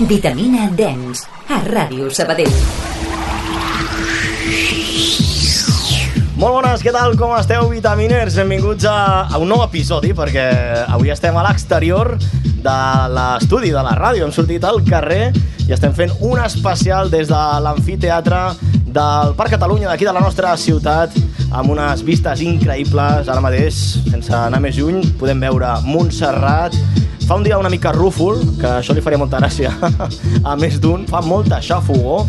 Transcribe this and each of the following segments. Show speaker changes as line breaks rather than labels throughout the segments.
Vitamina Dance, a Ràdio Sabadell.
Molt bones, què tal? Com esteu, Vitaminers? Benvinguts a, a un nou episodi, perquè avui estem a l'exterior de l'estudi de la ràdio. Hem sortit al carrer i estem fent un especial des de l'amfiteatre del Parc Catalunya, d'aquí de la nostra ciutat, amb unes vistes increïbles. Ara mateix, sense anar més lluny, podem veure Montserrat, Fa un dia una mica rúfol, que això li faria molta gràcia a més d'un, fa molta xafogó,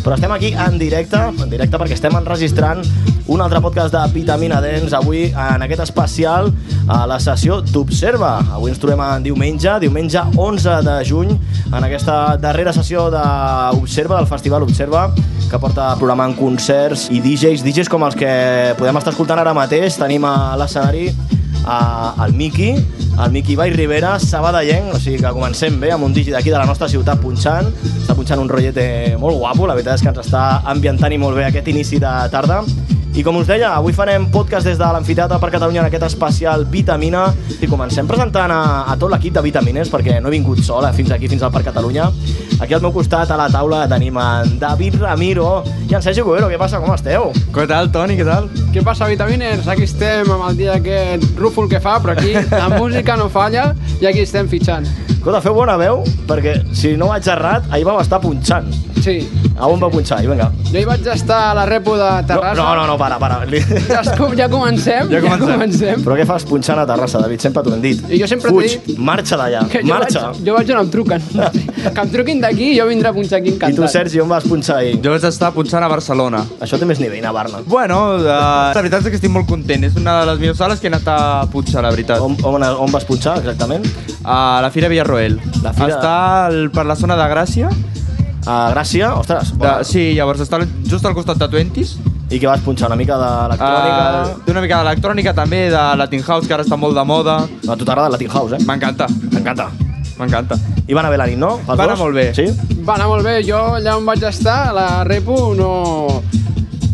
però estem aquí en directe, en directe perquè estem enregistrant un altre podcast de Vitamina Dens, avui en aquest especial a la sessió d'Observa. Avui ens trobem en diumenge, diumenge 11 de juny, en aquesta darrera sessió d'Observa, del Festival Observa, que porta programant concerts i DJs, DJs com els que podem estar escoltant ara mateix. Tenim a l'escenari a, al Miki, el Miki Bai Rivera, Sabadellenc, o sigui que comencem bé amb un digi d'aquí de la nostra ciutat punxant, està punxant un rotllete molt guapo, la veritat és que ens està ambientant i molt bé aquest inici de tarda. I com us deia, avui farem podcast des de l'Amfiteatre per Catalunya en aquest especial Vitamina i comencem presentant a, a tot l'equip de Vitamines perquè no he vingut sola fins aquí, fins al Parc Catalunya. Aquí al meu costat, a la taula, tenim en David Ramiro i en Sergi Govero. Què passa? Com esteu?
Què tal, Toni? Què tal? Què passa, Vitaminers? Aquí estem amb el dia aquest rúfol que fa, però aquí la música no falla i aquí estem fitxant.
Escolta, feu bona veu, perquè si no vaig errat, ahir vam estar punxant.
Sí.
A on va punxar? I vinga.
Jo hi vaig estar a la repo de Terrassa.
No, no, no, para, para.
Escolta, ja comencem?
Ja comencem.
Ja comencem.
Però què fas punxant a Terrassa, David? Sempre t'ho hem dit.
I jo sempre t'he
Fuig, marxa d'allà,
Que jo
marxa.
Vaig, jo vaig on em truquen. que em truquin d'aquí i jo vindré a punxar aquí
I
encantat.
tu, Sergi, on vas punxar ahir?
Jo vaig estar punxant a Barcelona.
Això té més nivell, a Barna.
Bueno, eh, la veritat és que estic molt content. És una de les millors sales que he anat a punxar, la veritat.
On, on, on vas punxar, exactament?
A la Fira Villarroel.
La Fira-
Està al, per la zona de Gràcia.
A Gràcia? Ostres,
De,
bona.
sí, llavors està al- just al costat de Twenties.
I què vas punxar? Una mica d'electrònica?
Eh, D'una mica d'electrònica també, de Latin House, que ara està molt de moda.
Uh... A tu t'agrada Latin House, eh?
M'encanta,
M'encanta.
m'encanta.
I van a bé la nit, no? Els
Va anar
dos?
molt bé.
Sí?
Va anar molt bé, jo allà on vaig estar, a la repo, no...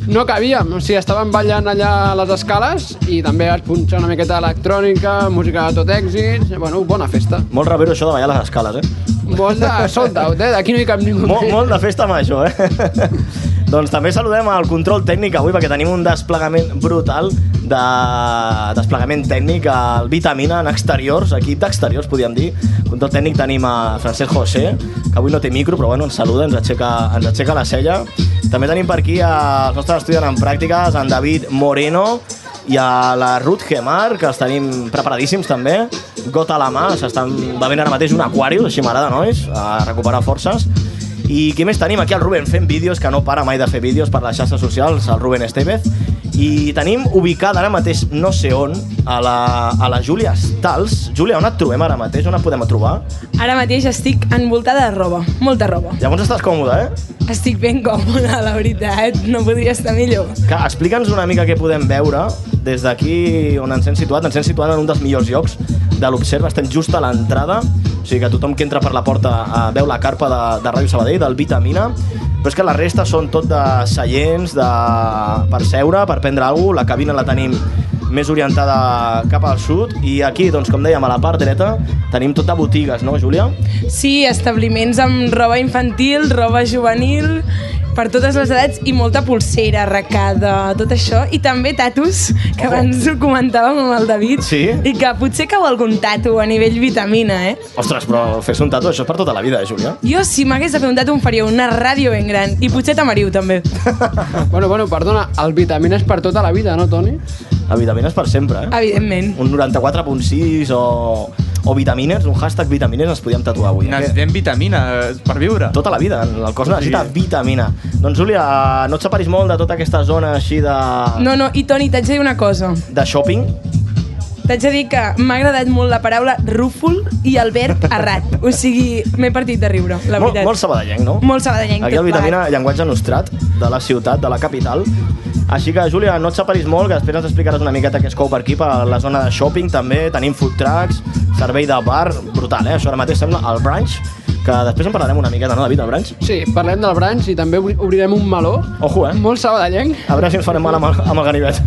No cabíem, o sigui, estàvem ballant allà a les escales i també vaig punxar una miqueta electrònica, música de tot èxit, bueno, bona festa.
Molt rebero això de ballar a les escales, eh?
Molt de sold out, eh? D'aquí no hi cap ningú.
Molt,
més.
molt de festa amb això, eh? doncs també saludem al control tècnic avui perquè tenim un desplegament brutal de desplegament tècnic al Vitamina en exteriors, equip d'exteriors podríem dir. Control tècnic tenim a Francesc José, que avui no té micro, però bueno, ens saluda, ens aixeca, ens aixeca la cella. També tenim per aquí als nostres estudiants en pràctiques, en David Moreno, i a la Ruth Gemar, que els tenim preparadíssims també. Got a la mà, s'estan bevent ara mateix un Aquarius, així m'agrada, nois, a recuperar forces. I qui més tenim? Aquí el Ruben fent vídeos, que no para mai de fer vídeos per les xarxes socials, el Ruben Estevez. I tenim ubicada ara mateix, no sé on, a la, a la Júlia Stals. Júlia, on et trobem ara mateix? On et podem trobar?
Ara mateix estic envoltada de roba, molta roba.
Llavors estàs còmode, eh?
Estic ben còmoda, la veritat, eh? no podria estar millor.
Que explica'ns una mica què podem veure des d'aquí on ens hem situat. Ens hem situat en un dels millors llocs de l'Observa. Estem just a l'entrada, o sigui que tothom que entra per la porta eh, veu la carpa de, de Ràdio Sabadell, del Vitamina, però és que la resta són tot de seients, de... per seure, per prendre alguna cosa. La cabina la tenim més orientada cap al sud i aquí, doncs, com dèiem, a la part dreta tenim tot de botigues, no, Júlia?
Sí, establiments amb roba infantil, roba juvenil, per totes les edats i molta pulsera, arracada, tot això. I també tatus, que abans ho comentàvem amb el David.
Sí?
I que potser cau algun tatu a nivell vitamina, eh?
Ostres, però fer-se un tatu, això és per tota la vida, eh, Júlia?
Jo, si m'hagués de fer un tatu, em faria una ràdio ben gran. I potser tamariu, també.
Bueno, bueno, perdona, el vitamina és per tota la vida, no, Toni?
La vitamina és per sempre, eh?
Evidentment.
un 94.6 o, o vitamines, un hashtag vitamines ens podíem tatuar avui. Eh?
Necessitem vitamines per viure.
Tota la vida, el cos necessita
Sí.
vitamina. Doncs, Júlia, no et separis molt de tota aquesta zona així de,
No, no, i Toni, t'haig de dir una cosa.
de shopping?
T'haig de dir que m'ha agradat molt la paraula rúfol i el verb errat. O sigui, m'he partit de riure, la
Mol,
veritat.
molt sabadellenc, no?
Molt sabadellenc,
Aquí
tot
el vitamina,
plegat.
llenguatge nostrat, de la ciutat, de la capital. Així que, Júlia, no et separis molt, que després ens explicaràs una miqueta què es cou per aquí, per la zona de shopping, també tenim food trucks, servei de bar, brutal, eh? Això ara mateix sembla el brunch, que després en parlarem una miqueta, no, David, el brunch?
Sí, parlem del branch i també obri- obrirem un meló.
Ojo, eh?
Molt sabadellenc.
A veure si ens farem mal amb el, amb el ganivet.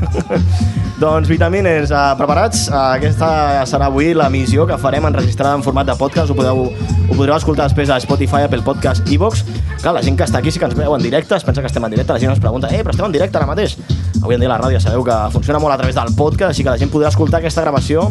Doncs, vitamines, eh, preparats? Eh, aquesta serà avui la missió que farem enregistrada en format de podcast. Ho, podeu, ho podreu escoltar després a Spotify, Apple Podcast, Evox. Clar, la gent que està aquí sí que ens veu en directe, es pensa que estem en directe, la gent ens pregunta, eh, però estem en directe ara mateix? Avui en dia la ràdio sabeu que funciona molt a través del podcast, així que la gent podrà escoltar aquesta gravació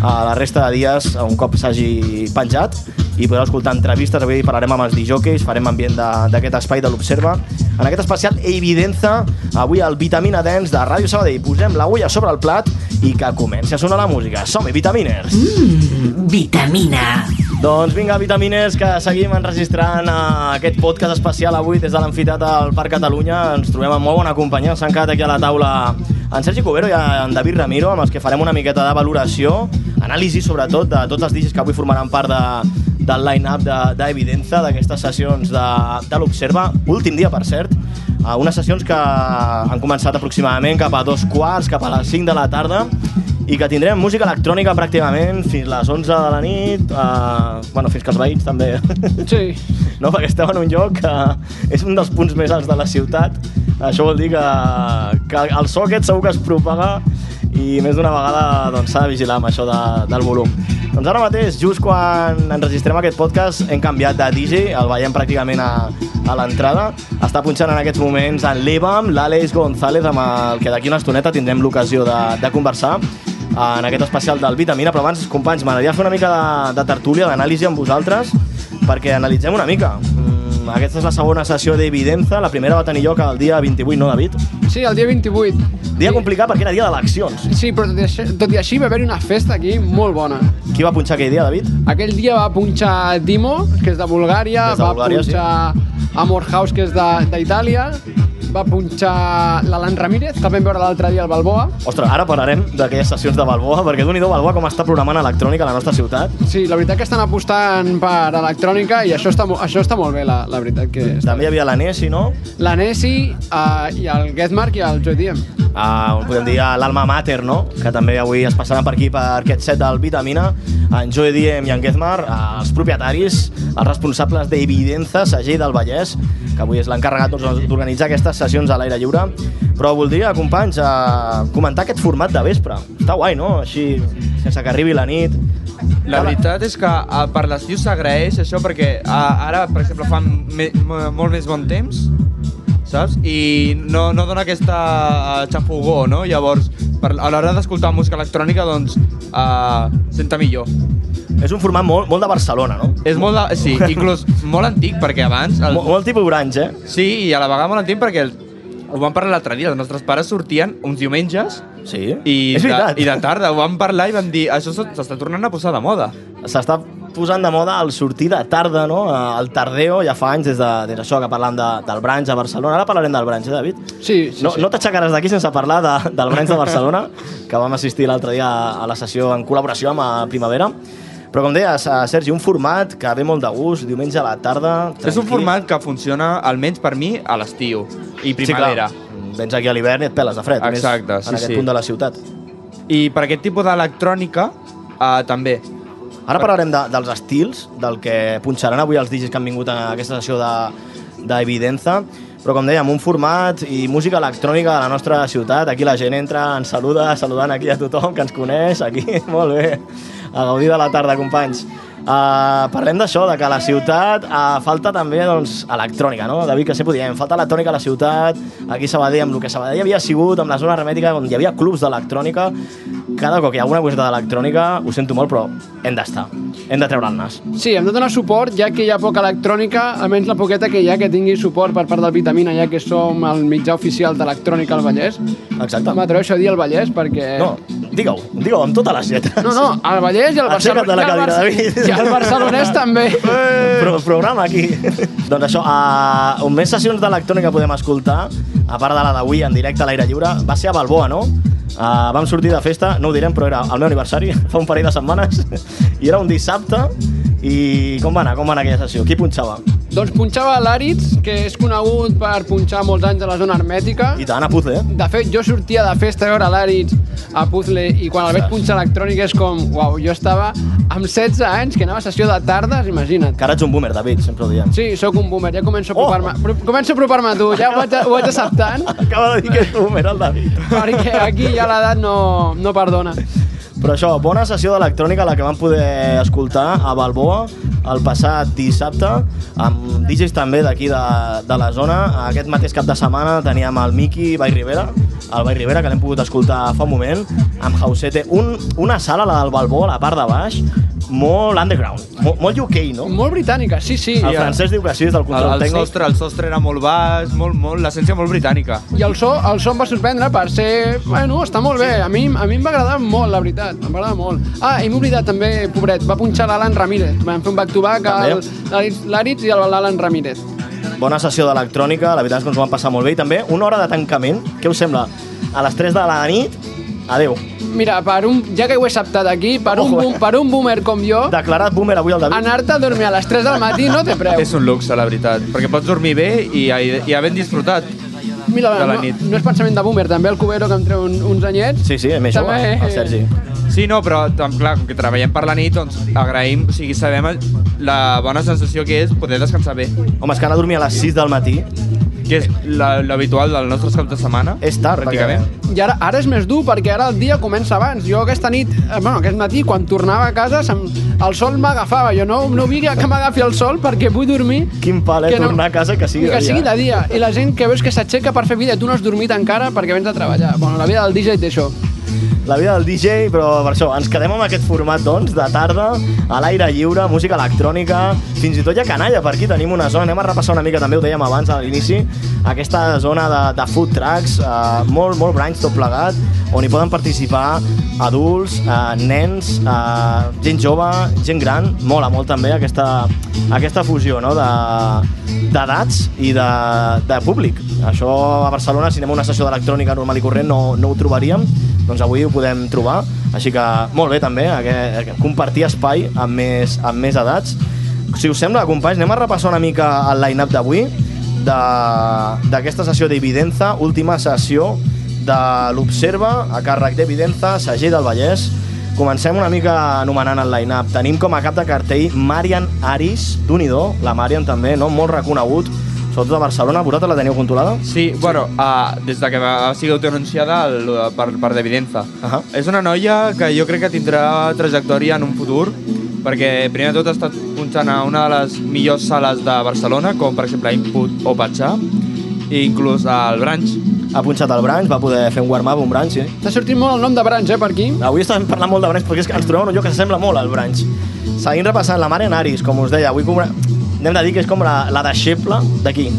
a la resta de dies un cop s'hagi penjat i podreu escoltar entrevistes, avui parlarem amb els dijòqueis, farem ambient de- d'aquest espai de l'Observa. En aquest especial Evidenza, avui al Vitamina Dance de Ràdio Sabadell. Posem l'agulla sobre el plat i que comenci a sonar la música. Som-hi, Vitaminers!
Mm, Vitamina.
Doncs vinga, vitamines, que seguim enregistrant eh, aquest podcast especial avui des de l'Amfitat al Parc Catalunya. Ens trobem amb molt bona companyia. S'han quedat aquí a la taula en Sergi Cubero i en David Ramiro, amb els que farem una miqueta de valoració, anàlisi sobretot de tots els digis que avui formaran part de, del line-up de- d'Evidenza, d'aquestes sessions de, de l'Observa. Últim dia, per cert. Eh, unes sessions que han començat aproximadament cap a dos quarts, cap a les 5 de la tarda i que tindrem música electrònica pràcticament fins les 11 de la nit, eh, bueno, fins que els veïns també,
Sí.
no? perquè estem en un lloc que és un dels punts més alts de la ciutat, això vol dir que, que el so aquest segur que es propaga i més d'una vegada s'ha doncs, s'ha de vigilar amb això de, del volum. Doncs ara mateix, just quan enregistrem aquest podcast, hem canviat de DJ, el veiem pràcticament a, a l'entrada. Està punxant en aquests moments en l'Evam, l'Àlex González, amb el que d'aquí una estoneta tindrem l'ocasió de, de conversar en aquest especial del Vitamina, però abans, companys, m'agradaria fer una mica de, de tertúlia, d'anàlisi amb vosaltres, perquè analitzem una mica. Mm, aquesta és la segona sessió d'Evidenza, la primera va tenir lloc el dia 28, no, David?
Sí, el dia 28.
Dia complicat perquè era dia d'eleccions.
Sí, però tot i així, tot i així va haver-hi una festa aquí molt bona.
Qui va punxar aquell dia, David?
Aquell dia va punxar Dimo, que és de Bulgària,
És de Bulgària,
va punxar sí. Amor House, que és de- d'Itàlia, va punxar l'Alan Ramírez, que el vam veure l'altre dia al Balboa.
Ostres, ara parlarem d'aquelles sessions de Balboa, perquè d'un i do Balboa com està programant electrònica a la nostra ciutat.
Sí, la veritat que estan apostant per electrònica i això està, mo- això està molt bé, la, la veritat que està
També hi havia la Nessi, no?
La Nessi uh, i el Getmark i el Joy Diem.
a, on Ah, podem dir a l'Alma Mater, no? que també avui es passaran per aquí per aquest set del Vitamina, en Joe Diem i en Gezmar, els propietaris, els responsables d'Evidenza, Segell del Vallès, que avui és l'encarregat doncs, d'organitzar aquestes sessions a l'aire lliure. Però voldria, companys, a comentar aquest format de vespre. Està guai, no? Així, sense que arribi la nit.
La veritat és que a, per l'estiu s'agraeix això perquè a, ara, per exemple, fa me, mo- molt més bon temps, saps? I no, no dona aquesta eh, xafogó, no? Llavors, per, a l'hora d'escoltar música electrònica, doncs, uh, senta millor.
És un format molt, molt de Barcelona, no?
És molt de, sí, inclús molt antic, perquè abans...
Mol, molt tipus Orange, eh?
Sí, i a la vegada molt antic, perquè el, ho vam parlar l'altre dia, els nostres pares sortien uns diumenges
Sí,
i,
és
de,
veritat.
i de tarda ho vam parlar i vam dir això s'ha- s'està tornant a posar de moda.
s'està posant de moda el sortir de tarda, no? El tardeo, ja fa anys des de, des d'això que parlàvem de, del branch a Barcelona. Ara parlarem del branch, eh, David?
Sí, sí,
no,
sí.
no t'aixecaràs d'aquí sense parlar de, del branch de Barcelona, que vam assistir l'altre dia a la sessió en col·laboració amb eh, Primavera. Però com deies, eh, Sergi, un format que ve molt de gust, diumenge a la tarda...
És un
tranquil.
format que funciona, almenys per mi, a l'estiu i
Sí,
primavera.
clar. Vens aquí a l'hivern i et peles de fred. a més,
Exacte, sí,
En aquest
sí.
punt de la ciutat.
I per aquest tipus d'electrònica, eh, també.
Ara parlarem de, dels estils, del que punxaran avui els digis que han vingut a aquesta sessió de- d'Evidenza, però com dèiem, un format i música electrònica de la nostra ciutat. Aquí la gent entra, ens saluda, saludant aquí a tothom que ens coneix, aquí, molt bé. A gaudir de la tarda, companys. Uh, parlem d'això, de que a la ciutat uh, falta també doncs, electrònica, no? David, que sempre ho diem, falta electrònica a la ciutat, aquí a Sabadell, amb el que Sabadell havia sigut, amb la zona hermètica, on hi havia clubs d'electrònica, cada cop que hi ha alguna coseta d'electrònica, ho sento molt, però hem d'estar, hem de treure el nas.
Sí, hem de donar suport, ja que hi ha poca electrònica, almenys la poqueta que hi ha que tingui suport per part del Vitamina, ja que som el mitjà oficial d'electrònica al Vallès.
Exacte.
M'atreveixo a dir el Vallès perquè...
No, digue-ho, digue-ho amb totes les lletres.
No, no, el Vallès i el
Aixeca't de
Barcelona.
la
i el
cadira,
Barce-
David.
I el barcelonès també.
Pro programa aquí. doncs això, uh, on més sessions d'electrònica podem escoltar, a part de la d'avui en directe a l'aire lliure, va ser a Balboa, no? Uh, vam sortir de festa, no ho direm, però era el meu aniversari, fa un parell de setmanes, i era un dissabte, i com va anar, com va anar aquella sessió? Qui punxava?
Doncs punxava l'Àrids, que és conegut per punxar molts anys a la zona hermètica.
I tant, a Puzzle, eh?
De fet, jo sortia de festa a veure l'Àrids a Puzzle i quan el veig punxar electrònic és com, uau, jo estava amb 16 anys que anava a sessió de tardes, imagina't.
Que ara ets un boomer, David, sempre ho diem. Oh!
Sí, sóc un boomer, ja començo a apropar-me pro- començo a apropar-me a tu, ja ho vaig, ho vaig acceptant,
Acaba de dir que ets boomer, el David.
perquè aquí ja l'edat no, no perdona.
Però això, bona sessió d'electrònica la que vam poder escoltar a Balboa el passat dissabte amb DJs també d'aquí de, de la zona. Aquest mateix cap de setmana teníem el Miki Vall Rivera, el Vall Rivera que l'hem pogut escoltar fa un moment, amb Hausete. Un, una sala, la del Balboa, a la part de baix, molt underground, molt, molt UK, no?
Molt britànica, sí, sí. eh,
El francès diu que sí, és del
El,
control
el,
tècnic.
sostre, el sostre era molt baix, molt, molt, l'essència molt britànica.
I el so, el so em va sorprendre per ser... Bueno, està molt bé. A mi, a mi em va agradar molt, la veritat. Em va agradar molt. Ah, i m'he oblidat també, pobret, va punxar l'Alan Ramírez. Vam fer un back-to-back
També.
al- l'Aritz- l'Aritz i el- l'Alan Ramírez.
Bona sessió d'electrònica, la veritat és que ens ho vam passar molt bé. I també una hora de tancament, què us sembla? A les 3 de la nit, adeu.
Mira, per un, ja que ho he acceptat aquí, per un,
Ojo. eh?
boom, per un boomer com jo,
Declarat boomer avui el David.
anar-te a dormir a les 3 del matí no té preu.
És un luxe, la veritat, perquè pots dormir bé i, i havent disfrutat.
Mira,
de la
no,
nit.
no és pensament de boomer, també el Cubero que em treu un, uns anyets.
Sí, sí, més jove,
També-
el Sergi.
Sí, no, però tam- clar, com que treballem per la nit, doncs agraïm, o sigui, sabem la bona sensació que és poder descansar bé,
Home, és que anar a dormir a les 6 del matí
que és la- l'habitual del nostre cap de setmana.
és tard,
pràcticament.
pràcticament.
I ara, ara és més dur perquè ara el dia comença abans. Jo aquesta nit, eh, bueno, aquest matí, quan tornava a casa, se'm, el sol m'agafava. Jo no, no vull que m'agafi el sol perquè vull dormir
Quin pal, eh,
Que no.
tornar a casa que
i
sigui
que
de
sigui de
dia.
dia. I la gent que veus que s'aixeca per fer vida, tu no has dormit encara perquè vens a treballar. Bueno, la vida del DJ té això.
La vida del DJ, però per això, ens quedem amb aquest format, doncs, de tarda, a l'aire lliure, música electrònica, fins i tot hi ha canalla, per aquí tenim una zona, anem a repassar una mica, també ho dèiem abans a l'inici, aquesta zona de, de food trucks, eh, molt, molt branys tot plegat, on hi poden participar adults, eh, nens, eh, gent jove, gent gran, mola molt també aquesta, aquesta fusió no? de- d'edats de, i de, de públic. Això a Barcelona, si anem a una sessió d'electrònica normal i corrent, no, no ho trobaríem, doncs avui ho podem trobar, així que molt bé també aquest, compartir espai amb més, amb més edats. Si us sembla, companys, anem a repassar una mica el line-up d'avui de- d'aquesta sessió d'Evidenza, última sessió de l'Observa a càrrec d'Evidenza, Segell del Vallès. Comencem una mica anomenant el line-up. Tenim com a cap de cartell Marian Aris, d'Unidor, la Marian també, no? molt reconegut, sobretot a Barcelona. Vosaltres la teniu controlada?
Sí, bueno, uh, des de que va- sigui autoanunciada el- per, per d'evidenza.
Ahà.
És una noia que jo crec que tindrà trajectòria en un futur, perquè primer de tot ha estat punxant a una de les millors sales de Barcelona, com per exemple Input o Patxà, i inclús al Branch.
Ha punxat el branch, va poder fer un warm-up, un branch, sí.
T'ha sortit molt el nom de Brans, eh, per aquí.
Avui estàvem parlant molt de branch perquè és que ens trobem en un lloc que s'assembla molt al branch. Seguim repassant la mare Aris, com us deia. Avui com... hem de dir que és com la, la deixeble d'aquí,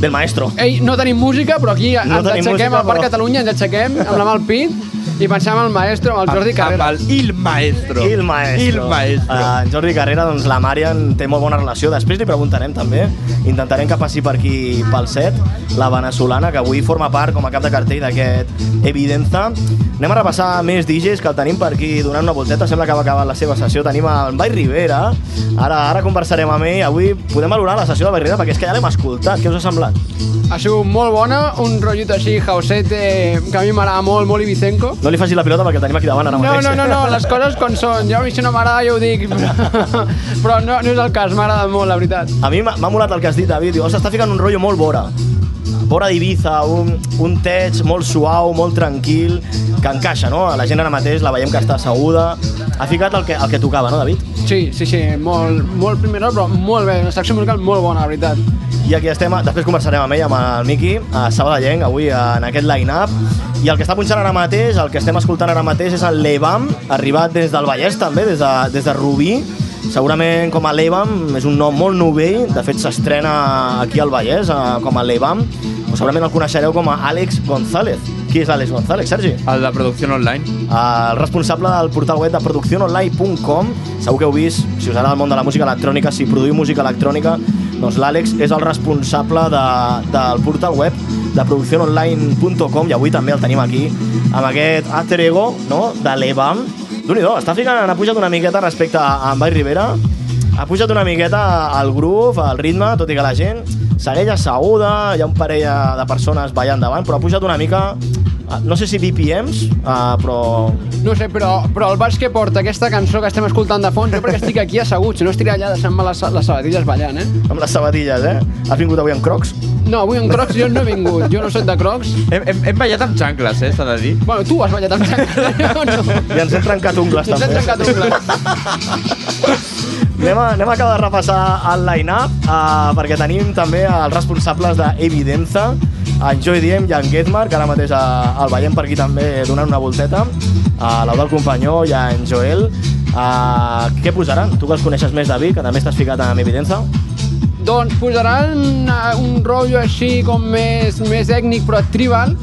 del maestro.
Ei, no tenim música, però aquí
No
ens
tenim
aixequem
música,
al Parc
però-
Catalunya, ens aixequem amb la mà al pit i pensem en el maestro, en el
Ah,
Jordi Carrera.
Amb el Il Maestro.
I el maestro.
Il Maestro.
Eh, en Jordi Carrera, doncs la Marian té molt bona relació. Després li preguntarem també. Intentarem que passi per aquí pel set, la veneçolana, que avui forma part com a cap de cartell d'aquest Evidenza. Anem a repassar més DJs que el tenim per aquí donant una volteta. Sembla que va acabar la seva sessió. Tenim el Vall Rivera. Ara ara conversarem amb ell. Avui podem valorar la sessió de Vall Rivera perquè és que ja l'hem escoltat. Què us ha semblat?
Ha sigut molt bona, un rotllit així, jausete, que a mi m'agrada molt, molt ibicenco.
No li facis la pilota perquè el tenim aquí davant ara
No,
mateix.
no, no, no, les coses com són. Jo a mi si no m'agrada ja ho dic, però, però no, no és el cas, m'agrada molt, la veritat.
A mi m'ha m'ha molat el que has dit, David. Diu, "Ostres, està ficant un rotllo molt vora. Vora d'Ibiza, un, un teig molt suau, molt tranquil, que encaixa, no? La gent ara mateix la veiem que està asseguda. Ha ficat el que, el que tocava, no, David?
Sí, sí, sí, molt, molt primera, però molt bé, una secció musical molt bona, la veritat.
I aquí estem, després conversarem amb ell, amb el Miqui, a Sabadellenc, avui en aquest line-up. I el que està punxant ara mateix, el que estem escoltant ara mateix, és el Levam, arribat des del Vallès també, des de, des de Rubí. Segurament com a Levam és un nom molt novell, de fet s'estrena aquí al Vallès eh, com a Levam. Segurament el coneixereu com a Àlex González. Qui és Àlex González, Sergi?
El de producció online.
el responsable del portal web de producciononline.com segur que heu vist, si us agrada el món de la música electrònica si produïu música electrònica doncs l'Àlex és el responsable de, del portal web de producciononline.com i avui també el tenim aquí amb aquest alter ego no? de l'Evam d'un està ficant, ha pujat una miqueta respecte a en Vall Rivera Ha pujat una miqueta al groove, al ritme, tot i que la gent segueix asseguda, hi ha un parell de persones ballant davant, però ha pujat una mica, eh, no sé si BPMs, eh, però...
No sé, però, però el baix que porta aquesta cançó que estem escoltant de fons, jo perquè estic aquí assegut, si no estic allà deixant-me les, les sabatilles ballant, eh?
amb les sabatilles, eh? Has vingut avui amb crocs?
No, avui en crocs jo no he vingut, jo no sóc de crocs.
Hem, hem, hem ballat amb xancles, eh, s'ha de dir.
Bueno, tu has ballat amb xancla, jo no.
I ens hem trencat ungles,
Ens
també.
hem trencat ungles.
Anem a, anem a acabar de repassar el line-up, uh, perquè tenim també els responsables d'Evidenza, en Joy Diem i en Getmar, que ara mateix uh, el veiem per aquí també donant una volteta, a uh, l'Eudal Companyó i en Joel. Uh, què posaran? Tu que els coneixes més, David, que també estàs ficat en Evidenza.
Doncs posaran eh, un rotllo així com més, més ètnic però tribal,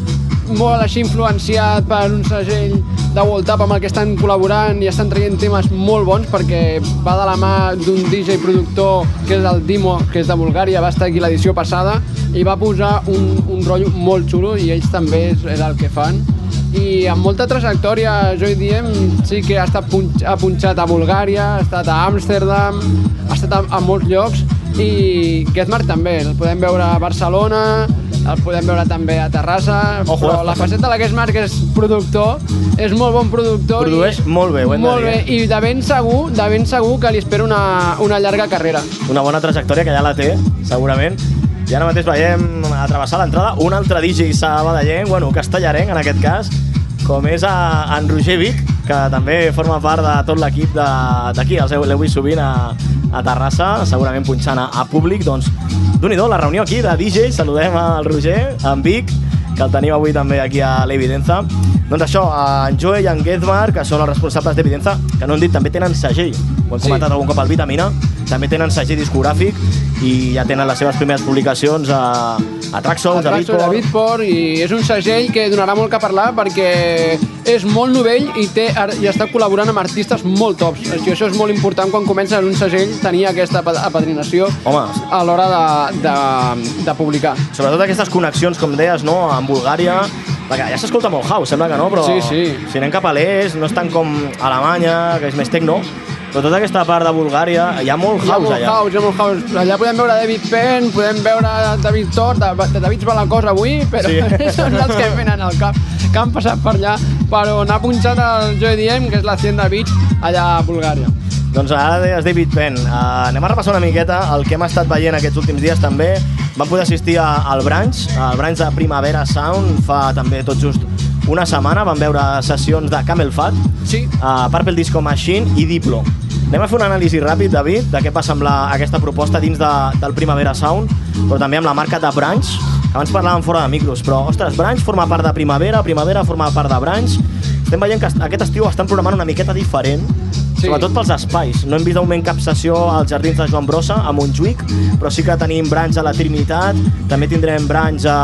molt així influenciat per un segell de World Up amb el que estan col·laborant i estan traient temes molt bons perquè va de la mà d'un DJ productor que és el Dimo, que és de Bulgària, va estar aquí l'edició passada i va posar un, un rotllo molt xulo i ells també és, és el que fan i amb molta trajectòria, jo hi diem, sí que ha, estat punx, ha punxat a Bulgària, ha estat a Amsterdam, ha estat a, a molts llocs i Getmark també, el podem veure a Barcelona, el podem veure també a Terrassa,
Ojo,
però
eh?
la faceta de la Getmark és productor, és molt bon productor.
Produeix molt bé, ho hem de
molt
dir,
bé,
eh?
i de ben segur, de ben segur que li espera una, una llarga carrera.
Una bona trajectòria, que ja la té, segurament. I ara mateix veiem a travessar l'entrada un altre DJ sabadellenc, bueno, castellarenc en aquest cas, com és a, en Roger Vic, que també forma part de tot l'equip de- d'aquí. Els heu- l'heu vist sovint a, a Terrassa, segurament punxant a, a públic. Doncs, d'un i do, la reunió aquí de DJ, saludem al Roger, en Vic, que el teniu avui també aquí a l'Evidenza. Doncs això, en Joe i en Getmar, que són els responsables d'Evidenza, que no hem dit, també tenen segell. Ho hem
Sí.
comentat algun cop al Vitamina, també tenen segell discogràfic i ja tenen les seves primeres publicacions a, a Traxons, a
Atrac sobre
Beatport.
Bitport i és un segell que donarà molt que parlar perquè és molt novell i, té, ar- i està col·laborant amb artistes molt tops. Això, això és molt important quan comença en un segell tenir aquesta pa- apadrinació
Home.
a l'hora de, de, de publicar.
Sobretot aquestes connexions, com deies, no? amb Bulgària, perquè ja s'escolta molt house, sembla que no, però
Sí, sí.
si anem cap a l'est, no és tant com Alemanya, que és més tecno, però tota aquesta part de Bulgària, hi ha molt
Hi ha
house
molt
allà.
house, hi ha molt house. Allà podem veure David Penn, podem veure David Thor, de, de David Balancós avui, però
Sí.
sí. són els que venen al cap, que han passat per allà, per on ha punxat el Joe Diem, que és la Hacienda Beach, allà a Bulgària.
Doncs ara deies David Penn. Uh, anem a repassar una miqueta el que hem estat veient aquests últims dies també. Vam poder assistir a, al Branch, al Branch de Primavera Sound, fa també tot just una setmana. Vam veure sessions de Camel Fat,
Sí.
uh, Purple Disco Machine i Diplo. Anem a fer una anàlisi ràpid, David, de què va semblar aquesta proposta dins de, del Primavera Sound, però també amb la marca de Branch. Abans parlàvem fora de micros, però, ostres, Branch forma part de Primavera, Primavera forma part de Branch. Estem veient que est- aquest estiu estan programant una miqueta diferent, sí.
Sí.
sobretot pels espais. No hem vist d'augment cap sessió als jardins de Joan Brossa, a Montjuïc, però sí que tenim Branch a la Trinitat, també tindrem Branch a...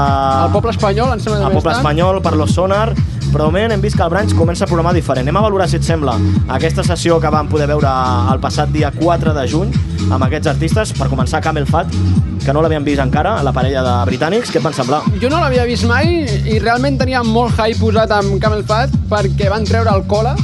Al poble espanyol, em
a
sembla que també
Poble
estan.
Espanyol, per lo Sonar, però de moment hem vist que el Branch comença a programar diferent. Anem a valorar si et sembla aquesta sessió que vam poder veure el passat dia 4 de juny amb aquests artistes, per començar Camel Fat, que no l'havien vist encara, la parella de britànics, què et van semblar?
Jo no l'havia vist mai i realment tenia molt hype posat amb Camel Fat perquè van treure el cola,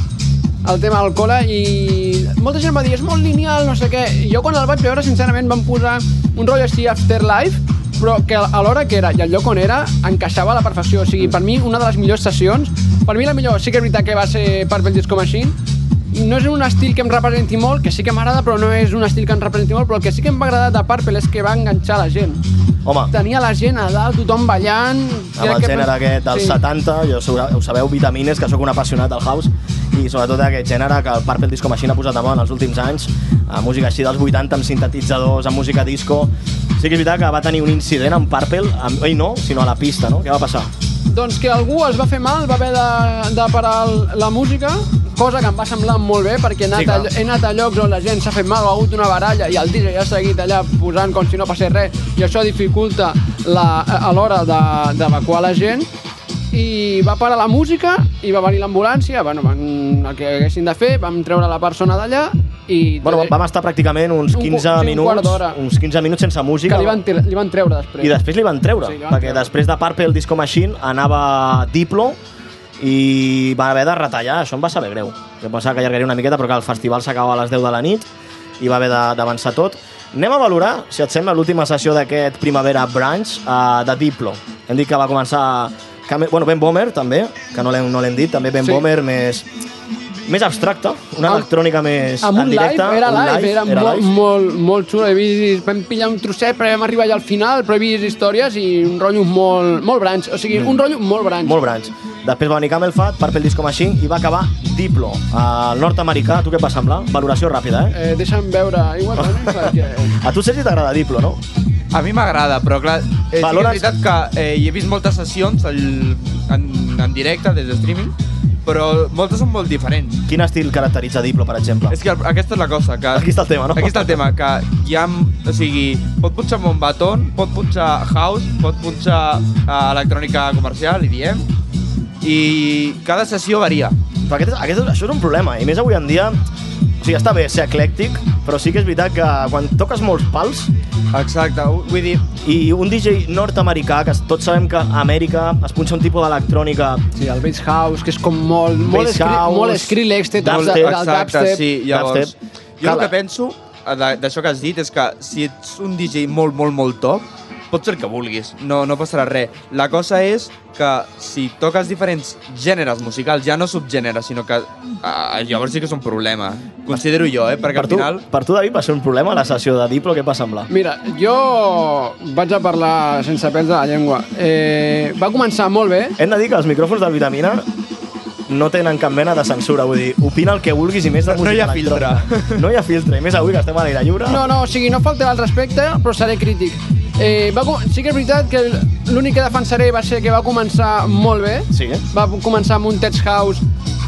el tema del cola, i molta gent va dir, és molt lineal, no sé què. I jo quan el vaig veure, sincerament, van posar un rotllo així Afterlife, però que a l'hora que era i al lloc on era encaixava a la perfecció. O sigui, per mi, una de les millors sessions, per mi la millor, sí que és veritat que va ser Purple Disco Machine, no és un estil que em representi molt, que sí que m'agrada, però no és un estil que em representi molt, però el que sí que em va agradar de Purple és que va enganxar la gent
Home,
tenia la gent a dalt, tothom ballant...
amb el gènere aquest dels 70, jo sobre, ho sabeu, Vitamines, que sóc un apassionat del house, i sobretot aquest gènere que el Purple Disco Machine ha posat de moda en els últims anys, a música així dels 80 amb sintetitzadors, amb música disco... Sí que és veritat que va tenir un incident amb Purple, amb, ell no, sinó a la pista, no? Què va passar?
Doncs que algú es va fer mal, va haver de, de parar el- la música, cosa que em va semblar molt bé, perquè he anat,
Sí, clar.
a, he anat a llocs on la gent s'ha fet mal, ha hagut una baralla, i el DJ ha seguit allà posant com si no passés res, i això dificulta la, a l'hora de- d'evacuar la gent, i va parar la música i va venir l'ambulància, bueno, van, el que haguessin de fer, vam treure la persona d'allà i...
Bueno, vam estar pràcticament uns
Un
15
quart- sí, un quart
minuts,
d'hora.
uns 15 minuts sense música.
que li van, tre- li van treure després.
I després li van treure,
Sí,
sí,
li van
van perquè
treure.
treure. després de Purple Disco Machine anava Diplo i va haver de retallar, això em va saber greu. Jo pensava que allargaria una miqueta, però que el festival s'acabava a les 10 de la nit i va haver de- d'avançar tot. Anem a valorar, si et sembla, l'última sessió d'aquest Primavera Branch uh, de Diplo. Hem dit que va començar... Cam- Bueno, Ben Bomer, també, que no l'hem no l'hem dit, també Ben
Sí.
sí. Bomer, més, més abstracta, una
Amb-
electrònica més
Amb un
en directe.
live, era
un
live, era,
era
molt,
live.
molt, molt xulo. He vist, vam pillar un trosset, però vam arribar allà al final, però he vist històries i un rotllo molt, molt branch. O sigui, un rotllo molt branch.
Molt branch. Després va venir Camel Fat, Purple Disco Machine i va acabar Diplo, el nord-americà. Tu què et va semblar? Valoració ràpida, eh?
Eh, deixa'm veure. Igual,
Oh.
bueno, perquè...
A tu, Sergi, t'agrada Diplo, no?
A mi m'agrada, però clar, eh, sí que
Valores-
és veritat que eh, hi he vist moltes sessions al, en, en directe, des de streaming, però moltes són molt diferents.
Quin estil caracteritza Diplo, per exemple?
És que el- aquesta és la cosa, que...
Aquí està el tema, no?
Aquí està el tema, que hi ha... O sigui, pot punxar Montbaton, pot punxar House, pot punxar eh, electrònica comercial, i diem, i cada sessió varia.
Però aquest, és- aquest, és- això és un problema, i més avui en dia... O sigui, està bé ser eclèctic, però sí que és veritat que quan toques molts pals
Exacte, u- vull dir,
i un DJ nord-americà, que tots sabem que a Amèrica es punxa un tipus d'electrònica
Sí, el Bass House, que és com molt... Molt,
Bass
escri
House,
molt Skrillex, té tot el,
dubstep.
el dubstep.
sí, llavors...
Dubstep.
Jo
Cal-
el que penso eh, de- d'això que has dit és que si ets un DJ molt, molt, molt top, pots fer el que vulguis, no, no passarà res. La cosa és que si toques diferents gèneres musicals, ja no subgèneres, sinó que uh, llavors sí que és un problema. Considero jo, eh? Perquè
Per
al
tu,
final...
per tu, David, va ser un problema la sessió de Diplo, què et va semblar?
Mira, jo vaig a parlar sense pèls de la llengua. Eh, va començar molt bé,
Hem de dir que els micròfons del Vitamina no tenen cap mena de censura, vull dir, opina el que vulguis i més de
No
música
hi ha
electrònica. No hi ha filtre, i més avui que estem a l'aire lliure.
No, no, o sigui, no faltarà al respecte, però seré crític. Eh, va, com- sí que és veritat que l'únic que defensaré va ser que va començar molt bé.
Sí, eh?
Va començar amb un Tech House,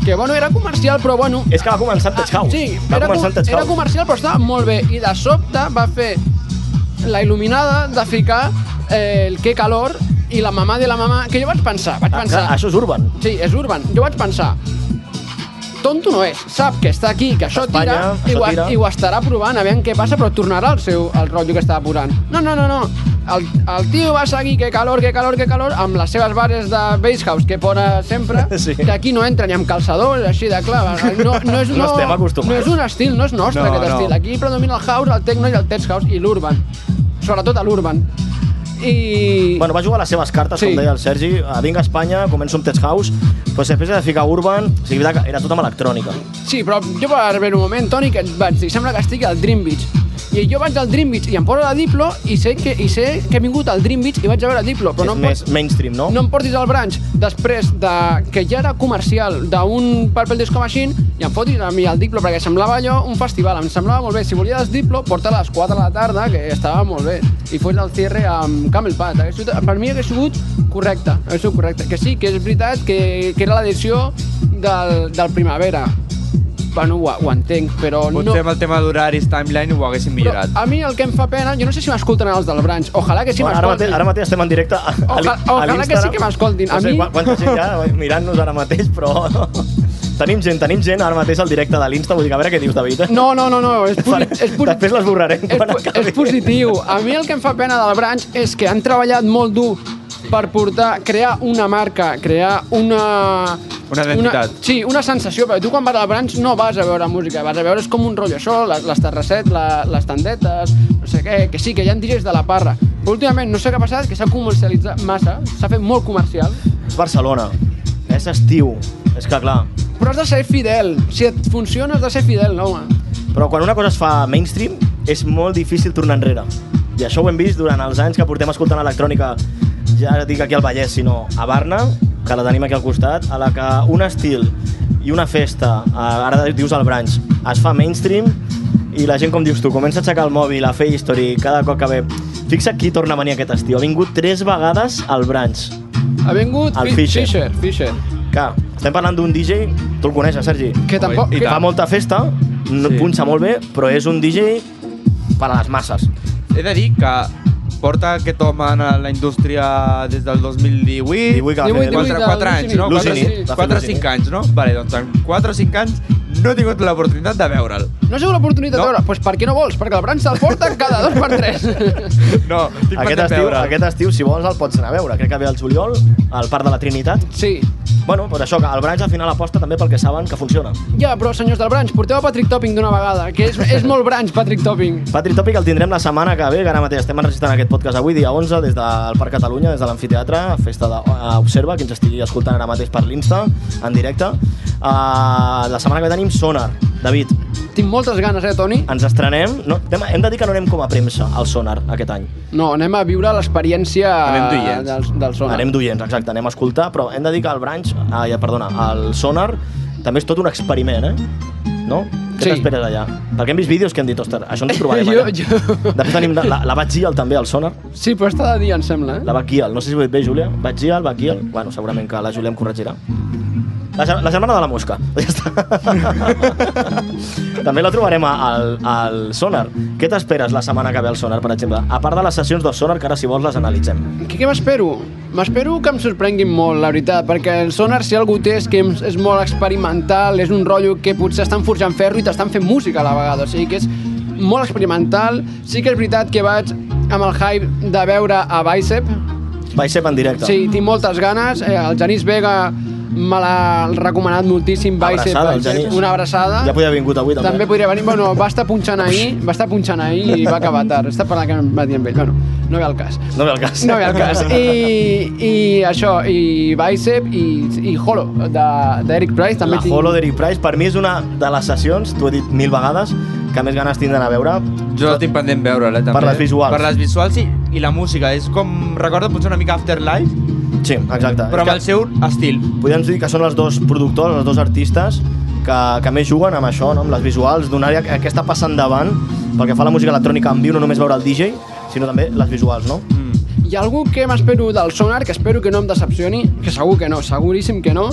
que bueno, era comercial, però bueno...
És que va començar amb Tech House.
Ah, sí,
va
era,
començar
com,
amb Tech
era
House.
comercial, però estava molt bé. I de sobte va fer la il·luminada de ficar eh, el que calor i la mamà de la mamà, que jo vaig pensar, vaig
Ah,
pensar...
clar, Això és urban.
Sí, és Urban. Jo vaig pensar, tonto no és, sap que està aquí, que això
Espanya,
tira, i,
això
ho,
tira.
i ho estarà provant, a veure què passa, però tornarà al seu el rotllo que estava posant. No, no, no, no. El, el tio va seguir, que calor, que calor, que calor, amb les seves bares de Base House que pone sempre,
Sí.
que aquí no entra ni amb calçadors, així de clar. No, no, és,
No estem acostumats.
No és un estil, no és nostre
No,
no, aquest
no.
estil. Aquí predomina el house, el techno i el tech house, i l'urban. Sobretot a l'urban. I...
Bueno, va jugar les seves cartes,
Sí.
com deia el Sergi. Ah, Vinc a Espanya, començo amb Tech House, però després he de ficar urban, o sigui, veritat que era tot amb electrònica.
Sí, però jo per veure un moment, Toni, que et vaig dir, sembla que estic al Dream Beach. I jo vaig al Dream Beach i em poso la Diplo i sé que, i sé que he vingut al Dream Beach i vaig a veure Diplo,
Però
però
és
no em,
més
pots,
mainstream, no?
no em portis al branch després de que ja era comercial d'un Purple Disco Machine i em fotis a mi el Diplo perquè semblava allò un festival, em semblava molt bé. Si volies Diplo, porta a les 4 de la tarda, que estava molt bé. I fos el cierre amb Camel Pat. Hagués sigut, per mi hagués sigut correcte, hagués sigut correcte. Que sí, que és veritat que, que era l'edició del, del Primavera, Bueno, ho, ho entenc, però no...
Potser amb el tema d'horaris, timeline, ho haguéssim
Però
millorat.
a mi el que em fa pena, jo no sé si m'escolten els del branch, ojalà que sí
Bueno, ara,
m'escoltin.
mateix, ara mateix estem en directe a, a, l'I-
Ojalà-
a
ojalà que sí que m'escoltin. A
No sé
mi-
qua- quanta gent hi ha mirant-nos ara mateix, però... tenim gent, tenim gent ara mateix al directe de l'Insta. Vull dir, que a veure què dius, David. Eh?
No, no, no, no, és, posi... és, posi...
Després l'esborrarem
és,
quan
po-
acabi.
és positiu. A mi el que em fa pena del branch és que han treballat molt dur per portar, crear una marca, crear una...
Una identitat.
Una, sí, una sensació, perquè tu quan vas al branch no vas a veure música, vas a veure és com un rotllo això, les, les terrasset, la, les tendetes, no sé què, que sí, que hi ha DJs de la parra. Però últimament no sé què ha passat, que s'ha comercialitzat massa, s'ha fet molt comercial,
És Barcelona. És estiu. És que, clar...
però has de ser fidel. Si et funciona, has de ser fidel, no, home.
Però quan una cosa es fa mainstream, és molt difícil tornar enrere. I això ho hem vist durant els anys que portem escoltant electrònica, ja dic aquí al Vallès, sinó a Barna, que la tenim aquí al costat, a la que un estil i una festa, eh, ara dius al branch, es fa mainstream i la gent, com dius tu, comença a aixecar el mòbil, a fer history cada cop que ve. Fixa qui torna a venir aquest estiu. Ha vingut tres vegades al branch.
Ha vingut
El
Fi-
Fisher.
Fisher, Fisher.
Que estem parlant d'un DJ, tu el coneixes, Sergi,
Que tampoc...
i
que-
tant.
fa molta festa, no
Sí.
punxa molt bé, però és un DJ per a les masses.
He de dir que porta aquest home a la indústria des del 2018,
18 que va
18,
4,
fer.
4 anys, no?
Lucini. Va fer
4 o
Lucini.
5 anys, no? Vale, doncs en 4 o 5 anys no he tingut l'oportunitat de veure'l.
No has tingut l'oportunitat
No.
no. de veure? Doncs pues per què no vols? Perquè el Bran se'l porta cada dos per tres.
No, tinc
Aquest
pendent
estiu,
veure'l.
aquest estiu, si vols, el pots anar a veure. Crec que ve al juliol, al Parc de la Trinitat.
Sí.
Bueno, doncs això, que el Branch al final aposta també pel que saben que funciona.
Ja, però senyors del Branch, porteu a Patrick Topping d'una vegada, que és, és molt Branch, Patrick Topping.
Patrick Topic el tindrem la setmana que ve, que ara mateix estem enregistrant aquest podcast avui, dia 11, des del Parc Catalunya, des de l'Amfiteatre, festa d'Observa, que ens estigui escoltant ara mateix per l'Insta, en directe. Uh, la setmana que ve tenim Sonar, David.
Tinc moltes ganes, eh, Toni?
Ens estrenem... No, hem, hem de dir que no anem com a premsa al Sonar aquest any.
No, anem a viure l'experiència
Anem d'oients.
del, del sonar.
Anem d'oients, exacte, anem a escoltar, però hem de dir que el Branch, ah, ja, perdona, el Sonar també és tot un experiment, eh? No? Què
Sí.
t'esperes allà? Perquè hem vist vídeos que hem dit, ostres, això ens trobarem
Jo-
allà.
jo-
Després tenim la, la, la Batgiel també, el Sonar.
Sí, però està de dia, em sembla. Eh?
La Batgiel, no sé si ho he dit bé, Júlia. Batgiel, Batgiel... Bueno, segurament que la Júlia em corregirà. La, ger- la germana de la mosca. Ja està. també la trobarem a- al, al Sonar. Què t'esperes la setmana que ve al Sonar, per exemple? A part de les sessions del Sonar, que ara, si vols, les analitzem.
Què, què m'espero? M'espero que em sorprenguin molt, la veritat, perquè el sonar, si algú té, és que em- és molt experimental, és un rotllo que potser estan forjant ferro i t'estan fent música a la vegada, o sigui que és molt experimental. Sí que és veritat que vaig amb el hype de veure a Bicep,
Vaig ser en directe.
Sí, tinc moltes ganes. Eh, el Genís Vega me l'ha recomanat moltíssim. Va ser doncs,
Abraçada, el Genís.
una abraçada.
Ja podia haver vingut avui, també.
També podria venir, bueno, va estar punxant ahir, va estar punxant ahir i va acabar tard. Està parlant que em va dir amb ell, bueno, no ve al cas.
No ve al cas.
No ve al cas. I, i això, i Bicep i, i Holo, de- d'Eric Price. També
la Holo d'Eric Price, per mi és una de les sessions, t'ho he dit mil vegades, que més ganes tindran a veure.
Jo la tinc pendent veure-la, també.
Per les visuals.
Per les visuals i, i la música. És com... Recorda potser una mica Afterlife,
Sí, exacte.
però amb el seu estil.
Podem dir que són els dos productors, els dos artistes, que, que més juguen amb això, no? amb les visuals, donar què què està passant davant, pel que fa a la música electrònica en viu, no només veure el DJ, sinó també les visuals, no?
Hi ha algú que m'espero del sonar, que espero que no em decepcioni, que segur que no, seguríssim que no,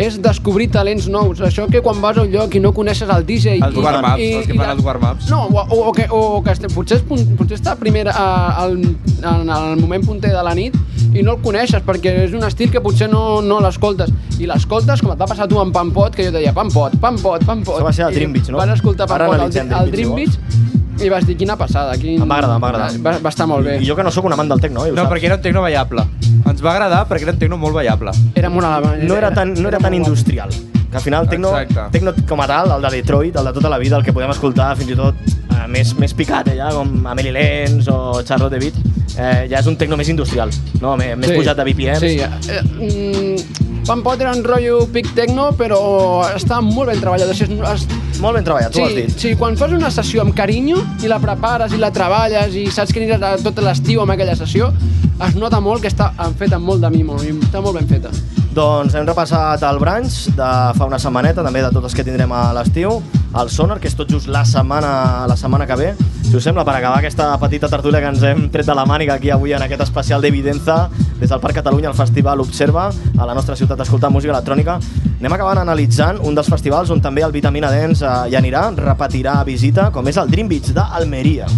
és descobrir talents nous. Això que quan vas a un lloc i no coneixes el DJ...
Els
i-
warm-ups,
i-
els que
i
fan
de-
els warm-ups.
No, o, o, o que, o que este, potser, és, pun- potser està primer a, al, en el moment punter de la nit i no el coneixes perquè és un estil que potser no, no l'escoltes. I l'escoltes com et va passar a tu amb Pampot, que jo deia Pampot, Pampot, Pampot.
Això va ser el
I
Dream Beach, no?
Vas escoltar
Ara
Pampot,
analitzem
el, el
Dream
Dream
Beach, si
Beach, i vas dir quina passada, quin...
Em va agradar, em va agradar.
Va, va estar molt bé.
I jo que no sóc un amant del techno, eh, ho
No,
saps?
perquè era un tecno ballable. Ens va agradar perquè era un tecno molt ballable.
Era molt alemany.
no era tan, no era tan
molt guapo.
industrial. Que al final tecno,
Exacte.
tecno com a tal, el de Detroit, el de tota la vida, el que podem escoltar fins i tot eh, més, més picat, eh, ja, com Amelie Lenz o Charlotte Beat, eh, ja és un tecno més industrial, no? Més, més pujat de BPM.
Sí, eh, mm, Van Pot era un rotllo pic techno, però està molt ben treballat. O sigui, es, es,
Molt ben treballat, tu ho has
sí,
dit.
sí, quan fas una sessió amb carinyo i la prepares i la treballes i saps que aniràs a tot l'estiu amb aquella sessió, es nota molt que està en feta amb molt de mimo i està molt ben feta.
Doncs hem repassat el branch de fa una setmaneta, també de tots els que tindrem a l'estiu, el Sonar, que és tot just la setmana, la setmana que ve. Si us sembla, per acabar aquesta petita tertúlia que ens hem tret de la màniga aquí avui en aquest especial d'Evidenza, des del Parc Catalunya, al Festival Observa, a la nostra ciutat d'escoltar música electrònica, anem acabant analitzant un dels festivals on també el Vitamina Dance eh, hi anirà, repetirà visita, com és el Dream Beach d'Almeria.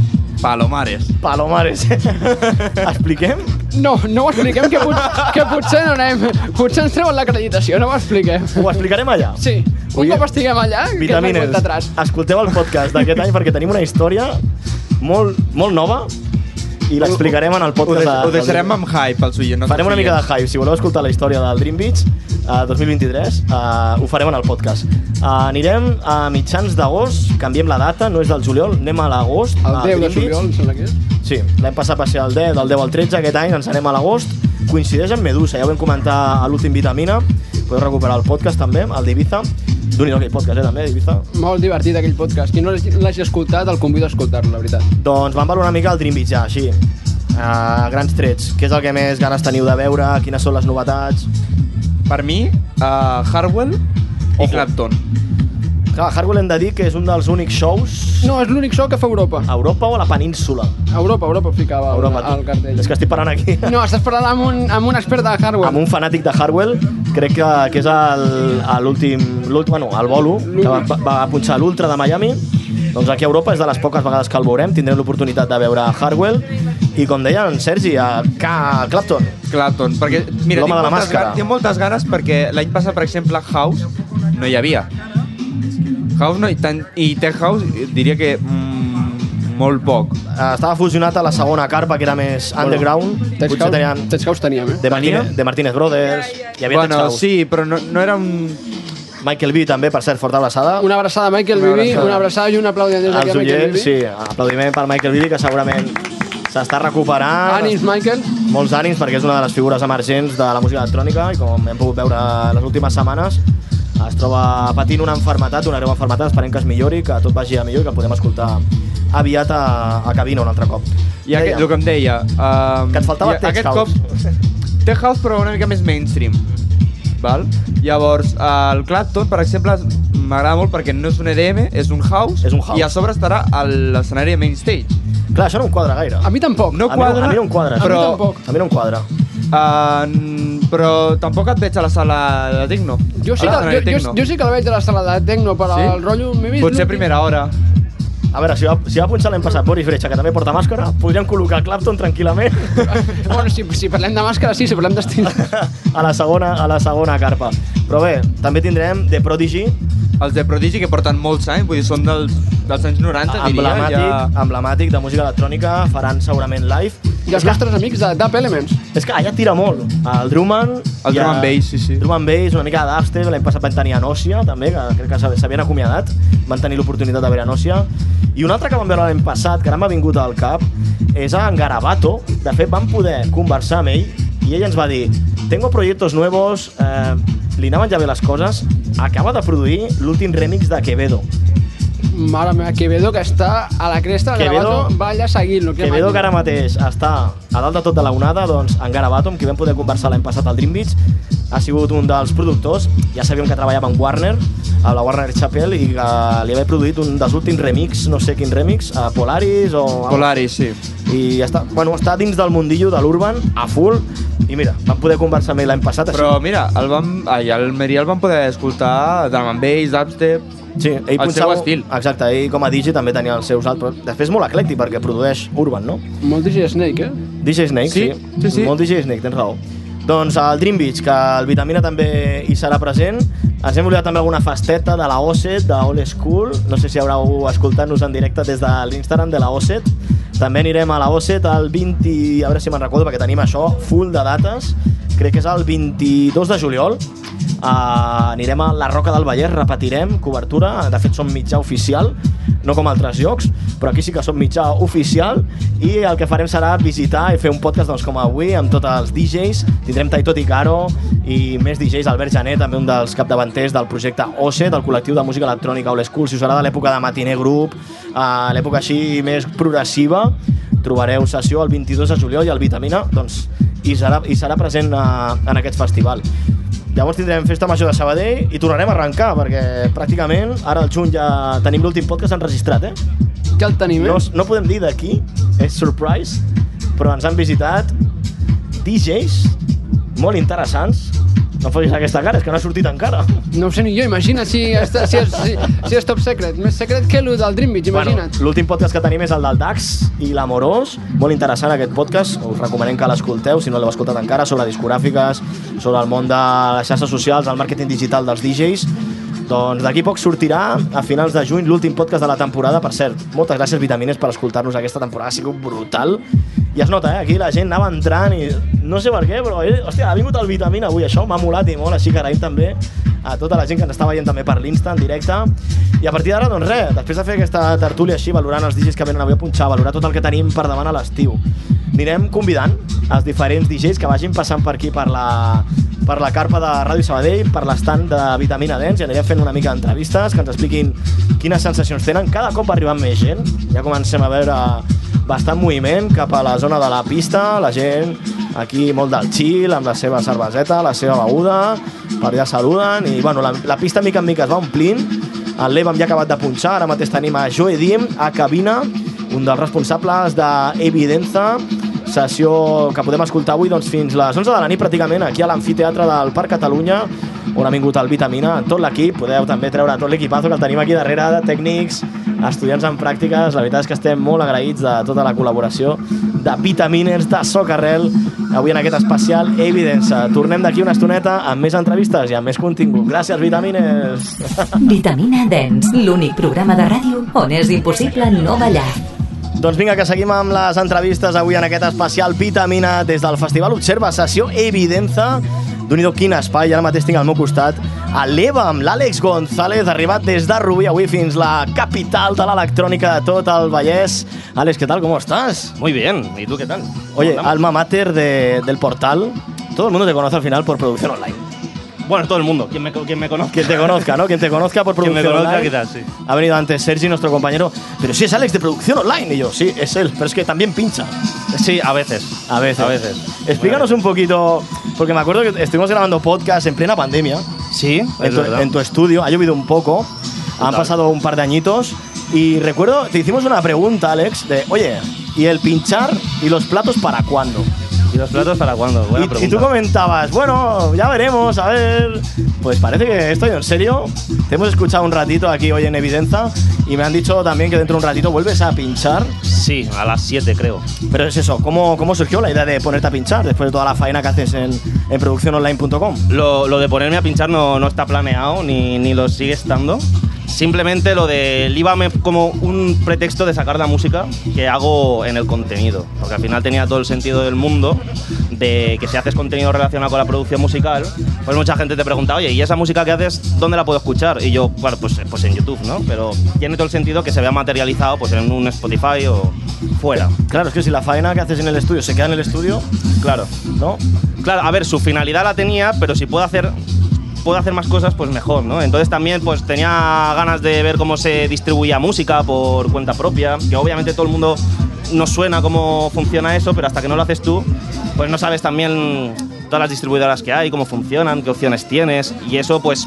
Palomares.
Palomares. Expliquem?
No, no ho expliquem, que, pot, que potser no anem. Potser ens treuen l'acreditació, no ho expliquem.
Ho explicarem allà.
Sí, un
Oye,
cop estiguem allà, que ens
Vitamines,
van atràs.
escolteu el podcast d'aquest any perquè tenim una història molt, molt nova i l'explicarem en el
Ho,
podcast.
deix,
de-
ho deixarem amb hype, els oients.
Farem una mica de hype. Si voleu escoltar la història del Dream Beach eh, 2023, eh, ho farem en el podcast. Eh, anirem a mitjans d'agost, canviem la data, no és del juliol, anem a l'agost.
El
a
10 de
Dream Beach.
juliol, em sembla que és.
Sí, l'any passat va ser el 10, del 10 al 13, aquest any ens anem a l'agost. Coincideix amb Medusa, ja ho vam comentar a l'últim Vitamina, podeu recuperar el podcast també, el d'Ibiza. D'un i aquell podcast, eh, també, d'Ibiza.
Molt divertit aquell podcast. Qui no l'hagi- l'hagi escoltat, el convido a escoltar-lo, la veritat.
Doncs vam valorar una mica el Dream Beach ja, així. Uh, grans trets. Què és el que més ganes teniu de veure? Quines són les novetats?
Per mi, uh, Harwell
Ojo.
i Clapton.
Clar, Hardwell hem de dir que és un dels únics shows
No, és l'únic show que fa Europa.
a Europa o a la península.
Europa, Europa ficava el,
Europa, tu.
el cartell.
És que estic parlant aquí.
No, estàs parlant amb un, amb un expert de hardware.
Amb un fanàtic de Hardwell, crec que, que és el- a l'últim... l'ult- Bueno, el bolo, que va, va- va punxar l'Ultra de Miami. Doncs aquí a Europa és de les poques vegades que el veurem. Tindrem l'oportunitat de veure Hardwell. I com deia en Sergi, a Ca- Clapton.
Clapton, perquè mira, tinc
L'home de la
moltes,
màscara.
ganes, tinc moltes ganes perquè l'any passat, per exemple, House no hi havia. House no, i, tant, i Tech House eh, diria que mm, molt poc.
Eh, Estava fusionat a la segona carpa, que era més underground.
Tech
Potser
House,
teníem
Tech House teníem, eh?
de Martínez, de Martínez Brothers. Hi havia
bueno,
Tech House.
sí, però no, no era un...
Michael B també, per cert, forta abraçada.
Una abraçada a Michael
Una
Bibi,
abraçada.
una abraçada i un aplaudiment des d'aquí
Els
a Michael
oients,
Bibi.
sí, aplaudiment per Michael Bibi, que segurament s'està recuperant.
Ànims, Michael.
Molts ànims, perquè és una de les figures emergents de la música electrònica i com hem pogut veure les últimes setmanes, es troba patint una enfermetat, una greu enfermetat, esperem que es millori, que tot vagi a millor i que el podem escoltar aviat a, a cabina un altre cop.
I aquest, el que em deia... Um,
Que et faltava Tech
aquest
House.
Cop, tech House, però una mica més mainstream. Val? Llavors, eh, el Clapton, per exemple, es- m'agrada molt perquè no és un EDM, és un house,
És un house.
i a sobre estarà a l'escenari de main stage.
Clar, això no em quadra gaire.
A mi tampoc.
No
A mi
quadra,
a mi no em quadra,
però,
A mi tampoc.
A mi no em quadra.
eh, però tampoc et veig a la sala de Tecno.
Jo sí,
A l'escenari
que, jo, jo,
Tecno.
jo sí que la veig a la sala de Tecno, però
Sí?
el rotllo... m'he vist
Potser
l'últim-
primera hora.
A veure, si va, si va punxar l'any passat Boris Brecha, que també porta màscara, podríem col·locar Clapton tranquil·lament
Bueno, si, si parlem de màscara, sí, si parlem d'estil.
a la segona, a la segona carpa. Però bé, també tindrem The Prodigy,
Els de Prodigy que porten molts anys, vull dir, són dels, dels anys 90, diria.
emblemàtic, ja... emblemàtic de música electrònica, faran segurament live.
I els nostres amics de Tap Elements.
És que allà tira molt, el Drummond...
El drum and bass, sí, sí.
Drum and bass, una mica de dubstep, l'any passat van tenir a Nòcia, també, que crec que s'ha- s'havien acomiadat, van tenir l'oportunitat de veure a Nòcia. I un altre que vam veure l'any passat, que ara m'ha vingut al cap, és en Garabato. De fet, vam poder conversar amb ell i ell ens va dir «Tengo proyectos nuevos, eh, li anaven ja bé les coses, acaba de produir l'últim remix de Quevedo».
Mare meva, Quevedo, que està a la cresta del
Quevedo-
Gravato, balla seguint-lo. que
Quevedo, que
màquina.
ara mateix està a dalt de tot de la onada, doncs en Garabato, amb qui vam poder conversar l'any passat al Dream Beach, ha sigut un dels productors, ja sabíem que treballava amb Warner, a la Warner Chapel, i que li havia produït un dels últims remix, no sé quin remix, a Polaris o...
Ja... Polaris, sí.
I està, bueno, està dins del mundillo de l'Urban, a full, i mira, vam poder conversar amb ell l'any passat, així.
Però mira, el vam, ai, al Merial el vam poder escoltar drum and bass, dubstep...
Sí, ell
el seu
punxava-
estil.
Exacte, ell com a DJ també tenia els seus altres... Després molt eclèctic, perquè produeix Urban, no?
Molt DJ Snake, eh?
DJ Snake, sí.
Sí, sí, sí.
Molt DJ Snake, tens raó. Doncs al Dream Beach, que el Vitamina també hi serà present. Ens hem oblidat també alguna festeta de la Osset, de All School. No sé si haureu escoltat-nos en directe des de l'Instagram de la Osset. També anirem a la Osset el 20... A veure si me'n recordo, perquè tenim això full de dates. Crec que és el 22 de juliol. Uh, anirem a la Roca del Vallès, repetirem cobertura, de fet som mitjà oficial, no com altres llocs, però aquí sí que som mitjà oficial i el que farem serà visitar i fer un podcast doncs, com avui amb tots els DJs, tindrem Taito Ticaro i més DJs, Albert Jané, també un dels capdavanters del projecte OSE, del col·lectiu de música electrònica Old School, si us agrada l'època de Matiner Group, uh, l'època així més progressiva, trobareu sessió el 22 de juliol i el Vitamina doncs, hi, serà, hi serà present uh, en aquest festival. Llavors tindrem festa major de Sabadell i tornarem a arrencar, perquè pràcticament ara al juny ja tenim l'últim podcast enregistrat, eh?
Ja el tenim, eh?
No, no podem dir d'aquí, és surprise, però ens han visitat DJs molt interessants. No em facis aquesta cara, és que no ha sortit encara.
No ho sé ni jo, imagina't si, està, si, és, si, si és top secret. Més secret que el del Dream Beach, imagina't.
Bueno, L'últim podcast que tenim és el del DAX i l'Amorós. Molt interessant aquest podcast. Us recomanem que l'escolteu, si no l'heu escoltat encara, sobre discogràfiques, sobre el món de les xarxes socials, el màrqueting digital dels DJs. Doncs d'aquí poc sortirà, a finals de juny, l'últim podcast de la temporada. Per cert, moltes gràcies, Vitamines, per escoltar-nos aquesta temporada. Ha sigut brutal. I es nota, eh? Aquí la gent anava entrant i... No sé per què, però... Eh? Hòstia, ha vingut el Vitamina avui. Això m'ha molat i molt, així que agraïm també a tota la gent que ens està veient també per l'Insta en directe i a partir d'ara doncs res, després de fer aquesta tertúlia així valorant els DJs que venen avui a punxar valorar tot el que tenim per davant a l'estiu anirem convidant els diferents DJs que vagin passant per aquí per la, per la carpa de Ràdio Sabadell per l'estant de Vitamina Dance i anirem fent una mica d'entrevistes que ens expliquin quines sensacions tenen, cada cop va arribant més gent ja comencem a veure bastant moviment cap a la zona de la pista la gent aquí molt del chill amb la seva cerveseta, la seva beguda per allà saluden i bueno, la, la pista mica en mica es va omplint el l'Evam ja ha acabat de punxar ara mateix tenim a Joe Dim a cabina un dels responsables d'Evidenza sessió que podem escoltar avui doncs, fins les 11 de la nit pràcticament aquí a l'Amfiteatre del Parc Catalunya on ha vingut el Vitamina, tot l'equip, podeu també treure tot l'equipazo que el tenim aquí darrere, de tècnics, estudiants en pràctiques, la veritat és que estem molt agraïts de tota la col·laboració de Vitaminers, de Socarrel, avui en aquest especial Evidença. Tornem d'aquí una estoneta amb més entrevistes i amb més contingut. Gràcies, Vitaminers!
Vitamina Dance, l'únic programa de ràdio on és impossible no ballar.
Doncs vinga, que seguim amb les entrevistes avui en aquest especial Vitamina des del Festival Observa, sessió Evidenza. D'un quin espai, ara mateix tinc al meu costat a l'Eva amb l'Àlex González, arribat des de Rubí avui fins la capital de l'electrònica de tot el Vallès. Àlex, què tal, com estàs?
Muy bien, ¿y tú qué tal?
Oye,
¿Cómo andamos?
alma mater de- del portal, todo el mundo te conoce al final por producción online.
Bueno, todo el mundo, quien me, co- quien me conozca.
Quien te conozca, ¿no? Quien te conozca por
Quien
producción
me conozca,
online.
quizás, sí.
Ha venido antes Sergi, nuestro compañero. Pero sí es Alex de producción online. Y yo, sí, es él. Pero es que también pincha.
Sí, a veces.
A veces.
A veces.
Explícanos un poquito, porque me acuerdo que estuvimos grabando podcast en plena pandemia,
Sí, es
en tu,
verdad.
en tu estudio, ha llovido un poco, han
Total.
pasado un par de añitos, y recuerdo, te hicimos una pregunta, Alex, de, oye, ¿y el pinchar y los platos para cuándo?
¿Y los platos para cuándo? Buena
Y- y,
pregunta.
tú comentabas, bueno, ya veremos, a ver. Pues parece que estoy en serio. Te hemos escuchado un ratito aquí hoy en Evidenza y me han dicho también que dentro de un ratito vuelves a pinchar.
Sí, a las 7 creo.
Pero es eso, ¿cómo, cómo surgió la idea de ponerte a pinchar después de toda la faena que haces en, en producciononline.com?
Lo, lo de ponerme a pinchar no, no está planeado ni, ni lo sigue estando. Simplemente lo del IVA me- como un pretexto de sacar la música que hago en el contenido. Porque al final tenía todo el sentido del mundo de que si haces contenido relacionado con la producción musical, pues mucha gente te pregunta, oye, ¿y esa música que haces, dónde la puedo escuchar? Y yo, claro, pues, pues en YouTube, ¿no? Pero tiene todo el sentido que se vea materializado pues en un Spotify o fuera.
Claro, es que si la faena que haces en el estudio se queda en el estudio,
Claro.
¿no?
Claro, a ver, su finalidad la tenía, pero si puedo hacer puedo hacer más cosas, pues mejor, ¿no? Entonces también pues tenía ganas de ver cómo se distribuía música por cuenta propia, que obviamente todo el mundo no suena cómo funciona eso, pero hasta que no lo haces tú, pues no sabes también todas las distribuidoras que hay, cómo funcionan, qué opciones tienes, y eso pues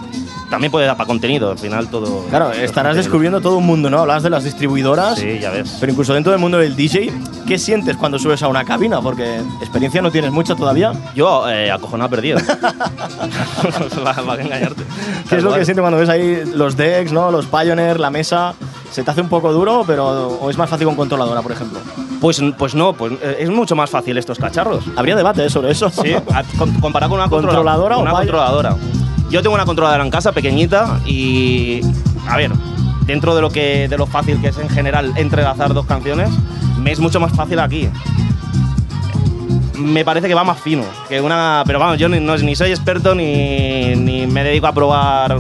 también puede dar para contenido, al final todo...
Claro,
todo es
estarás
contenido.
descubriendo todo un mundo, ¿no? Hablas de las distribuidoras.
Sí, ya ves.
Pero incluso dentro del mundo del DJ, ¿qué sientes cuando subes a una cabina? Porque experiencia no tienes mucha todavía.
Yo, eh, acojonado perdido. va, va a engañarte.
¿Qué es lo
Tal cual.
que sientes cuando ves ahí los decks, ¿no? los Pioneer, la mesa? ¿Se te hace un poco duro, pero o es más fácil con controladora, por ejemplo?
Pues, pues no, pues eh, es mucho más fácil estos cacharros.
Habría debate eh, sobre eso.
Sí, a- con- comparado con una
¿Controladora o
controladora. una
palla?
controladora. Yo tengo una controladora en casa pequeñita y a ver, dentro de lo que de lo fácil que es en general entrelazar dos canciones, me es mucho más fácil aquí. Me parece que va más fino que una, pero vamos, yo ni, no- ni soy experto ni, ni me dedico a probar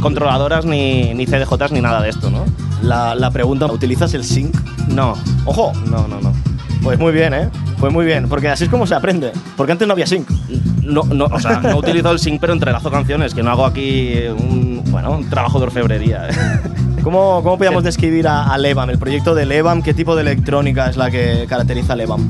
controladoras ni ni CDJs ni nada de esto, ¿no?
La, la pregunta, ¿utilizas el sync?
No,
Ojo,
no, no, no.
pues muy bien, ¿eh? Pues muy bien, porque así es como se aprende. Porque antes no había sync.
No, no, o sea, no utilizo el sync, pero entrelazo canciones, que no hago aquí un, bueno, un trabajo de orfebrería.
¿Cómo, cómo podríamos describir a, a Levam, el proyecto de Levam? ¿Qué tipo de electrónica es la que caracteriza a Levam?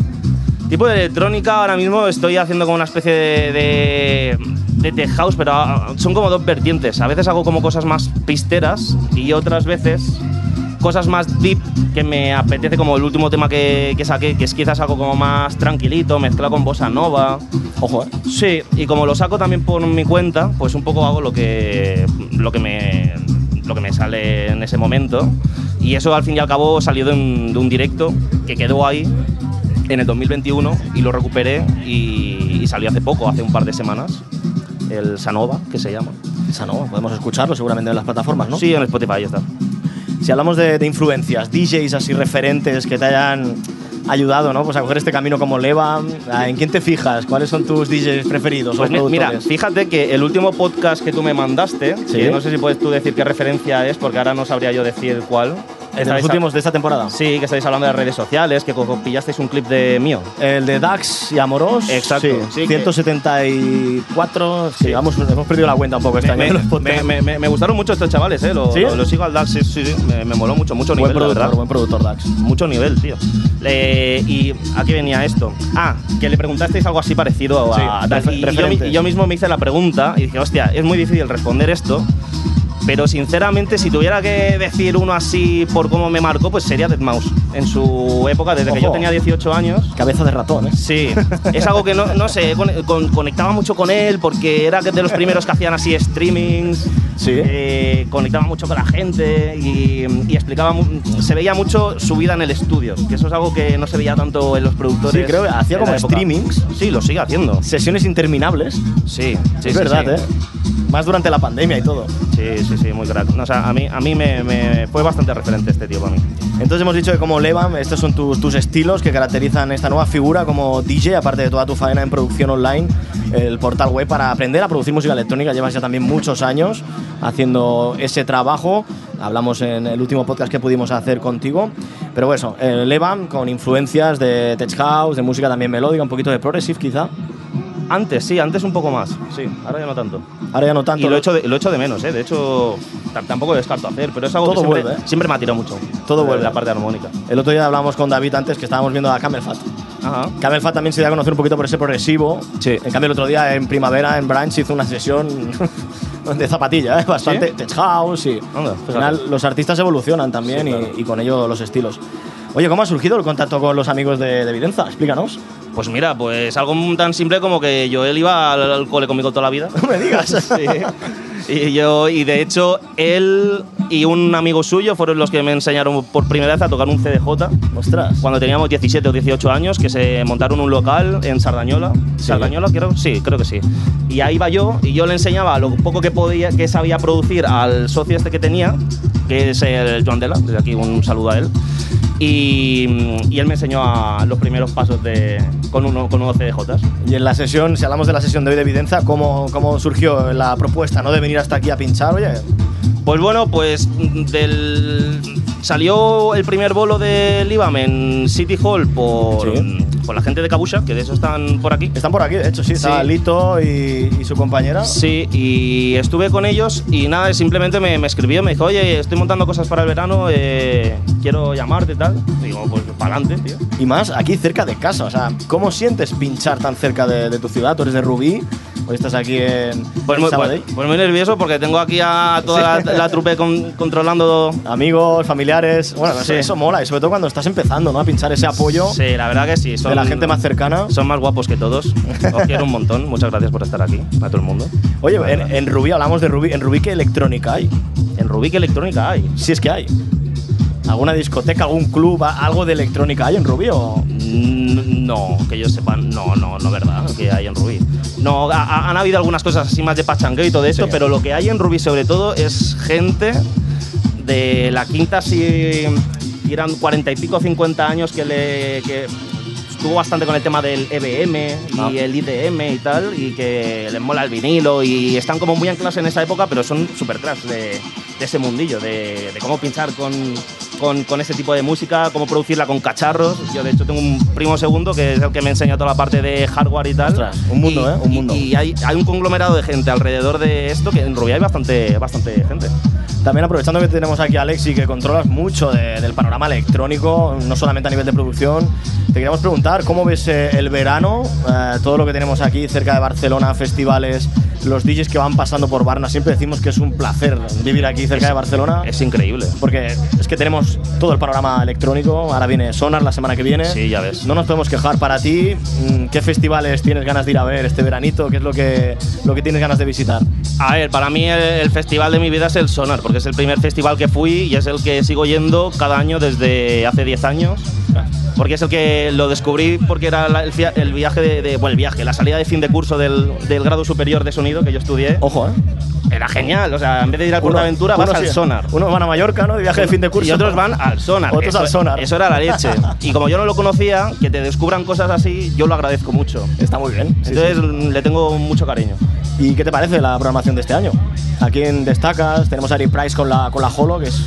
tipo de electrónica, ahora mismo estoy haciendo como una especie de, de, de tech house, pero ah, son como dos vertientes. A veces hago como cosas más pisteras y otras veces cosas más deep que me apetece, como el último tema que, que saqué, que es quizás algo como más tranquilito, mezclado con bossa nova.
Ojo, ¿eh?
Sí, y como lo saco también por mi cuenta, pues un poco hago lo que, lo que, me, lo que me sale en ese momento. Y eso al fin y al cabo salió de un, de un directo que quedó ahí en el 2021 y lo recuperé y, y salió hace poco, hace un par de semanas. El Sanova, que se llama.
Esa no, podemos escucharlo seguramente en las plataformas, ¿no?
Sí, en Spotify ahí está.
Si hablamos de, de influencias, DJs así referentes que te hayan ayudado, ¿no? Pues a coger este camino como leva. ¿En quién te fijas? ¿Cuáles son tus DJs preferidos?
Pues
o
mi- mira,
productores?
fíjate que el último podcast que tú me mandaste,
Sí.
que no sé si puedes tú decir qué referencia es, porque ahora no sabría yo decir cuál.
de los
Estabais a-
últimos de esta temporada.
Sí, que estáis hablando de redes sociales, que co- pillasteis un clip de mío.
El de Dax y Amoros.
Exacto.
Sí,
Sí, que-
174. Sí, vamos, hemos perdido la cuenta un poco este
Me,
año.
me-
de los podcasts.
me- me- me gustaron mucho estos chavales, ¿eh? Lo,
¿Sí?
lo- lo sigo al DAX, sí, sí, sí, Me, me moló mucho, mucho
buen
nivel, la
productor,
verdad.
buen productor Dax.
Mucho nivel, tío. Eh, ¿Y a qué venía esto? Ah, que le preguntasteis algo así parecido a...
Sí,
tal, y- y yo mi-
referentes.
y yo mismo me hice la pregunta y dije, hostia, es muy difícil responder esto, Pero sinceramente, si tuviera que decir uno así por cómo me marcó, pues sería Dead Mouse. En su época, desde que
Ojo.
yo tenía 18 años,
Cabeza de ratón, ¿eh?
Sí, es algo que no, no sé, con- con- conectaba mucho con él porque era de los primeros que hacían así streamings.
Sí.
eh, conectaba mucho con la gente y, y explicaba, mu- se veía mucho su vida en el estudio, que eso es algo que no se veía tanto en los productores.
Sí, creo que hacía
de la
como
época.
streamings.
Sí, lo sigue haciendo. Sí,
Sesiones interminables.
sí, sí,
es verdad,
sí.
¿eh? Más durante la pandemia y todo.
Sí, sí, sí, muy crack. No, o sea, a mí, a mí me, me fue bastante referente este tío para mí.
Entonces hemos dicho que como Levam, estos son tus, tus estilos que caracterizan esta nueva figura como DJ, aparte de toda tu faena en producción online, el portal web para aprender a producir música electrónica. Llevas ya también muchos años haciendo ese trabajo. Hablamos en el último podcast que pudimos hacer contigo. Pero bueno, eso, eh, Levam con influencias de tech house, de música también melódica, un poquito de progressive quizá.
Antes, sí, antes un poco más. Sí, ahora ya no tanto.
Ahora ya no tanto.
Y lo echo, de, lo echo de menos, ¿eh? De hecho, ta- tampoco lo descarto hacer, pero es algo
Todo
que siempre,
vuelve, ¿eh?
siempre me ha tirado mucho.
Todo
Eh,
vuelve.
La parte armónica.
El otro día hablábamos con David antes que estábamos viendo a Camel Fat.
Ajá.
Camel Fat también se dio a conocer un poquito por ese progresivo.
Sí.
En cambio, el otro día en primavera en Branch hizo una sesión de zapatilla, ¿eh? bastante
¿Sí?
tech house y
Anda,
al final
fíjate.
los artistas evolucionan también
Sí,
y-
claro.
y, con ello los estilos. Oye, ¿cómo ha surgido el contacto con los amigos de, de Evidenza? Explícanos.
Pues mira, pues algo tan simple como que Joel iba al, al cole conmigo toda la vida.
No me digas.
Sí. Y yo, y de hecho, él y un amigo suyo fueron los que me enseñaron por primera vez a tocar un CDJ.
Ostras.
Cuando teníamos 17 o 18 años, que se montaron un local en Sardañola. ¿Sardañola, creo? Sí, creo que sí. Y ahí iba yo, y yo le enseñaba lo poco que podía, que sabía producir al socio este que tenía, que es el Joan Dela, desde aquí un saludo a él. Y, y él me enseñó a los primeros pasos de, con, uno, con unos CDJs.
Y en la sesión, si hablamos de la sesión de hoy de Evidenza, ¿cómo, cómo surgió la propuesta ¿no? de venir hasta aquí a pinchar? Oye,
Pues bueno, pues mm, del... salió el primer bolo del IBAM en City Hall por,
Sí.
mm, por la gente de Cabusha, que de eso están por aquí.
están por aquí, de hecho, sí. Está
Sí.
Lito y, y su compañera.
Sí, y estuve con ellos y nada, simplemente me, me escribió, me dijo, oye, estoy montando cosas para el verano, eh, quiero llamarte y tal. Digo, pues para adelante, tío.
Y más aquí cerca de casa, o sea, ¿cómo sientes pinchar tan cerca de, de tu ciudad? Tú eres de Rubí, hoy estás aquí en
Pues muy,
Sabadell.
pues- pues muy nervioso porque tengo aquí a toda la, la trupe con- controlando.
Amigos, familiares, bueno, eso-
Sí.
eso mola, y sobre todo cuando estás empezando, ¿no? A pinchar ese apoyo
Sí, la verdad que sí. Son,
de la gente más cercana.
Son más guapos que todos. Os quiero un montón. Muchas gracias por estar aquí, a todo el mundo.
Oye,
La
en,
verdad.
en Rubí, hablamos de Rubí, en Rubí qué electrónica hay,
en Rubí, ¿qué electrónica hay?
si es que hay. ¿Alguna discoteca, algún club, a- algo de electrónica hay en Rubí o...?
Mm, No, que yo sepa, no, no, no, verdad, que hay en Rubí. No, ha- ha- han habido algunas cosas así más de pachangueo y todo esto,
Sí.
pero lo que hay en Rubí sobre todo es gente de la quinta, si eran cuarenta y pico, 50 años, que, le, que estuvo bastante con el tema del EBM y
Ah.
el IDM y tal, y que les mola el vinilo y están como muy en clase en esa época, pero son super class de, de ese mundillo, de, de cómo pinchar con, con, con ese tipo de música, cómo producirla con cacharros. Yo, de hecho, tengo un primo segundo que es el que me enseña toda la parte de hardware y tal.
Ostras, un mundo,
Y-
¿eh? Un
y-
mundo.
Y, hay, hay un conglomerado de gente alrededor de esto que en Rubí hay bastante, bastante gente.
También aprovechando que tenemos aquí a Alexi, que controlas mucho de- del panorama electrónico, no solamente a nivel de producción, te queríamos preguntar cómo ves eh, el verano, Eh, todo lo que tenemos aquí cerca de Barcelona, festivales, los DJs que van pasando por Barna. Siempre decimos que es un placer vivir aquí cerca de Barcelona,
Es increíble.
porque es que tenemos todo el panorama electrónico. Ahora viene Sonar la semana que viene.
Sí, ya ves.
No nos podemos quejar para ti. mm, ¿Qué festivales tienes ganas de ir a ver este veranito? ¿Qué es lo que, lo que tienes ganas de visitar?
A ver, para mí el, el festival de mi vida es el Sonar, porque es el primer festival que fui y es el que sigo yendo cada año desde hace 10 años. Porque es el que lo descubrí porque era la- el, fia- el viaje de, de- Bueno, el viaje, la salida de fin de curso del, del grado superior de sonido que yo estudié.
Ojo, ¿eh?
Era genial, o sea, en vez de ir a Portaventura vas
unos
al
sí-
Sonar.
Unos van a Mallorca, ¿no? De viaje de fin de curso.
Y otros van al sonar.
Otros
Eso-
al sonar.
Eso era la leche. Y como yo no lo conocía, que te descubran cosas así, yo lo agradezco mucho.
Está muy bien. sí,
Entonces mm, le tengo mucho cariño.
sí. ¿Y qué te parece la programación de este año? ¿A quién destacas? Tenemos a Ari Price con la, con la Holo, que es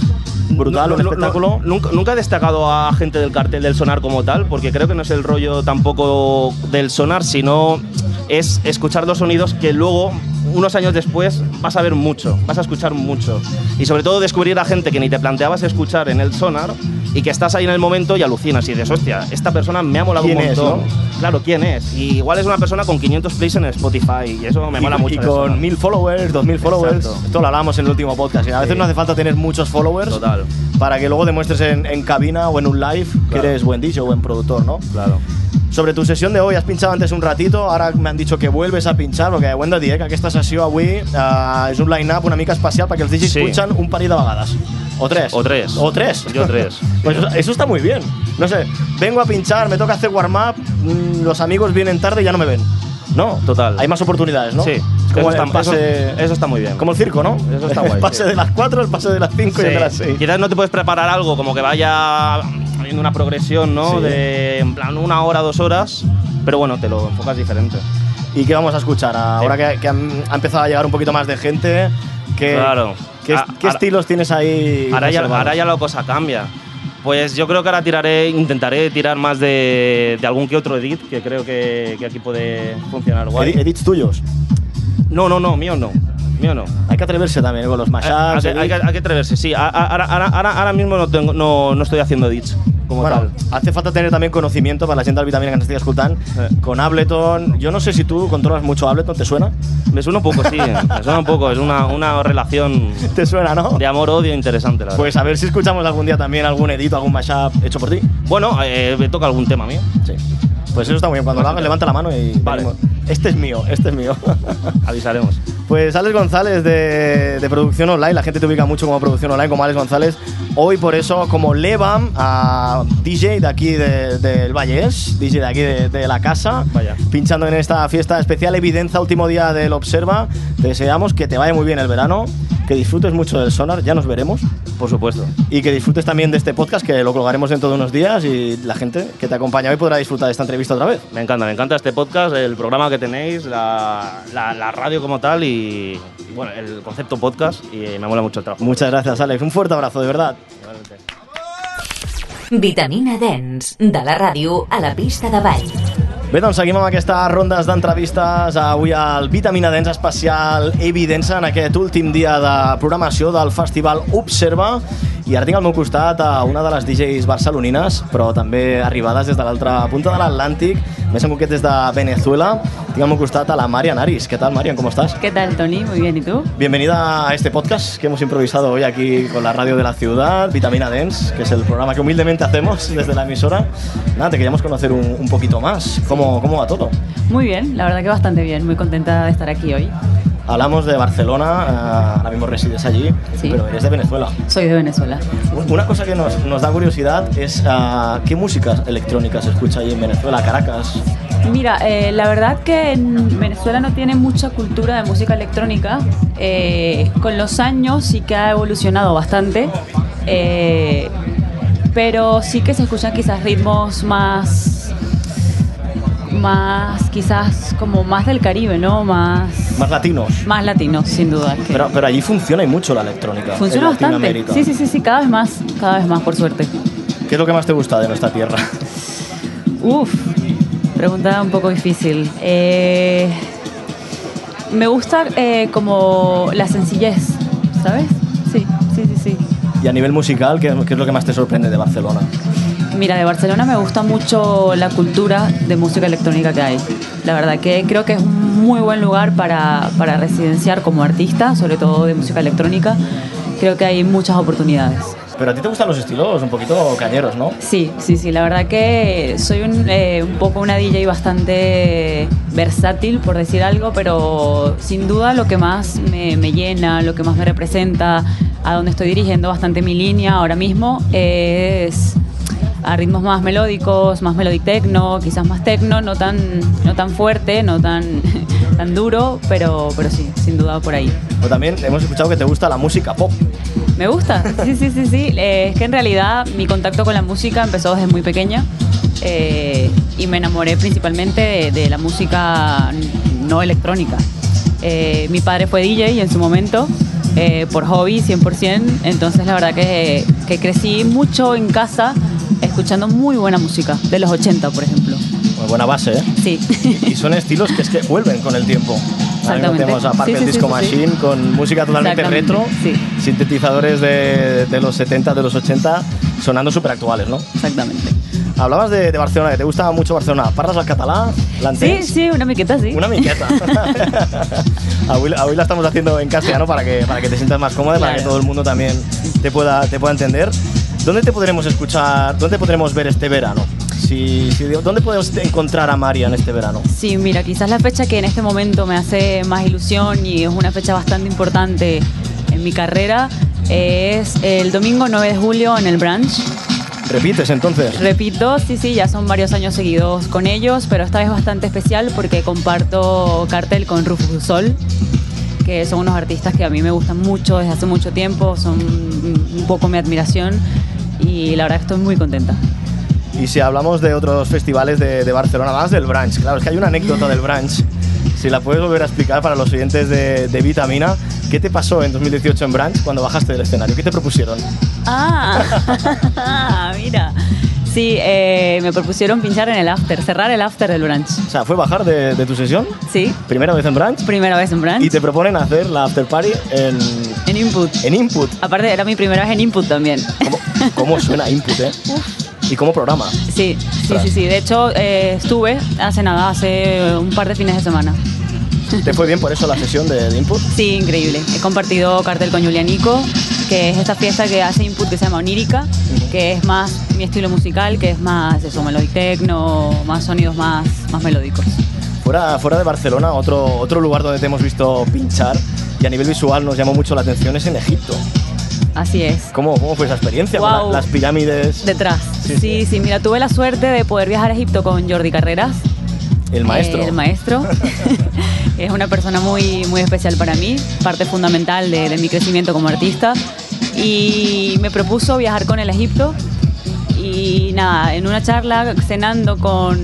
brutal,
No,
un
no, no,
espectáculo.
no, nunca, nunca he destacado a gente del cartel del sonar como tal, porque creo que no es el rollo tampoco del sonar, sino es escuchar los sonidos que luego, unos años después, vas a ver mucho, vas a escuchar mucho. Y sobre todo descubrir a gente que ni te planteabas escuchar en el sonar y que estás ahí en el momento y alucinas y dices, hostia, esta persona me ha molado
¿Quién
un
es,
montón.
no?
Claro, ¿quién es? Y igual es una persona con 500 plays en Spotify y eso me mola
y,
mucho.
y
de eso, ¿no?
con mil followers, dos mil followers.
Exacto.
Esto lo hablábamos en el último podcast. y a veces
Sí.
no hace falta tener muchos followers
Total.
para que luego demuestres en, en cabina o en un live que
Claro.
eres buen DJ o buen productor, ¿no?
Claro.
Sobre tu sessió de hoy, has pinxat antes un ratito, ara m'han dit que vuelves a pinxar, perquè ho hem de dir, eh, que aquesta sessió avui eh, és un line-up una mica especial perquè els DJs
Sí.
punxen un parell de vegades. O tres.
O tres.
O tres.
Yo tres.
Pues eso, eso está muy bien. No sé, vengo a pinchar, me toca hacer warm-up, mm, los amigos vienen tarde y ya no me ven. No,
Total.
Hay más oportunidades, ¿no?
Sí.
Es como
Eso
el
está-
pase-
eso- eso está muy bien.
Como el circo, ¿no?
Eso está
El
guay,
pase
sí.
de las 4, el pase de las 5 y el de las
Sí.
6.
Quizás no te puedes preparar algo como que vaya habiendo una progresión, ¿no?
Sí.
De en plan una hora, dos horas, pero bueno, te lo enfocas diferente.
¿Y qué vamos a escuchar? Ahora que, que han- ha empezado a llegar un poquito más de gente, ¿qué,
Claro.
¿qué,
A-
qué
ahora-
estilos tienes ahí?
Ahora ya,
reservados?
ahora ya la cosa cambia. Pues yo creo que ahora tiraré, intentaré tirar más de, de algún que otro edit, que creo que, que aquí puede funcionar guay.
Edi- Edits tuyos.
No, no, no, mío no. Mío no. Ah,
Hay que atreverse también ¿eh? con los mashups.
Hay, que-
edits.
hay que, hay que atreverse, sí. A- a- Ahora, ahora- ahora- ahora mismo no, tengo- no, no estoy haciendo edits como
Bueno,
tal.
hace falta tener también conocimiento para la gente del vitamina que nos esté escuchando.
Sí.
Con Ableton, yo no sé si tú controlas mucho Ableton, ¿te suena?
Me suena un poco, sí. eh, me suena un poco. Es una, una relación
¿Te suena, no?
de amor-odio interesante, la verdad.
Pues a ver si escuchamos algún día también algún edit, algún mashup hecho por ti.
bueno, eh, me toca algún tema mío.
Sí. Pues eso está muy bien. Cuando lo hagas, levanta la mano y.
Vale.
venimos. Este es mío, este es mío.
Avisaremos.
Pues Alex González de, de Producción Online, la gente te ubica mucho como Producción Online, como Alex González. Hoy por eso, como Levam, a DJ de aquí de- del Vallés, DJ de aquí de, de la casa,
Vaya.
pinchando en esta fiesta especial Evidenza, último día del Observa. Te deseamos que te vaya muy bien el verano, que disfrutes mucho del sonar, ya nos veremos.
Por supuesto.
Y que disfrutes también de este podcast, que lo colgaremos dentro de unos días y la gente que te acompaña hoy podrá disfrutar de esta entrevista otra vez.
Me encanta, me encanta este podcast, el programa que tenéis, la, la- la radio como tal y, y, bueno, el concepto podcast y me mola mucho el trabajo.
Muchas gracias, Alex. Un fuerte abrazo, de verdad.
Vitamina Dance, de la ràdio a la pista de ball.
Bé, doncs seguim amb aquestes rondes d'entrevistes avui al Vitamina Dents especial Evidença en aquest últim dia de programació del Festival Observa i ara tinc al meu costat a una de les DJs barcelonines però també arribades des de l'altra punta de l'Atlàntic més en concret des de Venezuela tinc al meu costat a la Marian Aris Què tal, Marian? Com estàs?
¿Qué tal, Tony? Muy bien, ¿y tú?
Bienvenida a este podcast que hemos improvisado hoy aquí con la radio de la ciudad, Vitamina Dance, que es el programa que humildemente hacemos desde la emisora. Nada, te queríamos conocer un, un poquito más. ¿Cómo, ¿Cómo va todo?
Muy bien, la verdad que bastante bien, muy contenta de estar aquí hoy.
Hablamos de Barcelona, eh, ahora mismo resides allí,
Sí.
pero eres de Venezuela.
Soy de Venezuela.
Un- Una cosa que nos, nos da curiosidad es ah, qué músicas electrónicas se escucha allí en Venezuela, Caracas.
Mira, eh, la verdad que en Venezuela no tiene mucha cultura de música electrónica. Eh, con los años sí que ha evolucionado bastante, eh, pero sí que se escuchan quizás ritmos más, más quizás como más del Caribe, ¿no? Más,
Más latinos.
más latinos, sin duda. que-
Pero, pero allí funciona y mucho la electrónica. en
Funciona bastante.
Latinoamérica.
Sí, sí, sí, sí, cada vez más, cada vez más, por suerte.
¿Qué es lo que más te gusta de nuestra tierra?
Uf, pregunta un poco difícil. Eh, me gusta eh, como la sencillez, ¿sabes? Sí, sí, sí, sí.
Y a nivel musical, ¿qué, qué es lo que más te sorprende de Barcelona?
Mira, de Barcelona me gusta mucho la cultura de música electrónica que hay. La verdad que creo que es un muy buen lugar para, para residenciar como artista, sobre todo de música electrónica. Creo que hay muchas oportunidades.
Pero a ti te gustan los estilos un poquito cañeros, ¿no?
Sí, sí, sí, la verdad que soy un, eh, un poco una DJ bastante versátil, por decir algo, pero sin duda lo que más me, me llena, lo que más me representa, a donde estoy dirigiendo bastante mi línea ahora mismo, es a ritmos más melódicos, más meloditecno, quizás más tecno, no tan, no tan fuerte, no tan, tan duro, pero, pero sí, sin duda por ahí.
O también hemos escuchado que te gusta la música pop.
Me gusta, sí, sí, sí, sí. Eh, es que en realidad mi contacto con la música empezó desde muy pequeña eh, y me enamoré principalmente de, de la música no electrónica. Eh, mi padre fue DJ en su momento, eh, por hobby 100%, entonces la verdad que, que crecí mucho en casa escuchando muy buena música, de los 80 por ejemplo.
Muy buena base, ¿eh?
Sí.
Y son estilos que es que vuelven con el tiempo. Ahora mismo
Exactamente.
tenemos a Parker
Sí, sí, sí,
Disco
sí, sí.
Machine con música totalmente retro,
Exactamente, sí.
sintetizadores de, de los 70, de los 80, sonando súper actuales, ¿no?
Exactamente.
Hablabas de, de Barcelona, que te gustaba mucho Barcelona. ¿Parles el català?
Sí,
L'entens?
sí, una miqueta sí.
Una miqueta. hoy, hoy la estamos haciendo en castellano para que, para que te sientas más cómoda, para
Claro.
que todo el mundo también te pueda, te pueda entender. ¿Dónde te podremos escuchar, dónde te podremos ver este verano? Si, si- ¿Dónde podemos encontrar a María en este verano?
Sí, mira, quizás la fecha que en este momento me hace más ilusión y es una fecha bastante importante en mi carrera es el domingo 9 de julio en el Branch.
¿Repites entonces?
Repito, sí, sí, ya son varios años seguidos con ellos, pero esta vez bastante especial porque comparto cartel con Rufus du Sol, que son unos artistas que a mí me gustan mucho desde hace mucho tiempo, son un poco mi admiración y la verdad estoy muy contenta.
Y si hablamos de otros festivales de, de Barcelona, más del Branch, claro, es que hay una anécdota del Branch. Si la puedes volver a explicar para los oyentes de, de Vitamina, ¿qué te pasó en 2018 en Branch cuando bajaste del escenario? ¿Qué te propusieron?
Ah, mira. Sí, eh, me propusieron pinchar en el after, cerrar el after del brunch.
O sea, ¿fue bajar de, de tu sesión?
Sí,
Primera vez en Branch.
primera vez en brunch.
Y te proponen hacer la after party en,
En input.
en Input.
Aparte, era mi primera vez en input también.
¿Cómo, cómo suena Input, eh? ¿Y cómo programa?
Sí, sí,
Ostras.
sí, sí. De hecho, eh, estuve hace nada, hace un par de fines de semana.
¿Te fue bien por eso la sesión de, de Input?
Sí, increíble. He compartido cartel con Julianico, que es esta fiesta que hace input que se llama Onírica, que es más mi estilo musical, que es más eso, melodic techno, más sonidos más, más melódicos.
Fuera, fuera de Barcelona, otro, otro lugar donde te hemos visto pinchar y a nivel visual nos llamó mucho la atención es en Egipto.
Así es.
¿Cómo, cómo fue esa experiencia? Con la-
Guau.
las pirámides,
Detrás.
Sí,
Sí,
sí.
sí, mira, tuve la suerte de poder viajar a Egipto con Jordi Carreras.
el maestro.
eh, el maestro. es una persona muy, muy especial para mí, parte fundamental de, de mi crecimiento como artista. Y me propuso viajar con el Egipto. Y nada, en una charla cenando con,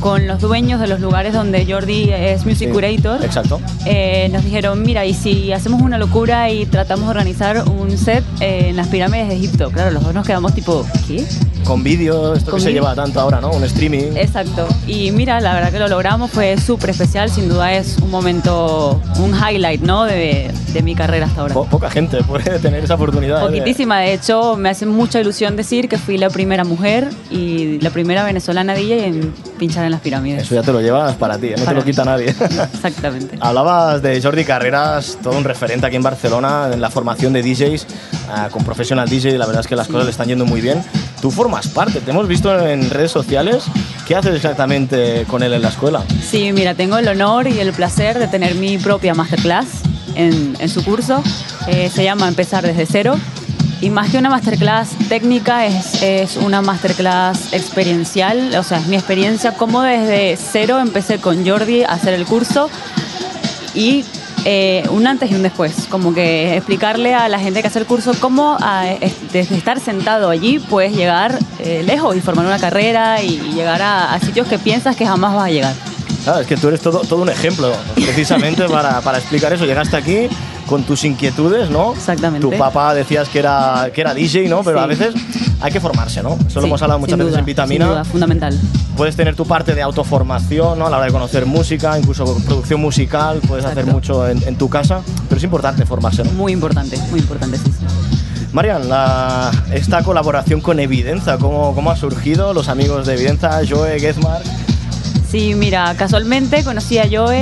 con los dueños de los lugares donde Jordi es music
Sí,
curator.
Exacto.
eh, nos dijeron, mira, y si hacemos una locura y tratamos de organizar un set eh, en las pirámides de Egipto, claro, los dos nos quedamos tipo, ¿qué?
Con vídeo, esto
Con
que se
vídeo.
lleva tanto ahora, ¿no? Un streaming.
Exacto. Y mira, la verdad que lo logramos, fue súper especial, sin duda es un momento, un highlight, ¿no? De, de mi carrera hasta ahora.
Po- poca gente puede tener esa oportunidad. de-
Poquitísima, de hecho, me hace mucha ilusión decir que fui la primera mujer y la primera venezolana DJ en pinchar en las pirámides.
Eso ya te lo llevas para ti, eh, no te
Para
lo
mí.
quita nadie.
Exactamente.
Hablabas de Jordi Carreras, todo un referente aquí en Barcelona en la formación de DJs, ah, con Professional DJ, la verdad es que las cosas le están yendo muy bien. Tú formas parte, te hemos visto en redes sociales. ¿Qué haces exactamente con él en la escuela?
Sí, mira, tengo el honor y el placer de tener mi propia masterclass en, en su curso. Eh, se llama Empezar desde cero. Y más que una masterclass técnica, es, es una masterclass experiencial, o sea, es mi experiencia, como desde cero empecé con Jordi a hacer el curso y eh, un antes y un después, como que explicarle a la gente que hace el curso cómo a, es- desde estar sentado allí puedes llegar eh, lejos y formar una carrera y, y llegar a- a sitios que piensas que jamás vas a llegar.
Claro, Ah, es que tú eres todo, todo un ejemplo precisamente para, para explicar eso. Llegaste aquí con tus inquietudes, ¿no?
Exactamente.
Tu papá decías que era, que era DJ, ¿no? Pero
Sí.
a veces hay que formarse, ¿no? Eso lo
Sí,
hemos hablado muchas
sin
veces
duda,
en Vitamina.
Sin duda, fundamental.
Puedes tener tu parte de autoformación, ¿no? A la hora de conocer música, incluso producción musical, puedes hacer
Exacto.
mucho en, en tu casa, pero es importante formarse, ¿no?
Muy importante, muy importante, sí. sí.
Marian, la- esta colaboración con Evidenza, ¿cómo, ¿cómo ha surgido? Los amigos de Evidenza, Joe, Gezmar,
Sí, mira, casualmente conocí a Joe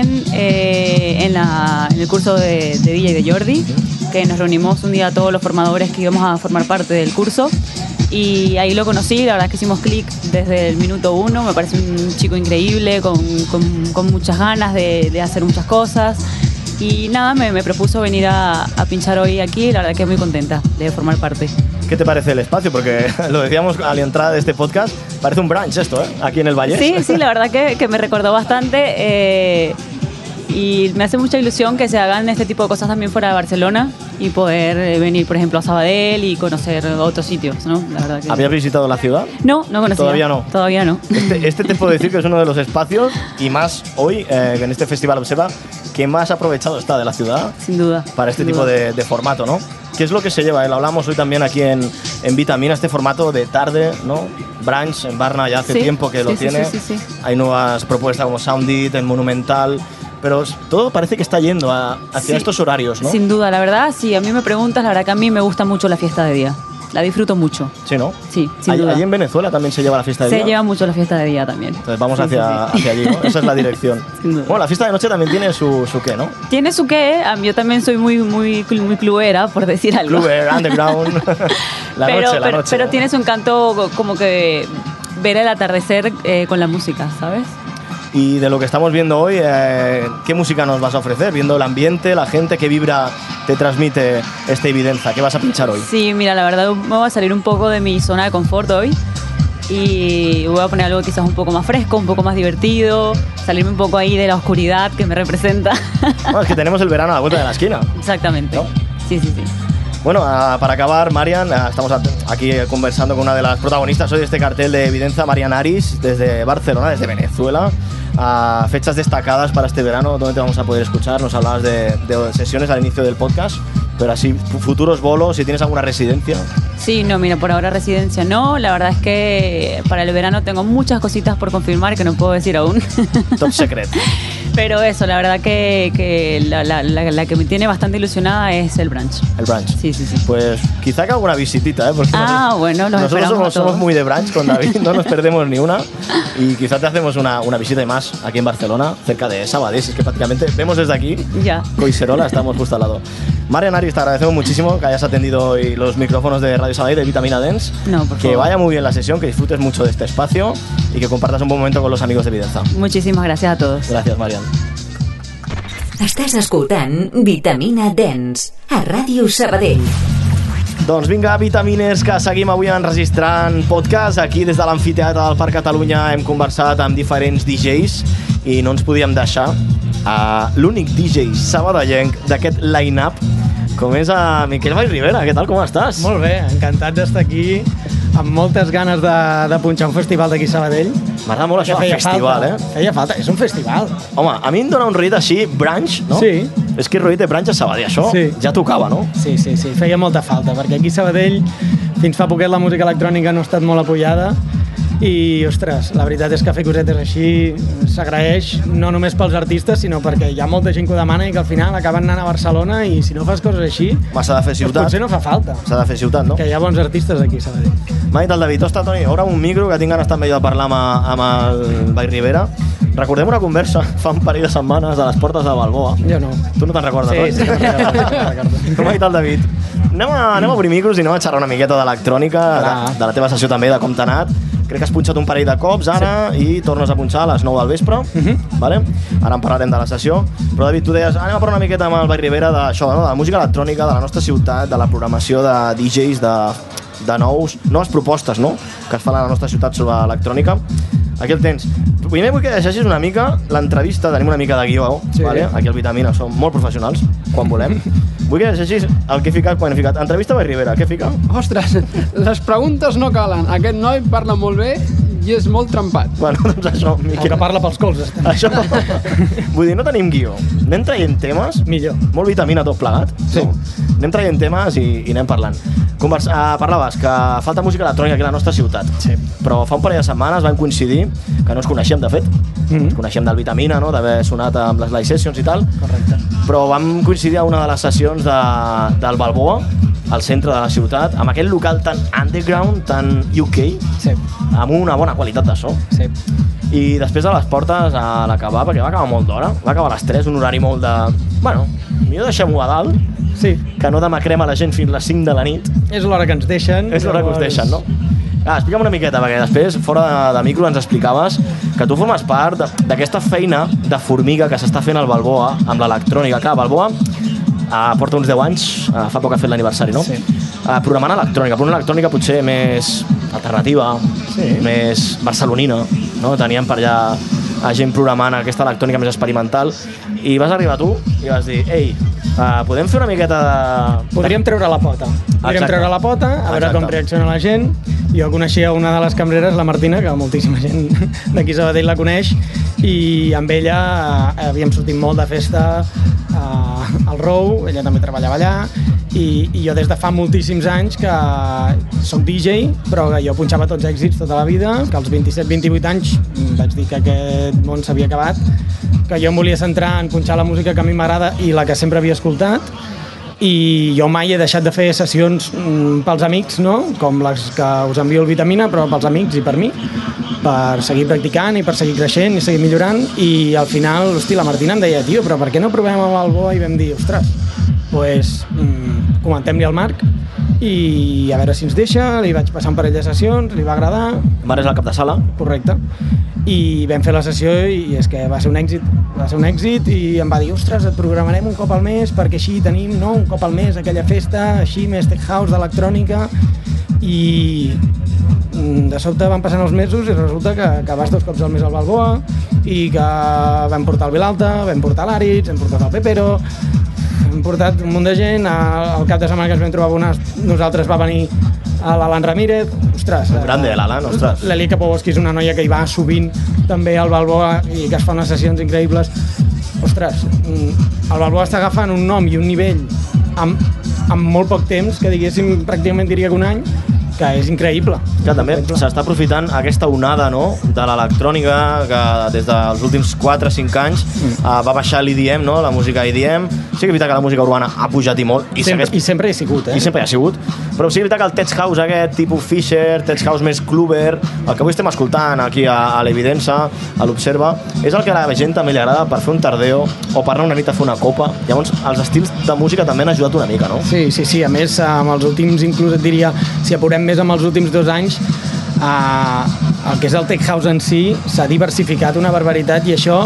en, eh, en, la- en el curso de, de DJ de Jordi, que nos reunimos un día todos los formadores que íbamos a formar parte del curso. Y ahí lo conocí, la verdad es que hicimos clic desde el minuto uno, me parece un chico increíble, con, con- con muchas ganas de, de hacer muchas cosas. Y nada, me, me propuso venir a, a pinchar hoy aquí, la verdad que muy contenta de formar parte.
¿Qué te parece el espacio? Porque lo decíamos a la entrada de este podcast, parece un brunch esto, ¿eh? Aquí en el Valle.
Sí, sí, la verdad que, que me recordó bastante eh, y me hace mucha ilusión que se hagan este tipo de cosas también fuera de Barcelona y poder eh, venir, por ejemplo, a Sabadell y conocer otros sitios, ¿no? La verdad que...
¿Habías visitado la ciudad?
No, no conocía.
Todavía no.
Todavía no.
Este, este te puedo decir que es uno de los espacios, y más hoy, eh, en este Festival Observa, que más aprovechado está de la ciudad
Sin duda.
para este
sin
tipo
duda.
de, de formato, ¿no? ¿Qué es lo que se lleva? eh? Lo hablamos hoy también aquí en, en Vitamina, este formato de tarde, ¿no? Brunch en Barna ya hace
Sí,
tiempo que lo
sí, sí,
tiene.
sí, sí, sí.
Hay nuevas propuestas como Soundit, el Monumental, pero s- todo parece que está yendo a- hacia
Sí,
estos horarios, ¿no?
Sin duda, la verdad, si a mí me preguntas, la verdad que a mí me gusta mucho la fiesta de día. la disfruto mucho.
Sí, ¿no?
Sí, sin
Allí-
duda.
Allí en Venezuela también se lleva la fiesta de
Se
día.
lleva mucho la fiesta de día también.
Entonces vamos
Sí, sí,
hacia,
sí.
hacia allí, ¿no? Esa es la dirección.
Sin duda.
bueno, la fiesta de noche también tiene su, su qué, ¿no?
Tiene su qué, a mí yo también soy muy, muy, cl- muy clubera, por decir algo.
Clubber, underground. la
pero,
noche, la
pero,
noche.
pero tiene su encanto co- como que ver el atardecer eh, con la música, ¿sabes?
Y de lo que estamos viendo hoy, eh, ¿qué música nos vas a ofrecer? Viendo el ambiente, la gente, ¿qué vibra te transmite esta evidencia? ¿Qué vas a pinchar hoy?
Sí, mira, la verdad me voy a salir un poco de mi zona de confort hoy y voy a poner algo quizás un poco más fresco, un poco más divertido, salirme un poco ahí de la oscuridad que me representa.
Bueno, es que tenemos el verano a la vuelta de la esquina.
Exactamente.
¿No?
Sí, sí, sí.
Bueno, ah, para acabar, Marian, ah, estamos at- aquí eh, conversando con una de las protagonistas hoy de este cartel de Evidencia, Marian Aris, desde Barcelona, desde Venezuela. Ah, fechas destacadas para este verano, donde te vamos a poder escuchar. Nos hablabas de, de sesiones al inicio del podcast, pero así, fu- futuros bolos, si tienes alguna residencia.
Sí, no, mira, por ahora residencia no. La verdad es que para el verano tengo muchas cositas por confirmar que no puedo decir aún.
Top secret.
Pero eso, la verdad que, que la, la- la- la que me tiene bastante ilusionada es el brunch.
El brunch.
Sí, sí, sí.
Pues quizá que alguna visitita, ¿eh? Porque
Ah, bueno, los
nosotros
esperamos
somos,
a todos.
somos muy de brunch con David, no nos perdemos ni una. Y quizá te hacemos una, una visita y más aquí en Barcelona, cerca de Sabadell, es que prácticamente vemos desde aquí.
Ya.
Coiserola, estamos justo al lado. Marian Aris, te agradecemos muchísimo que hayas atendido hoy los micrófonos de Radio Sabadell de Vitamina Dance.
No, por
que
favor.
vaya muy bien la sesión, que disfrutes mucho de este espacio y que compartas un buen momento con los amigos de Videnza.
Muchísimas gracias a todos.
Gracias, Marian.
Estàs escoltant Vitamina Dance a Ràdio Sabadell.
Doncs vinga, vitamines, que seguim avui enregistrant podcast. Aquí, des de l'Amfiteatre del Parc Catalunya, hem conversat amb diferents DJs i no ens podíem deixar a l'únic DJ sabadellenc d'aquest line-up, com és a Miquel Vall Rivera. Què tal, com estàs?
Molt bé, encantat d'estar aquí, amb moltes ganes de, de punxar un festival d'aquí a Sabadell.
M'agrada molt això de festival,
falta,
eh?
Feia falta, és un festival.
Home, a mi em dóna un rotllet així, brunch, no?
Sí.
És que rotllet de brunch a Sabadell, això
Sí.
ja tocava, no?
Sí, sí, sí, feia molta falta, perquè aquí a Sabadell fins fa poquet la música electrònica no ha estat molt apoyada i, ostres, la veritat és que fer cosetes així s'agraeix no només pels artistes, sinó perquè hi ha molta gent que ho demana i que al final acaben anant a Barcelona i si no fas coses així,
Home, s'ha de fer
doncs
ciutat.
potser no fa falta.
S'ha de fer ciutat, no?
Que hi ha bons artistes aquí a Sabadell.
Mai del David, hosta, Toni, obre un micro que tinc ganes també jo de parlar amb, amb el Vall Rivera. Recordem una conversa fa un parell de setmanes a les portes de Balboa.
Jo no.
Tu no te'n recordes,
Sí,
oi?
sí que me'n recordo, sí que me'n recordo.
Com ha dit el David. Anem a, anem a obrir micros i anem a xerrar una miqueta d'electrònica, de,
Clar.
de la teva sessió també, de com t'ha anat. Crec que has punxat un parell de cops ara sí. i tornes a punxar a les 9 del vespre.
Mhm.
vale? Ara en parlarem de la sessió. Però David, tu deies, "Ah, anem a parlar una miqueta amb el Vall Rivera d'això, no? de la música electrònica, de la nostra ciutat, de la programació de DJs, de, de nous, noves propostes no? que es fan a la nostra ciutat sobre electrònica. Aquí el tens. Primer vull que llegeixis una mica l'entrevista, tenim una mica de guió,
Sí.
vale? aquí al Vitamina som molt professionals, quan volem. Vull que llegeixis el que he ficat quan he ficat. Entrevista a Rivera, què fica?
Ostres, les preguntes no calen. Aquest noi parla molt bé i és molt trempat.
Bueno, doncs això,
El que
Miquel.
parla pels colzes, també.
Això... Vull dir, no tenim guió. Anem traient temes.
Millor.
Molt vitamina tot plegat.
Sí.
No? Anem traient temes i, i anem parlant. Convers... Uh, parlaves que falta música electrònica aquí a la nostra ciutat.
Sí.
Però fa un parell de setmanes vam coincidir, que no ens coneixem, de fet. Mm
Mhm.
-hmm. Ens coneixem del Vitamina, no? d'haver sonat amb les live sessions i tal.
Correcte.
Però vam coincidir a una de les sessions de, del Balboa, al centre de la ciutat, amb aquest local tan underground, tan UK,
Sí,
amb una bona qualitat de so.
sí.
I després a les portes, a l'acabar, perquè va acabar molt d'hora, va acabar a les 3, un horari molt de... Bueno, millor deixem-ho a dalt,
Sí,
que no demacrem a la gent fins a les 5 de la nit.
és l'hora que ens deixen.
És l'hora que us
llavors-
deixen, no? Ah, explica'm una miqueta, perquè després, fora de, de micro, ens explicaves que tu formes part de- d'aquesta feina de formiga que s'està fent al Balboa, amb l'electrònica. Clar, Balboa ah, porta uns 10 anys, ah, fa poc ha fet l'aniversari, no?
Sí.
Ah, programant electrònica, però una electrònica potser més alternativa,
Sí.
més barcelonina, no? Teníem per allà a gent programant aquesta electrònica més experimental i vas arribar tu i vas dir ei, ah, podem fer una miqueta de...
Podríem treure la pota. Podríem
Exacte.
treure la pota, a veure
Exacte.
com reacciona la gent. Jo coneixia una de les cambreres, la Martina, que moltíssima gent d'aquí Sabadell la coneix, i amb ella eh, havíem sortit molt de festa eh, al Rou, ella també treballava allà, i, i jo des de fa moltíssims anys que soc DJ, però que jo punxava tots èxits tota la vida, que als 27-28 anys mm, vaig dir que aquest món s'havia acabat, que jo em volia centrar en punxar la música que a mi m'agrada i la que sempre havia escoltat, i jo mai he deixat de fer sessions mm, pels amics, no? com les que us envio el Vitamina, però pels amics i per mi, per seguir practicant i per seguir creixent i seguir millorant i al final, hosti, la Martina em deia tio, però per què no provem amb el bo? I vam dir, ostres, doncs pues, mm, comentem-li al Marc i a veure si ens deixa, li vaig passar un parell de sessions, li va agradar,
Mare és el cap de sala.
correcte, i vam fer la sessió i és que va ser un èxit, va ser un èxit i em va dir, ostres, et programarem un cop al mes perquè així tenim, no?, un cop al mes aquella festa, així més tech house d'electrònica i mm, de sobte van passant els mesos i resulta que, que vas dos cops al mes al Balboa i que vam portar el Vilalta, vam portar l'Àritz, hem portat el Pepero, hem portat un munt de gent, al al cap de setmana que ens vam trobar amb unes, nosaltres va venir l'Alan Ramírez, ostres... eh,
Grande, l'Alan, ostres.
L'Elia Kapowski és una noia que hi va sovint també al Balboa i que es fa unes sessions increïbles. Ostres, mm, el Balboa està agafant un nom i un nivell amb, amb molt poc temps, que diguéssim pràcticament diria que un any, que és increïble.
Que també s'està aprofitant aquesta onada no? de l'electrònica que des dels últims 4-5 anys mm. va baixar l'IDM, no? la música IDM. Sí que és veritat que la música urbana ha pujat i molt i
sempre,
segueix
I sempre he sigut, eh?
i sempre hi ha sigut. Però sí, és veritat que el Tech House aquest, tipus Fisher, Tech House més Kluber, el que avui estem escoltant aquí a, a l'Evidença, a l'Observa, és el que a la gent també li agrada per fer un tardeo o per anar una nit a fer una copa. Llavors, els estils de música també han ajudat una mica, no?
Sí, sí, sí. A més, amb els últims, inclús et diria, si apurem més amb els últims dos anys, eh, el que és el tech house en si s'ha diversificat una barbaritat i això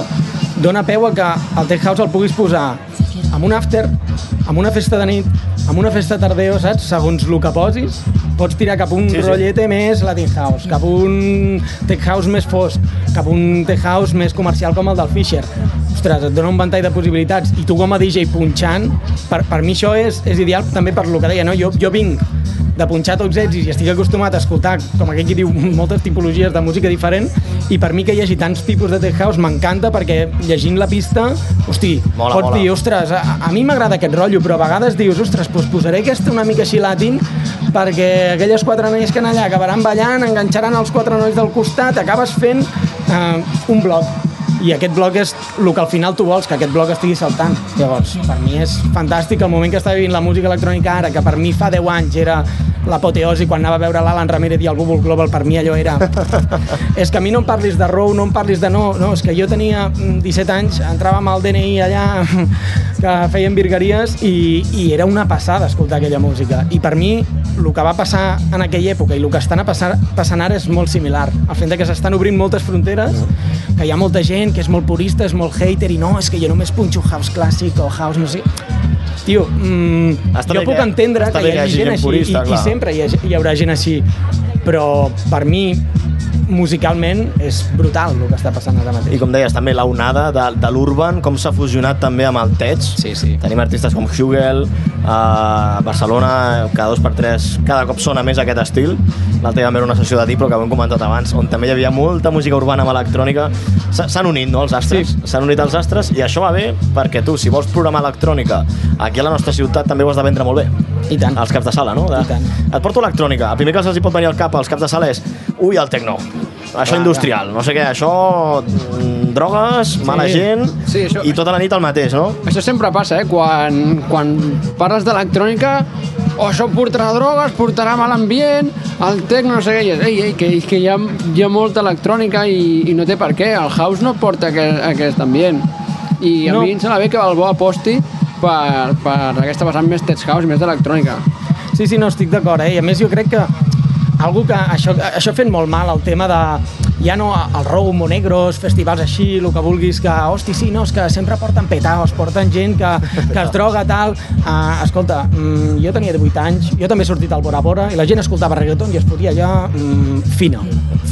dona peu a que el tech house el puguis posar amb un after, amb una festa de nit, amb una festa tardeo, saps? Segons el que posis, pots tirar cap a un
Sí,
sí,
sí.
rotllete més Latin House, cap a un tech house més fosc, cap a un tech house més comercial com el del Fisher. Ostres, et dona un ventall de possibilitats i tu com a DJ punxant, per, per mi això és, és ideal també per lo que deia, no? Jo, jo vinc de punxar tots ells i estic acostumat a escoltar, com aquell qui diu, moltes tipologies de música diferent i per mi que hi hagi tants tipus de tech house m'encanta perquè llegint la pista, hosti,
Mola,
pots
mola.
dir, ostres, a, a mi m'agrada aquest rotllo, però a vegades dius, ostres, doncs posaré aquesta una mica així latin perquè aquelles quatre noies que han allà acabaran ballant, enganxaran els quatre nois del costat, acabes fent eh, un bloc. I aquest bloc és el que al final tu vols, que aquest bloc estigui saltant. Llavors, per mi és fantàstic el moment que està vivint la música electrònica ara, que per mi fa 10 anys era l'apoteosi quan anava a veure l'Alan Ramírez i el Bubble Global, per mi allò era... és que a mi no em parlis de Row, no em parlis de no, no, és que jo tenia mm, 17 anys, entrava amb el DNI allà, que feien virgueries, i, i era una passada escoltar aquella música. I per mi, el que va passar en aquella època i el que estan a passar, passant ara és molt similar. El fet de que s'estan obrint moltes fronteres, que hi ha molta gent que és molt purista, és molt hater, i no, és que jo només punxo house clàssic o house no sé... Tio, mm,
Està
jo
bé
puc
que-
entendre
està
que
bé
hi hagi gent, així
purista,
i, i
clar.
sempre hi, ha, hi haurà gent així, però per mi musicalment és brutal el que està passant ara mateix.
I com deies, també la onada de, de l'Urban, com s'ha fusionat també amb el Tech.
Sí, sí.
Tenim artistes com Hugel, a Barcelona, cada dos per tres, cada cop sona més aquest estil. L'altre dia vam veure una sessió de Diplo, que ho hem comentat abans, on també hi havia molta música urbana amb electrònica. S'ha- S'han unit, no, els astres? S'han sí. unit els astres, i això va bé perquè tu, si vols programar electrònica aquí a la nostra ciutat, també ho has de vendre molt bé
I tant.
als caps de sala, no? De...
I tant.
Et porto electrònica. El primer que se'ls hi pot venir al cap als caps de sala és ui, el tecno. Això
Clar,
industrial, no sé què, això... mm, drogues, mala gent...
Sí, això-
I tota la nit el mateix, no?
Això sempre passa, eh? Quan, quan parles d'electrònica, o això portarà drogues, portarà mal ambient, el tec no sé què, i és, ei, ei, que, que hi, ha, hi ha molta electrònica i, i no té per què, el house no porta aquest, aquest ambient. I a
No.
mi em sembla bé que Balboa aposti per, per aquesta vessant més tech house, més d'electrònica.
Sí, sí, no, estic d'acord, eh? I a més jo crec que algú que això, això ha fet molt mal el tema de ja no el Rou, Monegros, festivals així, el que vulguis, que, hosti, sí, no, és que sempre porten petaos, porten gent que, que es droga, tal. Uh, escolta, mm, jo tenia 18 anys, jo també he sortit al Bora Bora i la gent escoltava reggaeton i es fotia allà mm, fina,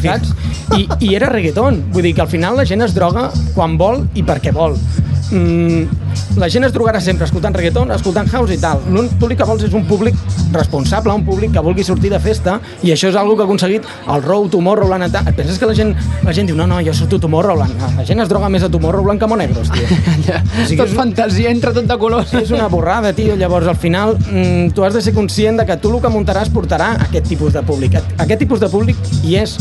saps? I, I era reggaeton, vull dir que al final la gent es droga quan vol i perquè vol. Mm, la gent es drogarà sempre escoltant reggaeton, escoltant house i tal. L'únic públic que vols és un públic responsable, un públic que vulgui sortir de festa, i això és algo que ha aconseguit el Row, Tomorrowland... et- Et penses que la gent, la gent diu, no, no, jo surto a Tomorrowland. No, la gent es droga més a Tomorrowland que a Monegros, tio.
Sí, tot fantasia, entra tot de colors.
És una borrada, tio. Llavors, al final, mm, tu has de ser conscient de que tu el que muntaràs portarà aquest tipus de públic. Aquest tipus de públic hi és.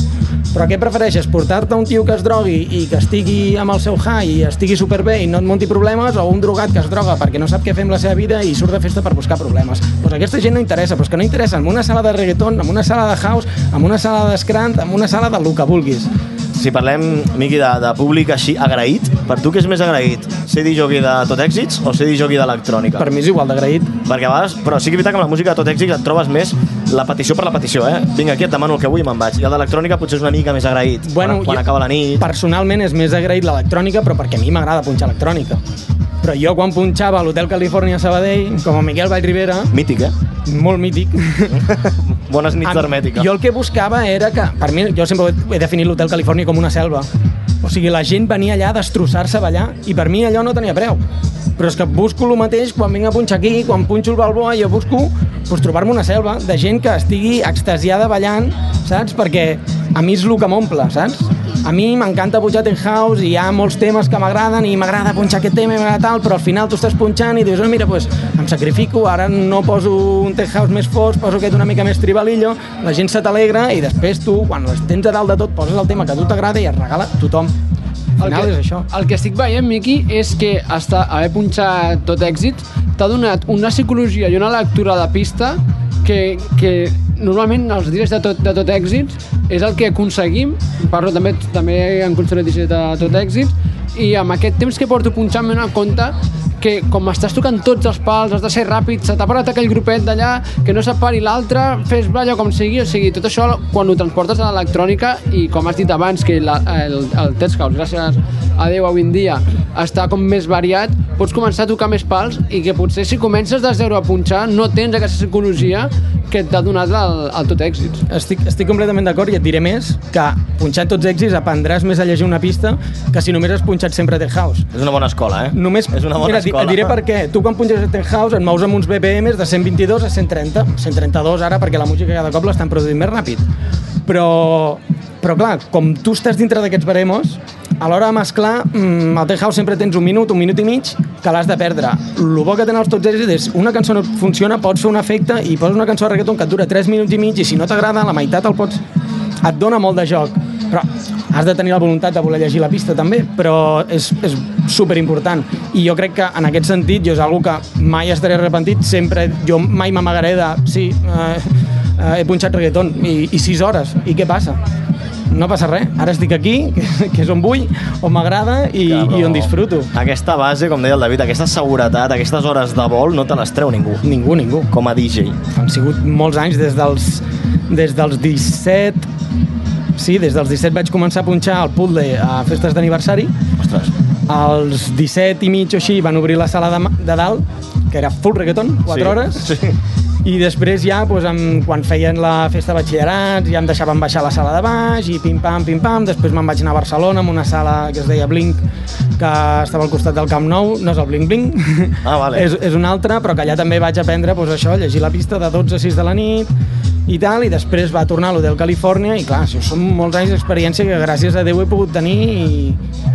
Però què prefereixes, portar-te un tio que es drogui i que estigui amb el seu high i estigui superbé i no et munti problemes o un drogat que es droga perquè no sap què fer amb la seva vida i surt de festa per buscar problemes? Doncs aquesta gent no interessa, però és que no interessa en una sala de reggaeton, en una sala de house, en una sala d'escrant, en una sala del que vulguis.
Si parlem, Miqui, de, de públic així agraït, per tu què és més agraït? Ser dijogui de tot èxits o ser dijogui d'electrònica?
Per mi és igual d'agraït.
Perquè a vegades, però sí que és veritat que amb la música de tot èxit et trobes més la petició per la petició, eh? Vinga, aquí et demano el que vull i me'n vaig. I el d'electrònica potser és una mica més agraït. quan, quan
jo-
acaba la nit...
Personalment és més agraït l'electrònica, però perquè a mi m'agrada punxar electrònica. Però jo quan punxava a l'Hotel Califòrnia Sabadell, com a Miquel Vallribera,
Mític, eh?
molt mític,
Bones nits d'hermètica.
jo el que buscava era que, per mi, jo sempre he definit l'Hotel Califòrnia com una selva. O sigui, la gent venia allà a destrossar-se a ballar i per mi allò no tenia preu. Però és que busco el mateix quan vinc a punxar aquí, quan punxo el Balboa, jo busco pues, trobar-me una selva de gent que estigui extasiada ballant, saps? Perquè a mi és el que m'omple, saps? A mi m'encanta punxar Ten House i hi ha molts temes que m'agraden i m'agrada punxar aquest tema i m'agrada tal, però al final tu estàs punxant i dius, oh, mira, pues, em sacrifico, ara no poso un Ten House més fos, poso aquest una mica més tribalillo, la gent se t'alegra i després tu, quan les tens a dalt de tot, poses el tema que a tu t'agrada i es regala a tothom. Al
El
final
que,
és això.
el que estic veient, Miqui, és que hasta haver punxat tot èxit t'ha donat una psicologia i una lectura de pista que, que normalment els dies de tot, de tot èxit és el que aconseguim, parlo també, també en considero dies de tot èxit, i amb aquest temps que porto punxant m'he donat compte que com estàs tocant tots els pals, has de ser ràpid, se t'ha parat aquell grupet d'allà, que no separi l'altre, fes balla com sigui, o sigui, tot això quan ho transportes a l'electrònica i com has dit abans, que la, el, el Tets House, gràcies a Déu avui en dia, està com més variat, pots començar a tocar més pals i que potser si comences de zero a punxar no tens aquesta psicologia que t'ha donat el, el tot èxit.
Estic, estic completament d'acord i et diré més que punxant tots èxits aprendràs més a llegir una pista que si només has punxat sempre Ten House.
És una bona escola, eh?
Només,
És una bona
mira, et di-
escola.
Et diré per què. Tu quan punxes a Ten House et mous amb uns BPMs de 122 a 130. 132 ara perquè la música cada cop l'estan produint més ràpid. Però, però clar, com tu estàs dintre d'aquests baremos, a l'hora de mesclar, mm, al Ten House sempre tens un minut, un minut i mig, que l'has de perdre. El bo que tenen els tots ells és una cançó no funciona, pots fer un efecte i poses una cançó de reggaeton que et dura 3 minuts i mig i si no t'agrada, la meitat el pots... et dona molt de joc. Però has de tenir la voluntat de voler llegir la pista també, però és, és superimportant. I jo crec que en aquest sentit jo és algo que mai estaré arrepentit, sempre jo mai m'amagaré de sí, eh, eh, he punxat reggaeton i, i 6 hores, i què passa? No passa res, ara estic aquí, que, que és on vull, on m'agrada i,
Cabró.
i on disfruto.
Aquesta base, com deia el David, aquesta seguretat, aquestes hores de vol, no te les treu ningú.
Ningú, ningú.
Com a DJ.
Han sigut molts anys des dels, des dels 17... Sí, des dels 17 vaig començar a punxar el puzzle a festes d'aniversari.
Ostres.
Als 17 i mig o així van obrir la sala de, ma- de dalt, que era full reggaeton, 4
Sí,
hores.
sí.
I després ja, doncs, amb, quan feien la festa de batxillerats, ja em deixaven baixar a la sala de baix i pim-pam, pim-pam. Després me'n vaig anar a Barcelona amb una sala que es deia Blink, que estava al costat del Camp Nou. No és el Blink Blink,
Ah, vale.
és, és un altre, però que allà també vaig aprendre doncs, això, llegir la pista de 12 a 6 de la nit i tal, i després va tornar a l'Hotel Califòrnia i clar, això són molts anys d'experiència que gràcies a Déu he pogut tenir i,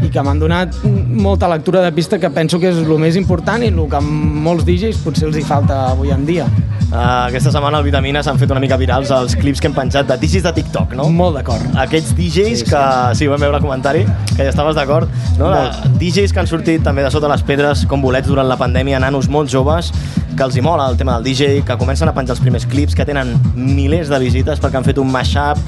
i que m'han donat molta lectura de pista que penso que és el més important i el que a molts DJs potser els hi falta avui en dia.
Uh, aquesta setmana al Vitamina s'han fet una mica virals els clips que hem penjat de DJs de TikTok, no?
Molt d'acord.
Aquests DJs que... Sí, vam veure el comentari, que ja estaves d'acord. No? La, DJs que han sortit també de sota les pedres com bolets durant la pandèmia, nanos molt joves, que els hi mola el tema del DJ, que comencen a penjar els primers clips, que tenen milers de visites perquè han fet un mashup,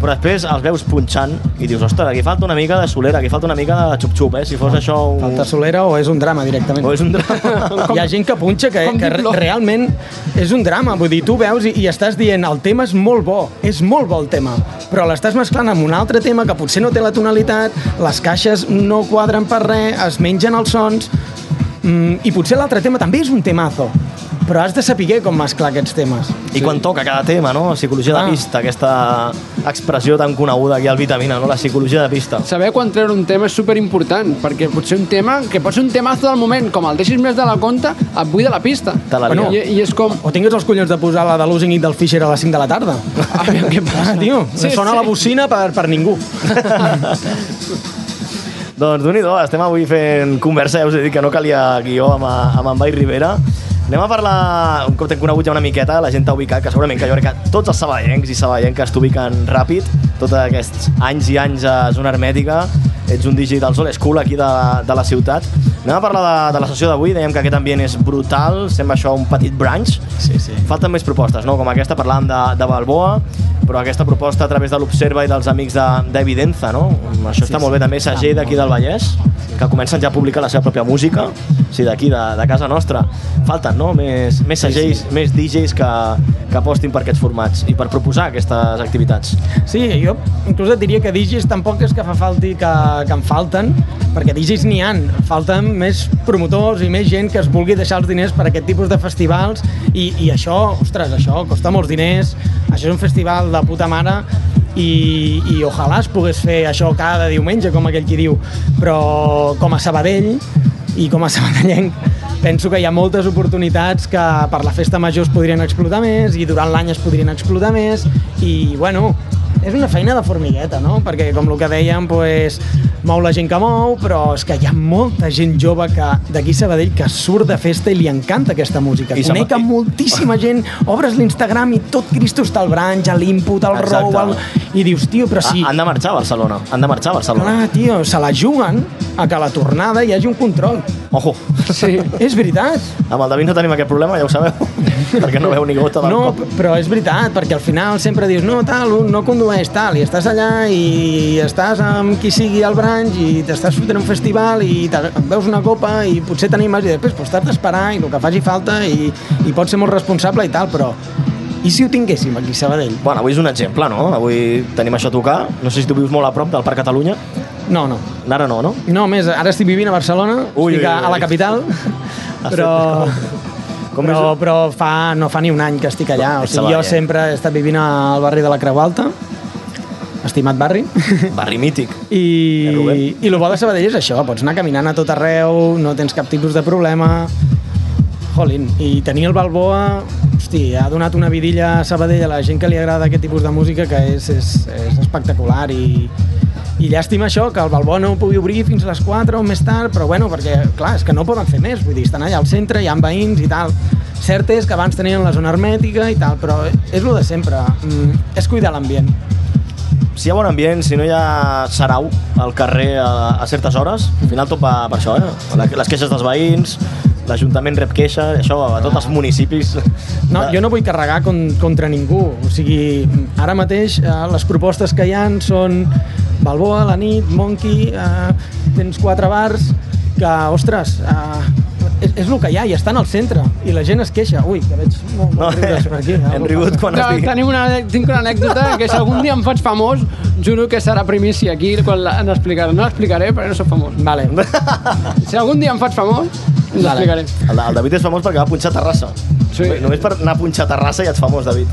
però després els veus punxant i dius, ostres, aquí falta una mica de solera, aquí falta una mica de xup-xup, eh? Si fos això un...
Falta solera o és un drama directament?
O és un drama.
Hi ha gent que punxa que,
com
que
Diplo.
realment és un drama. Vull dir, tu veus i, i estàs dient el tema és molt bo, és molt bo el tema, però l'estàs mesclant amb un altre tema que potser no té la tonalitat, les caixes no quadren per res, es mengen els sons, mm, i potser l'altre tema també és un temazo, però has de saber com mesclar aquests temes.
I quan toca cada tema, no? Psicologia
Ah.
de pista, aquesta expressió tan coneguda aquí al Vitamina, no? La psicologia de pista.
Saber quan treure un tema és superimportant, perquè potser un tema, que pot ser un temazo del moment, com el deixis més de la compta, et buida la pista.
Te la
Bueno,
lio.
i, I és com,
O tingues els collons de posar la de Losing It del Fisher a les 5 de la tarda.
A veure què passa.
Ah, tio,
Sí,
sí, sona sí.
sí.
la bocina per, per ningú.
Doncs d'un i do, estem avui fent conversa, ja us he dit que no calia guió amb, amb en Vall Rivera. Anem a parlar, un cop t'hem conegut ja una miqueta, la gent t'ha ubicat, que segurament que jo crec que tots els saballencs i saballenques t'ubiquen ràpid, tots aquests anys i anys a zona hermètica, ets un digital old school aquí de, de la ciutat. Anem a parlar de, de la sessió d'avui, dèiem que aquest ambient és brutal, sembla això un petit brunch.
Sí, sí.
Falten més propostes, no? Com aquesta, parlàvem de, de Balboa, però aquesta proposta a través de l'Observa i dels amics de- d'Evidenza, de, no? Això
Sí,
està
sí,
molt bé també,
està
Sagell d'aquí
molt
del Vallès, que comencen ja a publicar la seva pròpia música, o sigui, d'aquí, de, de casa nostra. Falten, no?, més, més segells, més DJs que, que apostin per aquests formats i per proposar aquestes activitats.
Sí, jo inclús et diria que DJs tampoc és que fa falti que, que en falten, perquè DJs n'hi han. Falten més promotors i més gent que es vulgui deixar els diners per aquest tipus de festivals i, i això, ostres, això costa molts diners, això és un festival de puta mare i, i ojalà es pogués fer això cada diumenge, com aquell qui diu, però com a Sabadell i com a sabadellenc penso que hi ha moltes oportunitats que per la festa major es podrien explotar més i durant l'any es podrien explotar més i bueno, és una feina de formigueta, no? Perquè, com el que dèiem, pues, mou la gent que mou, però és que hi ha molta gent jove que d'aquí Sabadell que surt de festa i li encanta aquesta música. I
I se-
Conec a
i-
moltíssima gent, obres l'Instagram i tot Cristo està al branch, a l'input, al
Exacte.
row, al... i dius, tio, però
Sí.
si...
Ah, Han de marxar a Barcelona, han de marxar a Barcelona.
Clar, tio, se la juguen a que a la tornada hi hagi un control.
Ojo,
Sí.
És veritat.
amb el David no tenim aquest problema, ja ho sabeu, perquè no veu ni gota del
No,
cop.
p- però és veritat, perquè al final sempre dius no, tal, un no condueix, tal, i estàs allà i estàs amb qui sigui al branch i t'estàs fotent a un festival i te- et veus una copa i potser t'animes i després pues, t'has d'esperar i el que faci falta i, i pots ser molt responsable i tal, però i si ho tinguéssim aquí a Sabadell?
Bueno, avui és un exemple, no? Avui tenim això a tocar. No sé si tu vius molt a prop del Parc Catalunya.
No, no.
Ara no, no?
No, a més, ara estic vivint a Barcelona,
Ui,
estic a,
ui, ui.
a la capital,
fet
però...
Com
però,
és-
però fa, no fa ni un any que estic allà, o
Ets
sigui, jo
Sabadell.
sempre he estat vivint al barri de la Creu Alta, estimat barri,
Barri mític. Eh,
I,
Rubén?
i el bo de Sabadell és això, pots anar caminant a tot arreu, no tens cap tipus de problema. Jolín, i tenir el Balboa, hosti, ha donat una vidilla a Sabadell a la gent que li agrada aquest tipus de música que és, és, és espectacular i, i llàstima això, que el Balboa no ho pugui obrir fins a les 4 o més tard, però bueno, perquè clar, és que no poden fer més, vull dir, estan allà al centre, hi ha veïns i tal. Cert és que abans tenien la zona hermètica i tal, però és el de sempre, mm, és cuidar l'ambient.
Si hi ha bon ambient, si no hi ha sarau al carrer a, a certes hores, al final tot va per això, eh? La- Les queixes dels veïns, l'Ajuntament rep queixa, això a tots els municipis.
No, jo no vull carregar con, contra ningú. O sigui, ara mateix eh, les propostes que hi han són Balboa, La Nit, Monkey, eh, tens quatre bars que, ostres, eh, és, és el que hi ha i estan al centre i la gent es queixa. Ui, que veig molt,
No,
molt riures per aquí.
hem rigut quan
No,
has dit...
tenim una, tinc una anècdota que si algun dia em faig famós, juro que serà primícia aquí quan la- en explicaré. No l'explicaré perquè no sóc famós.
Vale.
Si algun dia em faig famós, us
Vale.
explicaré.
El, el David és famós perquè va punxar a Terrassa.
Sí.
Només per anar a punxar a Terrassa ja ets famós, David.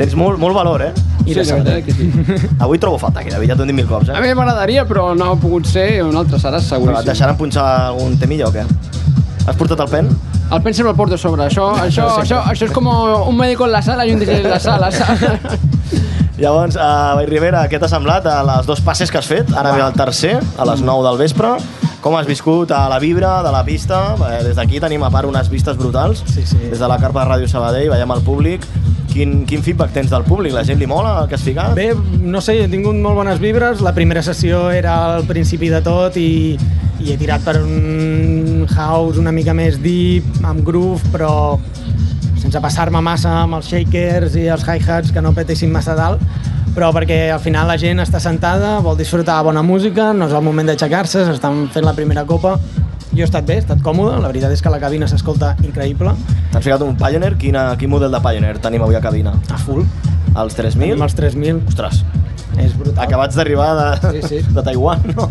Tens molt, molt valor, eh?
Sí, la veritat és que sí.
Avui trobo falta aquí, David, ja t'ho he dit mil cops,
A
eh?
mi m'agradaria, però no ha pogut ser, un altre serà
Però et
seguríssim.
deixaran punxar algun temilla o què? Has portat el pen?
El pen sempre el porto a sobre. Això, això, això, això és com un médico en la sala i un DJ en la sala. saps?
Llavors, uh, Vall Rivera, què t'ha semblat a les dos passes que has fet? Ara ve el tercer, a les 9 del vespre. Com has viscut a la vibra de la pista? Eh, des d'aquí tenim a part unes vistes brutals.
Sí, sí.
Des de la carpa de Ràdio Sabadell, veiem el públic. Quin, quin feedback tens del públic? La gent li mola el que has ficat?
Bé, no sé, he tingut molt bones vibres. La primera sessió era al principi de tot i, i he tirat per un house una mica més deep, amb groove, però sense passar-me massa amb els shakers i els hi-hats que no petessin massa dalt però perquè al final la gent està sentada, vol disfrutar de bona música, no és el moment d'aixecar-se, s'estan fent la primera copa. Jo he estat bé, he estat còmode, la veritat és que la cabina s'escolta increïble,
T'has ficat un Pioneer? Quina, quin model de Pioneer tenim avui a cabina?
a full,
Els
amb
3.000?
els 3.000,
Ostres,
és brutal.
acabats d'arribar de, sí,
Sí,
sí.
sí.
de Taiwan, no?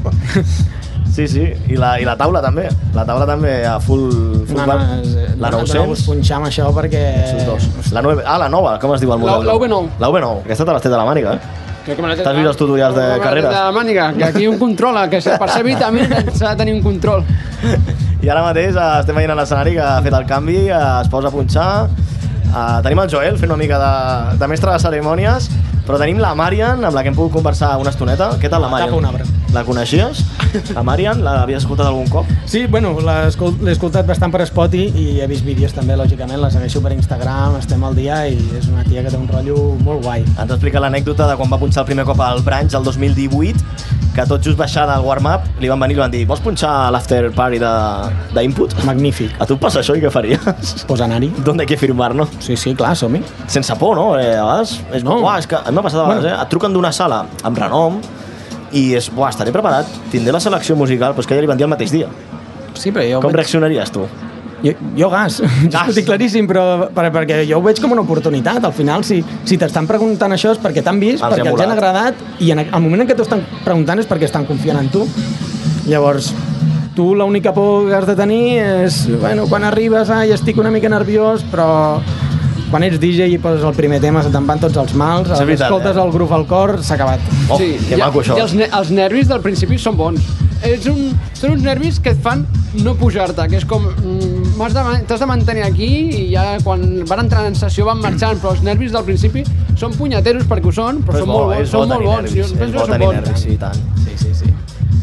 Sí, sí, i la, i la taula també. La taula també a full... full
No, no,
bar.
és, eh,
la
no, no vos
900.
punxar amb això perquè...
Són dos. La 9, ah, la nova, com es diu el model?
La- la V9.
La V9, aquesta te l'has tret de la màniga, eh?
Crec que me l'he tret
T'has vist els tutorials de
Me l'he tret
carreres?
De la màniga, que aquí un controla, que per ser vitamina s'ha de tenir un control.
I ara mateix eh, estem veient a l'escenari que ha fet el canvi, eh, es posa a punxar. Eh, tenim el Joel fent una mica de, de mestre de cerimònies. Però tenim la Marian, amb la que hem pogut conversar una estoneta. Què tal la Marian?
Tapa un arbre.
La coneixies? La Marian, l'havies escoltat algun cop?
Sí, bueno, l'he escol- l'he escoltat bastant per Spotify i he vist vídeos també, lògicament, la segueixo per Instagram, estem al dia i és una tia que té un rotllo molt guai.
Ens explica l'anècdota de quan va punxar el primer cop al Branch el 2018, que tot just baixant al warm-up li van venir i li van dir vols punxar a l'after party de- d'Input?
Magnífic.
A tu et passa això i què faries?
Pues anar-hi.
D'on hay que firmar-no?
Sí, sí, clar, som-hi.
Sense por, no? Eh, a vegades és, no.
No.
Buah, és que a mi m'ha passat a vegades,
Bueno.
eh? Et truquen d'una sala amb renom i és, buah, estaré preparat, tindré la selecció musical, però és que ja li van dir el mateix dia.
Sí, però jo...
Com
veig-
reaccionaries tu?
Jo, jo gas, gas. ho tinc claríssim, però per, perquè jo ho veig com una oportunitat. Al final, si, si t'estan preguntant això és perquè t'han vist,
Els hi ha
perquè els han
molat.
agradat, i en, el moment en què t'ho estan preguntant és perquè estan confiant en tu. Llavors, tu l'única por que has de tenir és, bueno, quan arribes, ai, estic una mica nerviós, però quan ets DJ i poses el primer tema, se te'n van tots els mals,
És veritat,
escoltes
eh?
el groove al cor, s'ha acabat.
Oh, sí, que
i-
maco això.
I els, ne- els nervis del principi són bons. Ets un, són uns nervis que et fan no pujar-te, que és com... mm, m'has de man- T'has de, de mantenir aquí i ja quan van entrar en sessió van marxant, però els nervis del principi són punyeteros perquè ho són, però,
és
són molt bons.
és
Són molt
tenir
bons.
nervis, eh?
jo
és
penso
bo
que són
tenir
bons.
nervis, sí, i tant. Sí, sí, sí.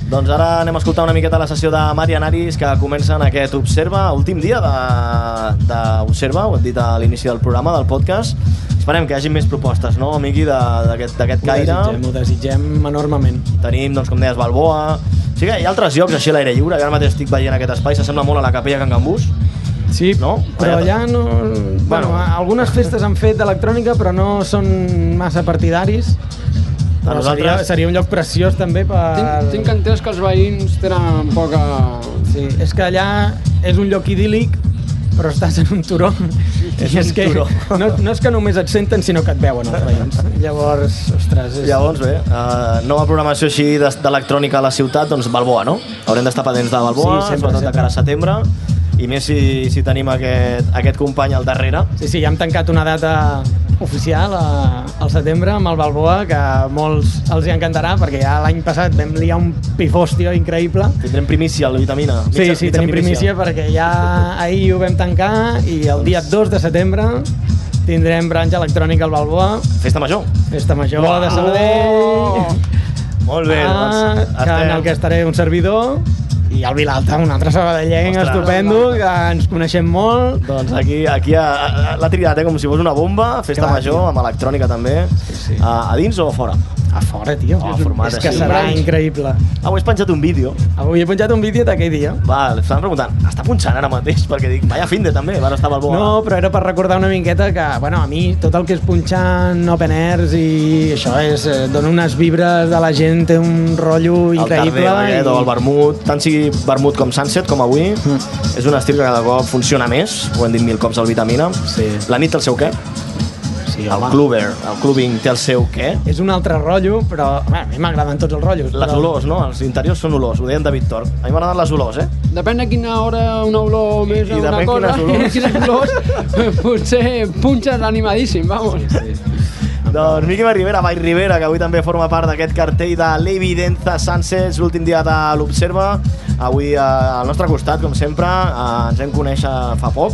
Doncs ara anem a escoltar una miqueta la sessió de Marian Aris, que comença en aquest Observa, últim dia de- d'Observa, ho hem dit a l'inici del programa, del podcast. Esperem que hi hagi més propostes, no, Miqui, de- d'aquest d'aquest
Ho
caire.
desitgem, ho desitgem enormement.
Tenim, doncs, com deies, Balboa... Sí que hi ha altres llocs així a l'aire lliure, que ara mateix estic veient aquest espai, s'assembla molt a la capella Can Gambús.
Sí,
No?
però
Allà-
allà no... Bueno,
Bueno.
algunes festes han fet d'electrònica, però no són massa partidaris.
A
Però seria,
nosaltres-
seria un lloc preciós també per...
Tinc, tinc entès que els veïns tenen poca...
Sí, és que allà és un lloc idíl·lic, però estàs en un turó.
És un
que
turó.
No, no és que només et senten, sinó que et veuen els veïns. Llavors, ostres... És...
Llavors, bé, uh, nova programació així d'es- d'electrònica a la ciutat, doncs Balboa, no? Haurem d'estar patents de
Sí,
Balboa, sí,
sempre,
sobretot de
sempre.
cara a setembre, i més si, si tenim aquest, aquest company al darrere.
Sí, sí, ja hem tancat una data oficial a, al setembre amb el Balboa, que a molts els hi encantarà, perquè ja l'any passat vam liar un pifòstio increïble.
Tindrem primícia, la vitamina.
Sí, sí, tenim primícia perquè ja ahir ho vam tancar i el dia 2 de setembre tindrem branxa electrònica al Balboa,
Festa major.
festa major de Sabadell,
Molt bé,
ah,
doncs.
que en el que estaré un servidor i el Vilalta, un altre sabadellenc
Ostres.
estupendo, que ens coneixem molt.
Doncs aquí, aquí a, a, l'ha triat, eh, com si fos una bomba, festa
Clar,
major,
tio.
amb electrònica també. Sí, sí. A, a dins o a fora?
A fora, tio.
Oh, format
és que
així.
serà increïble.
Avui has penjat un vídeo.
Avui he penjat un vídeo d'aquell dia.
Va, estàvem preguntant, està punxant ara mateix? Perquè dic, vaya finde també, ara està Balboa.
No, però era per recordar una miqueta que, bueno, a mi tot el que és punxant open airs i això és, eh, dona unes vibres de la gent, té un rotllo
el
increïble.
tardeu aquest o el vermut, tant sigui vermut com sunset com avui,
Mm.
és un estil que cada cop funciona més, ho hem dit mil cops al Vitamina.
Sí.
La nit té el seu què?
sí,
El
home,
cluber, el clubing té el seu què?
És un altre rotllo, però home, a mi m'agraden tots els rotllos.
Les
però...
olors, no? Els interiors són olors, ho deien David Tor. A mi m'agraden les olors, eh?
Depèn de quina hora una olor més
I
a una
depèn
cosa,
quines olors.
quines olors, potser punxes animadíssim, vamos.
Doncs Miqui Vall Rivera, Vall Rivera, que avui també forma part d'aquest cartell de l'Evidenza Sunsets, l'últim dia de l'Observa. Avui eh, al nostre costat, com sempre, eh, ens hem conèixer fa poc,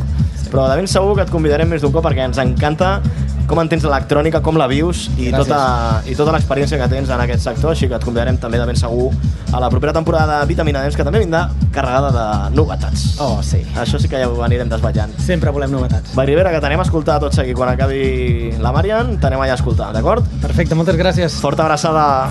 però de ben segur que et convidarem més d'un cop perquè ens encanta com entens l'electrònica, com la vius i
Gràcies.
tota, i tota l'experiència que tens en aquest sector, així que et convidarem també de ben segur a la propera temporada de Vitamina Dance, que també vindrà carregada de novetats.
Oh, sí.
Això sí que ja ho anirem desvetllant.
Sempre volem novetats.
Vall Rivera, que t'anem a escoltar tots aquí quan acabi la Marian, t'anem allà a escoltar, d'acord?
Perfecte, moltes gràcies.
Forta abraçada.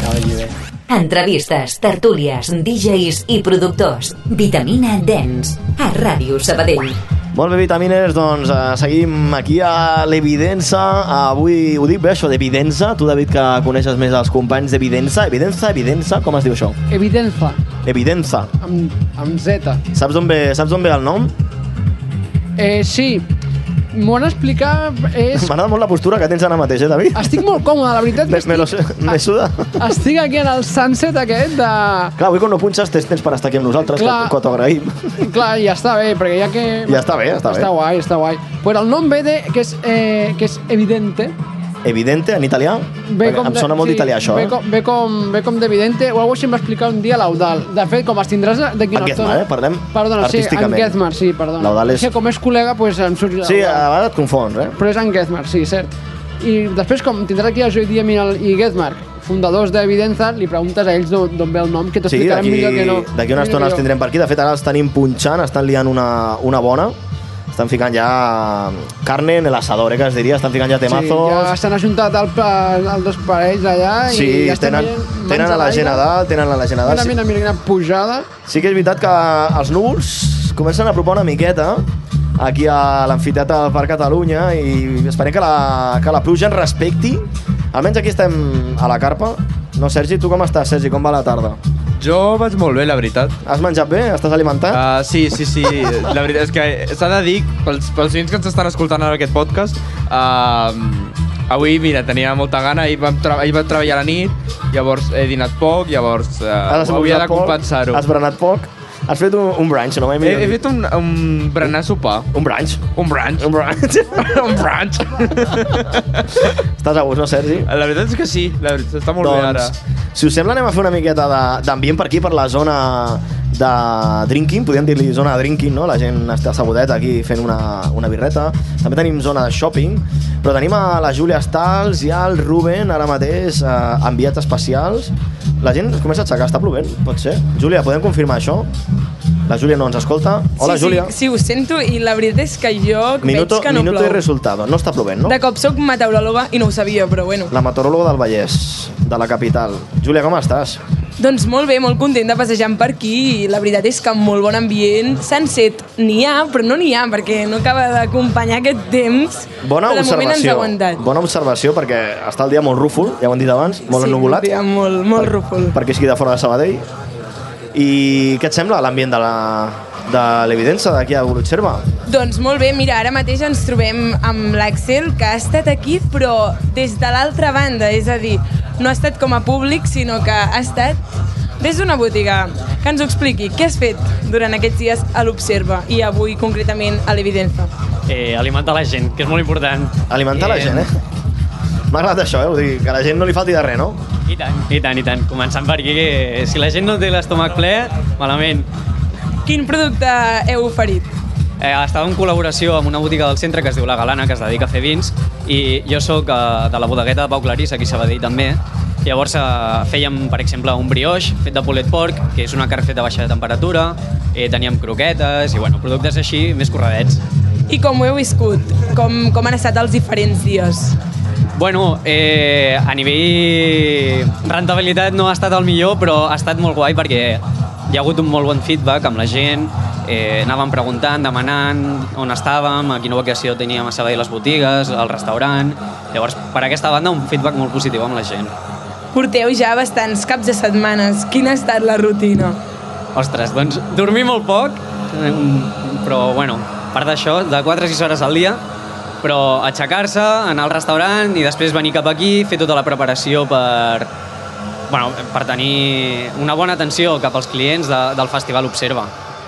Entrevistes, tertúlies, DJs i productors. Vitamina Dance. A Ràdio Sabadell.
Molt bé, vitamines, doncs eh, seguim aquí a l'Evidenza. Avui ho dic bé, això d'Evidenza. Tu, David, que coneixes més els companys d'Evidenza. Evidenza, Evidenza, com es diu això?
Evidenza,
Evidenza.
amb, amb Z.
Saps d'on ve, saps d'on ve el nom?
Eh, sí, m'ho han explicat... És...
M'agrada molt la postura que tens ara mateix, eh, David?
Estic molt còmode, la veritat.
Me, me, lo, sé, me suda.
Estic aquí en el sunset aquest de...
Clar, avui quan no punxes tens temps per estar aquí amb nosaltres,
Clar.
que, que t'ho agraïm.
Clar, ja està bé, perquè ja que...
Ja està bé, ja està bé.
Està guai, està guai. Però el nom ve de... que és, eh, que és evidente.
Evidente, en italià.
Ve
Perquè em sona molt d'italià, això,
Ve
eh?
com, ve com, ve com d'evidente, o alguna cosa em va explicar un dia l'Audal. De fet, com els tindràs d'aquí
En Gezmar, eh? Parlem
Perdona, sí, en
artísticament.
Gezmar, sí, perdona.
L'Audal és-
Que com és col·lega, doncs em surt...
Sí, a
l'Audal.
vegades et confons, eh?
Però és en Gezmar, sí, cert. I després, com tindràs aquí a Joy Diemin i Getmark, fundadors d'Evidenza, li preguntes a ells d'on d'on ve el nom, que
Sí,
t'explicaran
d'aquí
millor que no.
d'aquí una
Millor
estona
que
els
jo.
tindrem per aquí. De fet, ara els tenim punxant, estan liant una, una bona. Estan ficant ja carne en el asador, eh, que es diria. Estan ficant ja temazos.
Sí, ja s'han ajuntat el, pa- els dos parells allà
Sí,
i ja estem
tenen,
veient mans
tenen a la gent a
l'aire.
dalt, tenen a la gent a dalt.
Una
Sí,
mina, mira, quina pujada.
sí que és veritat que els núvols comencen a propar una miqueta aquí a l'amfiteatre del Parc Catalunya i esperem que la, que la pluja ens respecti. Almenys aquí estem a la carpa. No, Sergi, tu com estàs, Sergi? Com va la tarda?
Jo vaig molt bé, la veritat.
Has menjat bé? Estàs alimentat?
Uh, sí, sí, sí. La veritat és que s'ha de dir, pels, pels oients que ens estan escoltant ara aquest podcast, uh, avui, mira, tenia molta gana, ahir vam, tra ahir vam treballar a la nit, llavors he dinat poc, llavors
Has
uh, havia
esmorzat
de
poc,
compensar-ho.
Has berenat poc. Has fet un, un brunch, no? Mai
He, he
millor dit.
fet un, un berenar sopar.
Un brunch.
Un brunch.
Un brunch.
un brunch.
Estàs a gust, no, Sergi?
la veritat és que sí, la veritat està molt bé ara.
doncs, si us sembla, anem a fer una miqueta de- d'ambient per aquí, per la zona de drinking, podríem dir-li zona de drinking, no? La gent està assegudet aquí fent una, una birreta. També tenim zona de shopping, però tenim a la Júlia Stals i al Ruben, ara mateix, eh, enviats especials. La gent es comença a aixecar, està plovent, pot ser. Júlia, podem confirmar això? La Júlia no ens escolta. Hola,
sí,
Júlia.
Sí, sí, ho sento i la veritat és que jo
Minuto,
veig que no
minuto
plou.
y resultado. No està plovent, no?
De cop sóc meteoròloga i no ho sabia, però bueno.
La meteoròloga del Vallès, de la capital. Júlia, com estàs?
Doncs molt bé, molt content de passejant per aquí i la veritat és que molt bon ambient. Sunset n'hi ha, però no n'hi ha perquè no acaba d'acompanyar aquest temps.
Bona
però de moment ens ha
observació.
aguantat.
Bona observació perquè està el dia molt rúfol, ja ho hem dit abans, molt
sí,
ennubulat,
Dia, molt, molt rúfol.
perquè és qui de fora de Sabadell. I què et sembla l'ambient de la de l'evidència d'aquí a Gurutxerba?
Doncs molt bé, mira, ara mateix ens trobem amb l'Axel, que ha estat aquí, però des de l'altra banda, és a dir, no ha estat com a públic, sinó que ha estat des d'una botiga. Que ens ho expliqui, què has fet durant aquests dies a l'Observa i avui concretament a l'Evidenza?
Eh, alimentar la gent, que és molt important.
Alimentar la gent, eh? M'ha agradat això, eh? Vull dir, que a la gent no li falti de res, no?
I tant, i tant, i tant. Començant per aquí, que si la gent no té l'estómac ple, malament.
Quin producte heu oferit?
Eh, estava en col·laboració amb una botiga del centre que es diu La Galana, que es dedica a fer vins, i jo sóc eh, de la bodegueta de Pau Clarís, aquí a Sabadell també. Llavors eh, fèiem, per exemple, un brioche fet de pulled pork, que és una carn feta a baixa temperatura, eh, teníem croquetes i, bueno, productes així, més corredets.
I com ho heu viscut? Com, com han estat els diferents dies?
Bueno, eh, a nivell rentabilitat no ha estat el millor, però ha estat molt guai perquè hi ha hagut un molt bon feedback amb la gent, eh, anàvem preguntant, demanant on estàvem, a quina ubicació teníem a Sabadell les botigues, al restaurant... Llavors, per aquesta banda, un feedback molt positiu amb la gent.
Porteu ja bastants caps de setmanes. Quina ha estat la rutina?
Ostres, doncs dormir molt poc, eh, però bueno, a part d'això, de 4 a 6 hores al dia, però aixecar-se, anar al restaurant i després venir cap aquí, fer tota la preparació per, bueno, per tenir una bona atenció cap als clients de, del Festival Observa.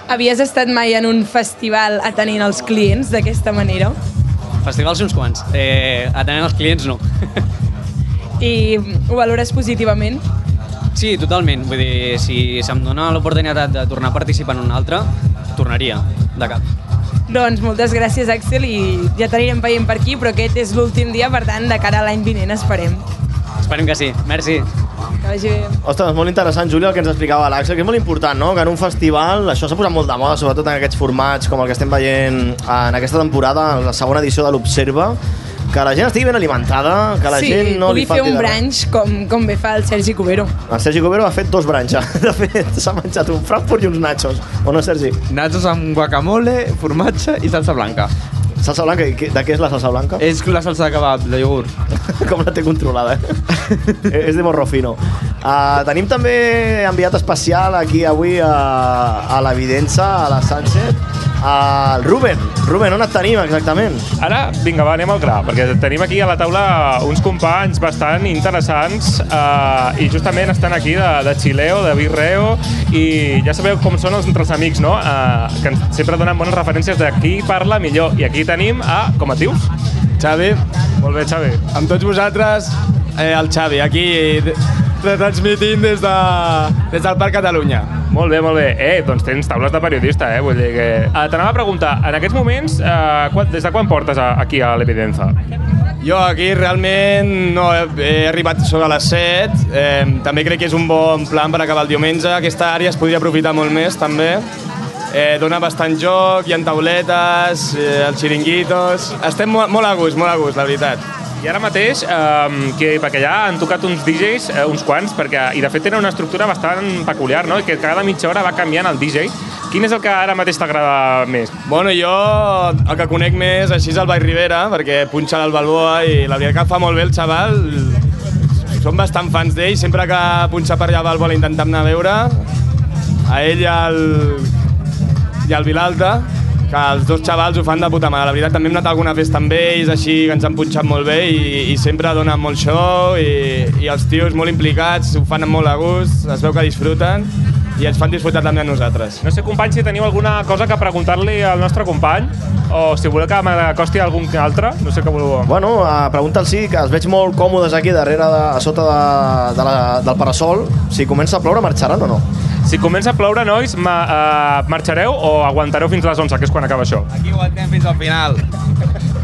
Havies estat mai en un festival atenent els clients d'aquesta manera?
Festivals uns quants, eh, atenent els clients no.
I ho valores positivament?
sí, totalment, vull dir, si se'm dona l'oportunitat de tornar a participar en un altre, tornaria, de cap.
Doncs moltes gràcies, Axel, i ja t'anirem veient per aquí, però aquest és l'últim dia, per tant, de cara a l'any vinent, esperem.
Esperem que sí, merci.
Que vagi bé.
Ostres, és molt interessant, Júlia, el que ens explicava l'Àxel, que és molt important, no?, que en un festival això s'ha posat molt de moda, sobretot en aquests formats com el que estem veient en aquesta temporada, en la segona edició de l'Observa, que la gent estigui ben alimentada, que la
sí,
gent no li
pugui fer
falti
un
de res.
brunch com, com bé fa el Sergi Cubero.
El Sergi Cubero ha fet dos branxes. De fet, s'ha menjat un Frankfurt i uns nachos. O no, Sergi?
Nachos amb guacamole, formatge i salsa blanca.
Salsa blanca, i què- de què és la salsa blanca?
És la salsa de kebab, de iogurt.
Com la té controlada, eh? és de morrofino. Uh, tenim també enviat especial aquí avui a, a l'Evidença, a la Sunset, al Ruben. Ruben, on et tenim exactament?
Ara, vinga, va, anem al gra, perquè tenim aquí a la taula uns companys bastant interessants eh, i justament estan aquí de, de Chileo, de Virreo i ja sabeu com són els entre els amics, no? Eh, que ens sempre donen bones referències de qui parla millor. I aquí tenim a, com et dius?
Xavi,
Molt bé, Xavi.
amb tots vosaltres, eh, el Xavi, aquí retransmitint des, de, des del Parc Catalunya.
Molt bé, molt bé. Eh, doncs tens taules de periodista, eh? Vull dir que... Eh, T'anava a preguntar, en aquests moments, eh, quan, des de quan portes a, aquí a l'Evidenza?
Jo aquí realment no he, he arribat sobre les 7. Eh, també crec que és un bon plan per acabar el diumenge. Aquesta àrea es podria aprofitar molt més, també. Eh, dona bastant joc, hi ha tauletes, eh, els xiringuitos... Estem molt, molt a gust, molt a gust, la veritat.
I ara mateix, eh, que, perquè ja han tocat uns DJs, eh, uns quants, perquè, i de fet tenen una estructura bastant peculiar, no? que cada mitja hora va canviant el DJ. Quin és el que ara mateix t'agrada més?
Bueno, jo el que conec més així és el Vall Rivera, perquè punxa el Balboa i la veritat que fa molt bé el xaval. Som bastant fans d'ell, sempre que punxa per allà al Balboa l'intentam anar a veure. A ell i al, i al Vilalta, que els dos xavals ho fan de puta mare. La veritat, també hem anat a alguna festa amb ells, així que ens han punxat molt bé i, i sempre donen molt show i, i els tios molt implicats, ho fan amb molt a gust, es veu que disfruten i ens fan disfrutar també a nosaltres.
No sé, companys, si teniu alguna cosa que preguntar-li al nostre company, o si voleu que m'acosti a algun altre, no sé què voleu.
Bueno, uh, pregunta'l sí, que els veig molt còmodes aquí darrere, de, a sota de, de la, del parasol. Si comença a ploure, marxaran o no?
Si comença a ploure, nois, ma, uh, marxareu o aguantareu fins les 11, que és quan acaba això?
Aquí ho aguantem fins al final.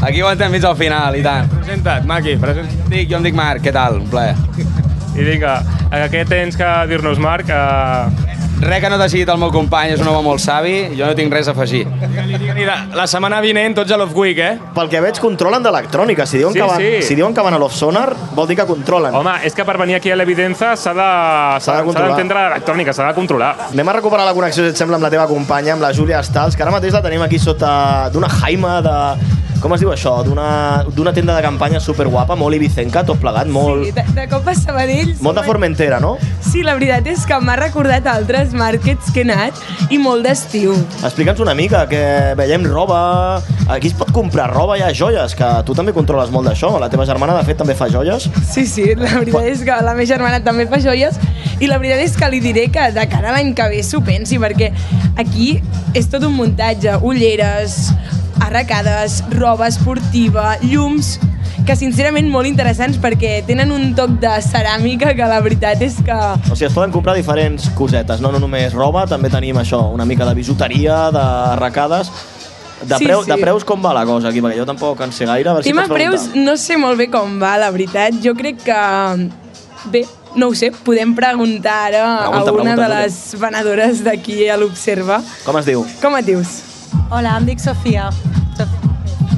Aquí ho aguantem fins al final, i tant.
Presenta't, maqui, presenta't.
Dic, jo em dic Marc, què tal? Un plaer.
I vinga, eh, què tens que dir-nos, Marc? Eh...
Res que no t'hagi dit el meu company, és un home molt savi, jo no tinc res a afegir.
Mira, la setmana vinent tots a l'Off Week, eh?
Pel que veig, controlen d'electrònica. Si, diuen
Sí,
que van,
sí.
si diuen que van a l'off-sonar, vol dir que controlen.
Home, és que per venir aquí a l'evidenza s'ha de...
S'ha de controlar.
d'entendre l'electrònica, s'ha de controlar.
Anem a recuperar la connexió, si et sembla, amb la teva companya, amb la Júlia Estals, que ara mateix la tenim aquí sota d'una jaima de... Com es diu això? D'una d'una tenda de campanya superguapa, molt ibicenca, tot plegat, molt,
De, de cop a Sabadell...
molt de Formentera, no?
Sí, la veritat és que m'ha recordat altres màrquets que he anat i molt d'estiu.
Explica'ns una mica, que veiem roba, aquí es pot comprar roba, hi ha joies, que tu també controles molt d'això, la teva germana de fet també fa joies.
Sí, sí, la veritat és que la meva germana també fa joies i la veritat és que li diré que de cara a l'any que ve s'ho pensi perquè aquí és tot un muntatge, ulleres, arracades, roba esportiva, llums que sincerament molt interessants perquè tenen un toc de ceràmica que la veritat és que
O sigui, es poden comprar diferents cosetes, no, no només roba, també tenim això, una mica de bisuteria, de arracades... De,
Sí,
preu,
sí.
de preus com va la cosa aquí? Perquè jo tampoc en sé gaire. A veure si
tema
pots preguntar.
preus no sé molt bé com va, la veritat. Jo crec que... Bé, no ho sé, podem preguntar ara
Pregunta,
a una
pregunta,
de les venedores d'aquí a l'Observa.
Com es diu?
Com et dius?
Hola, em dic Sofia.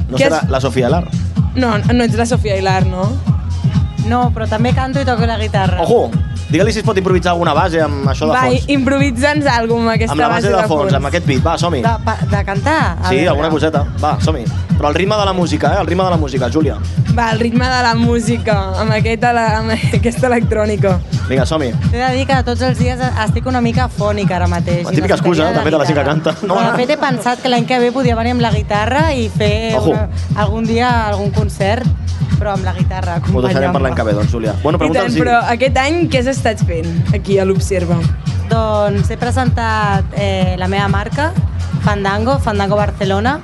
No
Què
serà
és?
la Sofia Lar?
No, Ah, no ets la Sofia Hilar, no?
No, però també canto i toco la guitarra.
Ojo! Digue-li si es pot improvisar alguna base amb això de
Va,
fons.
improvisa'ns alguna amb aquesta
Amb la base de fons, amb aquest beat. Va, som-hi.
De, pa- de cantar? A
Sí,
veure.
alguna coseta. Va, som-hi. Però el ritme de la música, eh? El ritme de la música, Júlia.
Va, el ritme de la música, amb, aquest, ele- amb aquesta electrònica.
Vinga, som-hi.
T'he de dir que tots els dies estic una mica fònica ara mateix.
La
i necessitaria
típica excusa, també, de la gent que
guitarra.
canta. No,
Però,
no.
de fet, he pensat que l'any que ve podia venir amb la guitarra i fer
Ojo.
una, algun dia algun concert, però amb la guitarra.
Ho deixarem per l'any que ve, doncs, Júlia. Bueno,
I tant,
pregunta'm si...
però aquest any què has estat fent aquí a l'Observa?
Doncs he presentat eh, la meva marca, Fandango, Fandango Barcelona,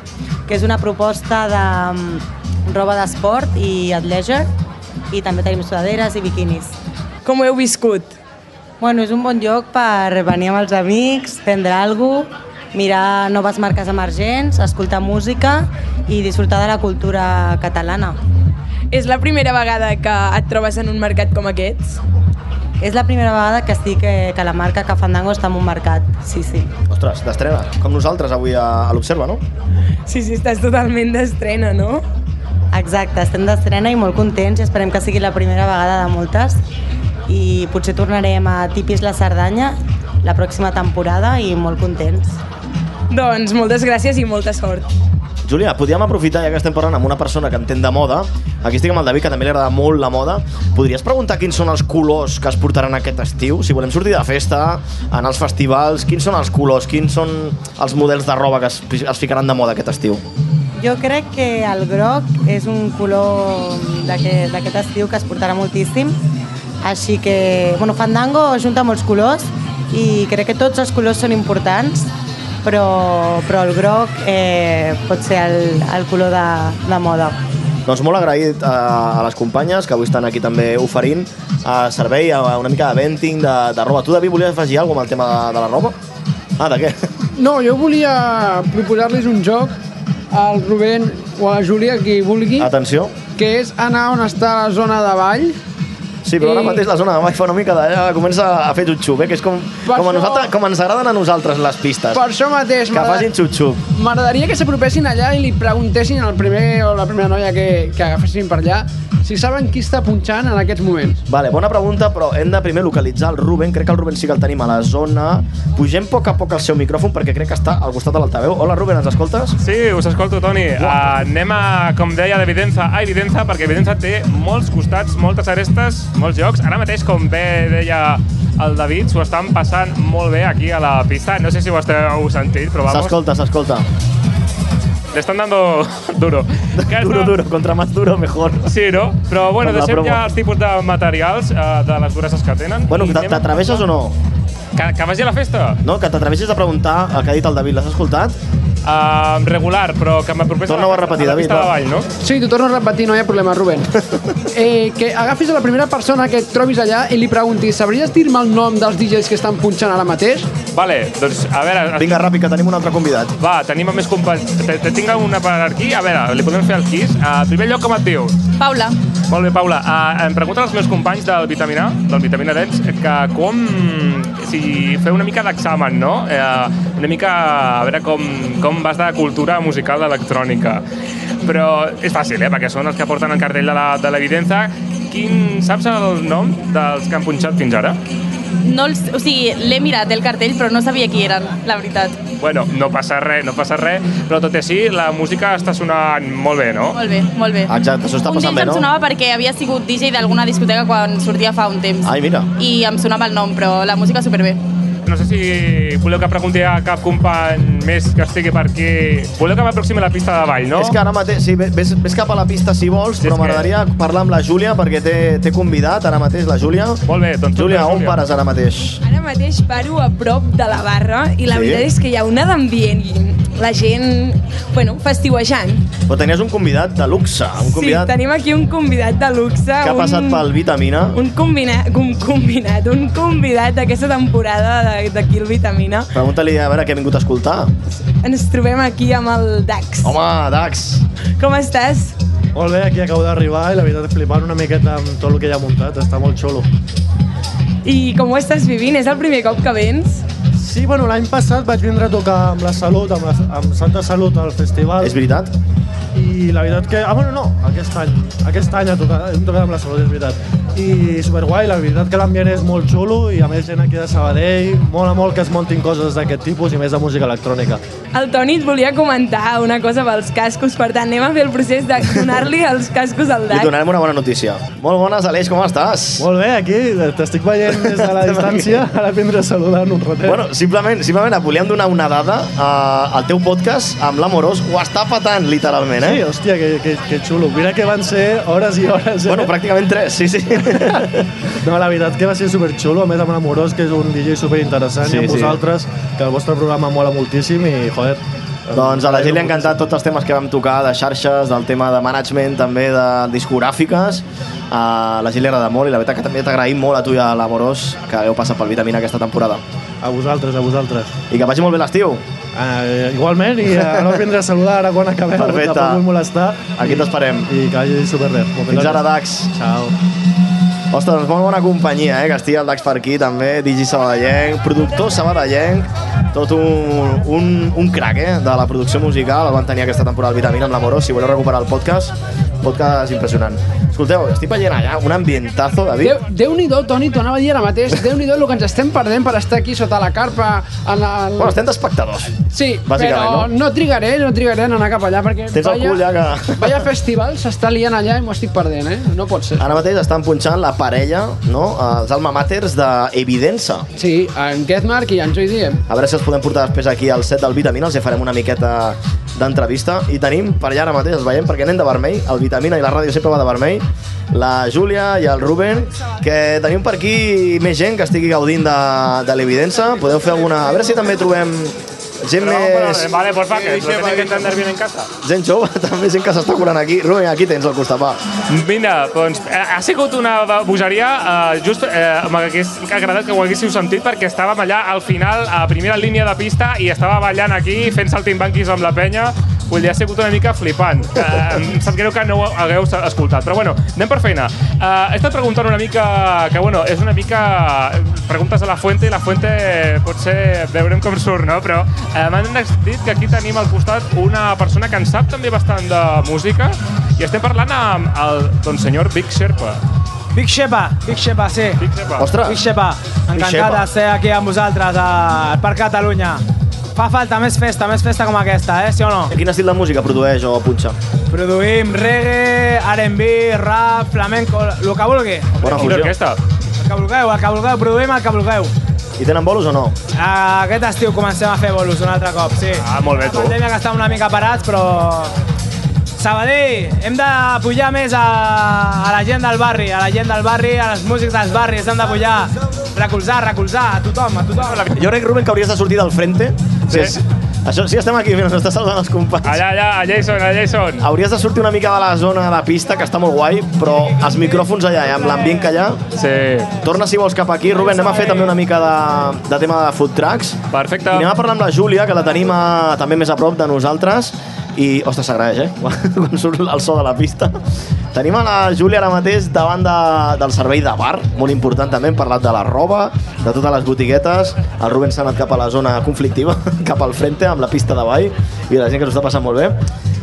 que és una proposta de mm, roba d'esport i athleisure, i també tenim sudaderes i biquinis.
Com ho heu viscut?
Bueno, és un bon lloc per venir amb els amics, prendre alguna cosa, mirar noves marques emergents, escoltar música i disfrutar de la cultura catalana.
És la primera vegada que et trobes en un mercat com aquest?
És la primera vegada que estic, eh, que la marca que Fandango està en un mercat, sí, sí.
Ostres, d'estrena. Com nosaltres avui a, a l'Observa, no?
Sí, sí, estàs totalment d'estrena, no?
Exacte, estem d'estrena i molt contents i esperem que sigui la primera vegada de moltes i potser tornarem a Tipis la Cerdanya la pròxima temporada i molt contents.
Doncs moltes gràcies i molta sort.
Júlia, podríem aprofitar, ja que estem parlant amb una persona que entén de moda, aquí estic amb el David, que també li agrada molt la moda, podries preguntar quins són els colors que es portaran aquest estiu? Si volem sortir de festa, anar als festivals, quins són els colors, quins són els models de roba que es, es ficaran de moda aquest estiu?
Jo crec que el groc és un color d'aquest d'aquest estiu que es portarà moltíssim, així que, bueno, Fandango junta molts colors i crec que tots els colors són importants, però, però el groc eh, pot ser el, el color de, de moda.
Doncs molt agraït a, a les companyes que avui estan aquí també oferint a servei, a una mica de venting, de, de roba. Tu, David, volies afegir alguna cosa amb el tema de, de la roba? Ah, de què?
No, jo volia proposar-los un joc al Rubén o a la Júlia, qui vulgui,
Atenció.
que és anar on està la zona de ball.
Sí, però ara
I-
mateix la zona de Mai fa una mica de... ja Comença a fer xup-xup, eh? Que és com,
Per
com, a
això-
nosaltres, com ens agraden a nosaltres les pistes.
Per això mateix,
que
m'agrada-
facin xup-xup.
M'agradaria que s'apropessin allà i li preguntessin al primer o la primera noia que, que agafessin per allà si saben qui està punxant en aquests moments.
Vale, bona pregunta, però hem de primer localitzar el Ruben. Crec que el Ruben sí que el tenim a la zona. Pugem a poc a poc al seu micròfon perquè crec que està al costat de l'altaveu. Hola, Ruben, ens escoltes?
Sí, us escolto, Toni. Uh, anem a, com deia, d'Evidenza a Evidenza, perquè Evidenza té molts costats, moltes arestes, molts jocs. Ara mateix, com bé deia el David, s'ho estan passant molt bé aquí a la pista. No sé si ho esteu sentint, però vamos.
S'escolta, s'escolta.
Le están dando duro.
Duro, duro, contra más duro mejor.
Sí, no? Però bueno,
Amb la
deixem
promo.
ja els tipus de materials, eh, de les dureses que tenen.
Bueno,
I
t'a-
anem a-
t'atreveixes o no?
Que, que vagi a la festa?
No, que t'atreveixis a preguntar el que ha dit el David. L'has escoltat?
Uh, regular, però que m'apropés
Torna-ho a repetir,
a la
David.
pista de
va.
ball, no?
Sí, t'ho torno a repetir, no hi ha problema, Ruben. Eh, que agafis a la primera persona que et trobis allà i li preguntis sabries dir-me el nom dels DJs que estan punxant ara mateix?
Vale, doncs a veure...
Vinga, ràpid, que tenim un altre convidat.
Va, tenim a més companys. Te, te tinc una per aquí, a veure, li podem fer el quiz. A primer lloc, com et dius?
Paula.
Molt bé, Paula. Uh, em pregunten els meus companys del Vitamina, del Vitamina Dents, que com... Si feu una mica d'examen, no? Uh, una mica a veure com, com vas de cultura musical electrònica. Però és fàcil, eh? Perquè són els que porten el cartell de la- de l'evidenza. Quin... Saps el nom dels que han punxat fins ara?
No els, o sigui, l'he mirat el cartell, però no sabia qui eren, la veritat.
Bueno, no passa res, no passa res, però tot i així la música està sonant molt bé, no?
Molt bé, molt bé.
Exacte, això està
un
passant
d'ells em
bé, Ah, no?
sonava perquè havia sigut DJ d'alguna discoteca quan sortia fa un temps.
Ai, mira.
I em sonava el nom, però la música superbé.
No sé si voleu que pregunti a cap company més que estigui per aquí. Voleu que m'aproximi a la pista de ball, no?
És que ara mateix, sí, ves, ves cap a la pista si vols, però
que-
m'agradaria parlar amb la Júlia perquè té, té convidat ara mateix la Júlia.
Molt bé, doncs...
Júlia, on
Júlia.
pares ara mateix?
Ara mateix paro a prop de la barra i la
Sí?
veritat és que hi ha una d'ambient i la gent, bueno, festiuejant.
Però tenies un convidat de luxe, un convidat
Sí, tenim aquí un convidat de luxe.
que ha passat
un...
pel Vitamina.
un combinat, un combinat, un convidat d'aquesta temporada de- d'aquí el Vitamina.
Pregunta-li a veure què ha vingut a escoltar.
Ens trobem aquí amb el Dax.
Home, Ah, Dax!
Com estàs?
Molt bé, aquí acabo d'arribar i la veritat flipant una miqueta amb tot el que hi ha muntat, està molt xulo.
I com ho estàs vivint? És el primer cop que vens?
Sí, bueno, l'any passat vaig vindre a tocar amb la Salut, amb, la, amb Santa Salut al festival.
És veritat?
I la veritat que... Ah, bueno, no, aquest any. Aquest any he tocat, hem tocat amb la Salut, és veritat. I superguai, la veritat que l'ambient és molt xulo i a més gent aquí de Sabadell, mola molt que es montin coses d'aquest tipus i més de música electrònica.
El Toni et volia comentar una cosa pels cascos, per tant, anem a fer el procés de donar-li els cascos al
Li
Dax.
donarem una bona notícia. Molt bones, Aleix, com estàs?
Molt bé, aquí, t'estic veient des de la distància, ara vindré a saludar en un ratet.
Bueno, simplement, simplement et volíem donar una dada eh, al teu podcast amb l'Amorós. Ho està patant, literalment, eh?
Sí, hòstia, que, que, que xulo. Mira que van ser hores i hores. Eh? Bueno,
pràcticament tres, sí, sí.
no, la veritat que va ser superxulo, a més amb l'Amorós, que és un DJ superinteressant,
Sí,
i amb
sí.
vosaltres, que el vostre programa mola moltíssim i, joder...
Doncs a la gent li ha encantat tots els temes que vam tocar de xarxes, del tema de management, també de discogràfiques. A la gent li agrada molt i la veritat que també t'agraïm molt a tu i a l'Amorós que heu passat pel Vitamina aquesta temporada.
A vosaltres, a vosaltres.
I que vagi molt bé l'estiu.
Uh, igualment, i ara us vindré a saludar ara quan acabem,
Perfecte.
tampoc vull molestar.
Aquí t'esperem.
I que vagi superbé.
Fins ara, Dax.
Ciao.
Ostres, doncs molt bona companyia, eh? Que estigui el Dax per aquí, també, Digi Sabadellenc, productor sabadellenc, tot un, un, un crac, eh? De la producció musical, el van tenir aquesta temporada al Vitamina amb l'Amorós, si voleu recuperar el podcast, podcast impressionant. Escolteu, estic veient allà un ambientazo, David.
Déu- Déu-n'hi-do, Toni, t'ho anava a dir ara mateix. Déu-n'hi-do el que ens estem perdent per estar aquí sota la carpa. En el...
Bueno, estem d'espectadors.
Sí,
Bàsicament,
però no? trigaré, no trigaré en anar cap allà perquè...
Tens el cul ja que-
Vaya festival s'està liant allà i m'ho estic perdent, eh? No pot ser.
Ara mateix estan punxant la parella, no? Els alma maters d'Evidenza.
Sí, en Getmark i en Joy Diem.
A veure si els podem portar després aquí al set del Vitamina, els hi farem una miqueta d'entrevista. I tenim per allà ara mateix, els veiem, perquè anem de vermell, el Vitamina i la ràdio sempre va de vermell, la Júlia i el Ruben, que tenim per aquí més gent que estigui gaudint de, de l'evidença. Podeu fer alguna... A veure si també trobem gent més...
Vale, porfa, que lo tenéis que entender bien en casa.
Gent jove, també gent que s'està curant aquí. Ruben, aquí tens al costat, va.
Mira, doncs eh, ha sigut una bo- bogeria, eh, just eh, m'hagués agradat que ho haguéssiu sentit perquè estàvem allà al final, a primera línia de pista i estava ballant aquí fent saltimbanquis amb la penya Vull dir, ha sigut una mica flipant. Eh, em sap greu que no ho hagueu escoltat, però bueno, anem per feina. Eh, he estat preguntant una mica, que bueno, és una mica... eh, Preguntes a la fuente i la fuente eh, potser veurem com surt, no? Però eh, m'han dit que aquí tenim al costat una persona que en sap també bastant de música i estem parlant amb el don senyor Big Sherpa.
Big Shepa, Big Shepa, sí. Big
Shepa.
Ostres.
Big Shepa,
Big
encantat
Shepa.
de ser aquí amb vosaltres al Parc Catalunya. Fa falta més festa, més festa com aquesta, eh? Sí o no?
Quin estil de música produeix o punxa?
Produïm reggae, R&B, rap, flamenco, el que vulgui.
Bona
El
fusió.
que vulgueu, el que vulgueu, produïm el que vulgueu.
I tenen bolos o no?
Aquest estiu comencem a fer bolos un altre cop, sí.
Ah, molt bé,
La pandèmia que estàvem una mica parats, però... Sabadell, hem de pujar més a, a la gent del barri, a la gent del barri, a les músics dels barris, hem de pujar. Recolzar, recolzar, a tothom, a tothom.
Jo crec, Ruben, que hauries de sortir del frente. Sí. sí. Això, sí, estem aquí, mira, ens està salvant els companys.
Allà, allà, allà hi són, allà hi són.
Hauries de sortir una mica de la zona de pista, que està molt guai, però els micròfons allà, eh, amb l'ambient que hi ha.
Sí.
Eh,
Torna, si vols, cap aquí. Ruben, anem a fer també una mica de, de tema de food trucks.
Perfecte.
I anem a parlar amb la Júlia, que la tenim a, també més a prop de nosaltres. I, ostres, s'agraeix, eh? Quan, quan surt el so de la pista. Tenim a la Júlia ara mateix davant de, del servei de bar, molt important també, hem parlat de la roba, de totes les botiguetes, el Rubén s'ha anat cap a la zona conflictiva, cap al frente, amb la pista de ball, i la gent que s'ho està passant molt bé.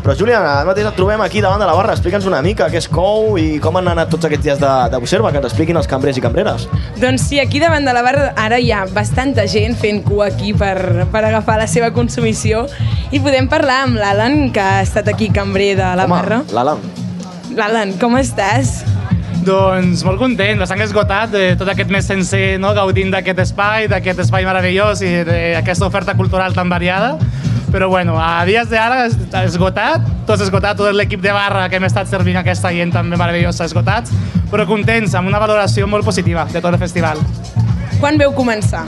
Però Júlia, ara mateix et trobem aquí davant de la barra, explica'ns una mica què és COU i com han anat tots aquests dies de, de Bucerba, que ens expliquin els cambrers i cambreres.
Doncs sí, aquí davant de la barra ara hi ha bastanta gent fent cua aquí per, per agafar la seva consumició i podem parlar amb l'Alan, que ha estat aquí cambrer de la barra.
L'Alan.
L'Alan, com estàs?
Doncs molt content, bastant esgotat eh, tot aquest mes sencer no, gaudint d'aquest espai, d'aquest espai meravellós i d'aquesta oferta cultural tan variada. Però bueno, a dies d'ara es- esgotat, tots esgotat, tot l'equip de barra que hem estat servint aquesta gent també meravellosa esgotats, però contents, amb una valoració molt positiva de tot el festival.
Quan veu començar?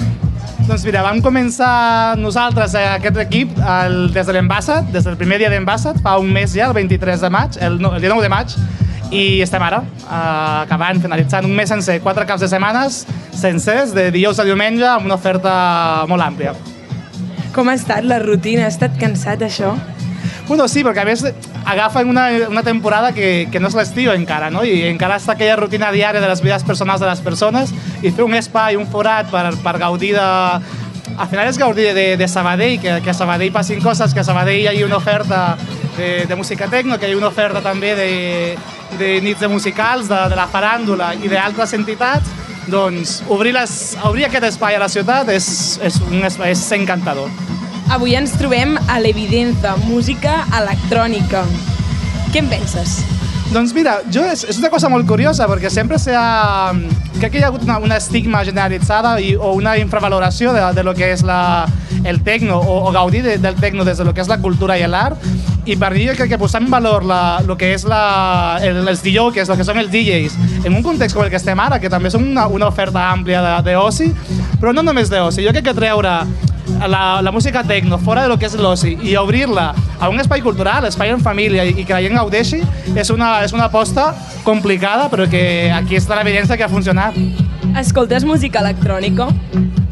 Doncs mira, vam començar nosaltres, eh, aquest equip, el, des de l'Embassa, des del primer dia d'Embassa, fa un mes ja, el 23 de maig, el, no, el 19 de maig, i estem ara, eh, acabant, finalitzant un mes sencer, quatre caps de setmanes sencers, de dijous a diumenge, amb una oferta molt àmplia.
Com ha estat la rutina? Ha estat cansat, això?
Bueno, sí, perquè a més agafen una, una temporada que, que no és l'estiu encara, no? I encara està aquella rutina diària de les vides personals de les persones i fer un espai, un forat per, per gaudir de... Al final és gaudir de, de Sabadell, que, que a Sabadell passin coses, que a Sabadell hi hagi una oferta de, de música tecno, que hi hagi una oferta també de, de nits de musicals, de, de la faràndula i d'altres entitats, doncs obrir, les, obrir aquest espai a la ciutat és, és, un, espai, és encantador.
Avui ens trobem a l'Evidenza, música electrònica. Què en penses?
Doncs mira, jo és, és una cosa molt curiosa, perquè sempre s'ha... Crec que hi ha hagut una, una estigma generalitzada i, o una infravaloració de, de lo que és la, el tecno, o, o gaudir de, del tecno des de lo que és la cultura i l'art, i per mi jo crec que posar en valor la, lo que és la, el, els DJs, lo que són els DJs, en un context com el que estem ara, que també són una, una oferta àmplia de- d'oci, però no només d'oci, jo crec que treure la, la música tecno fora de lo que és l'oci i obrir-la a un espai cultural, espai en família i que la gent gaudeixi és una, és una aposta complicada però que aquí està l'evidència que ha funcionat.
Escoltes música electrònica?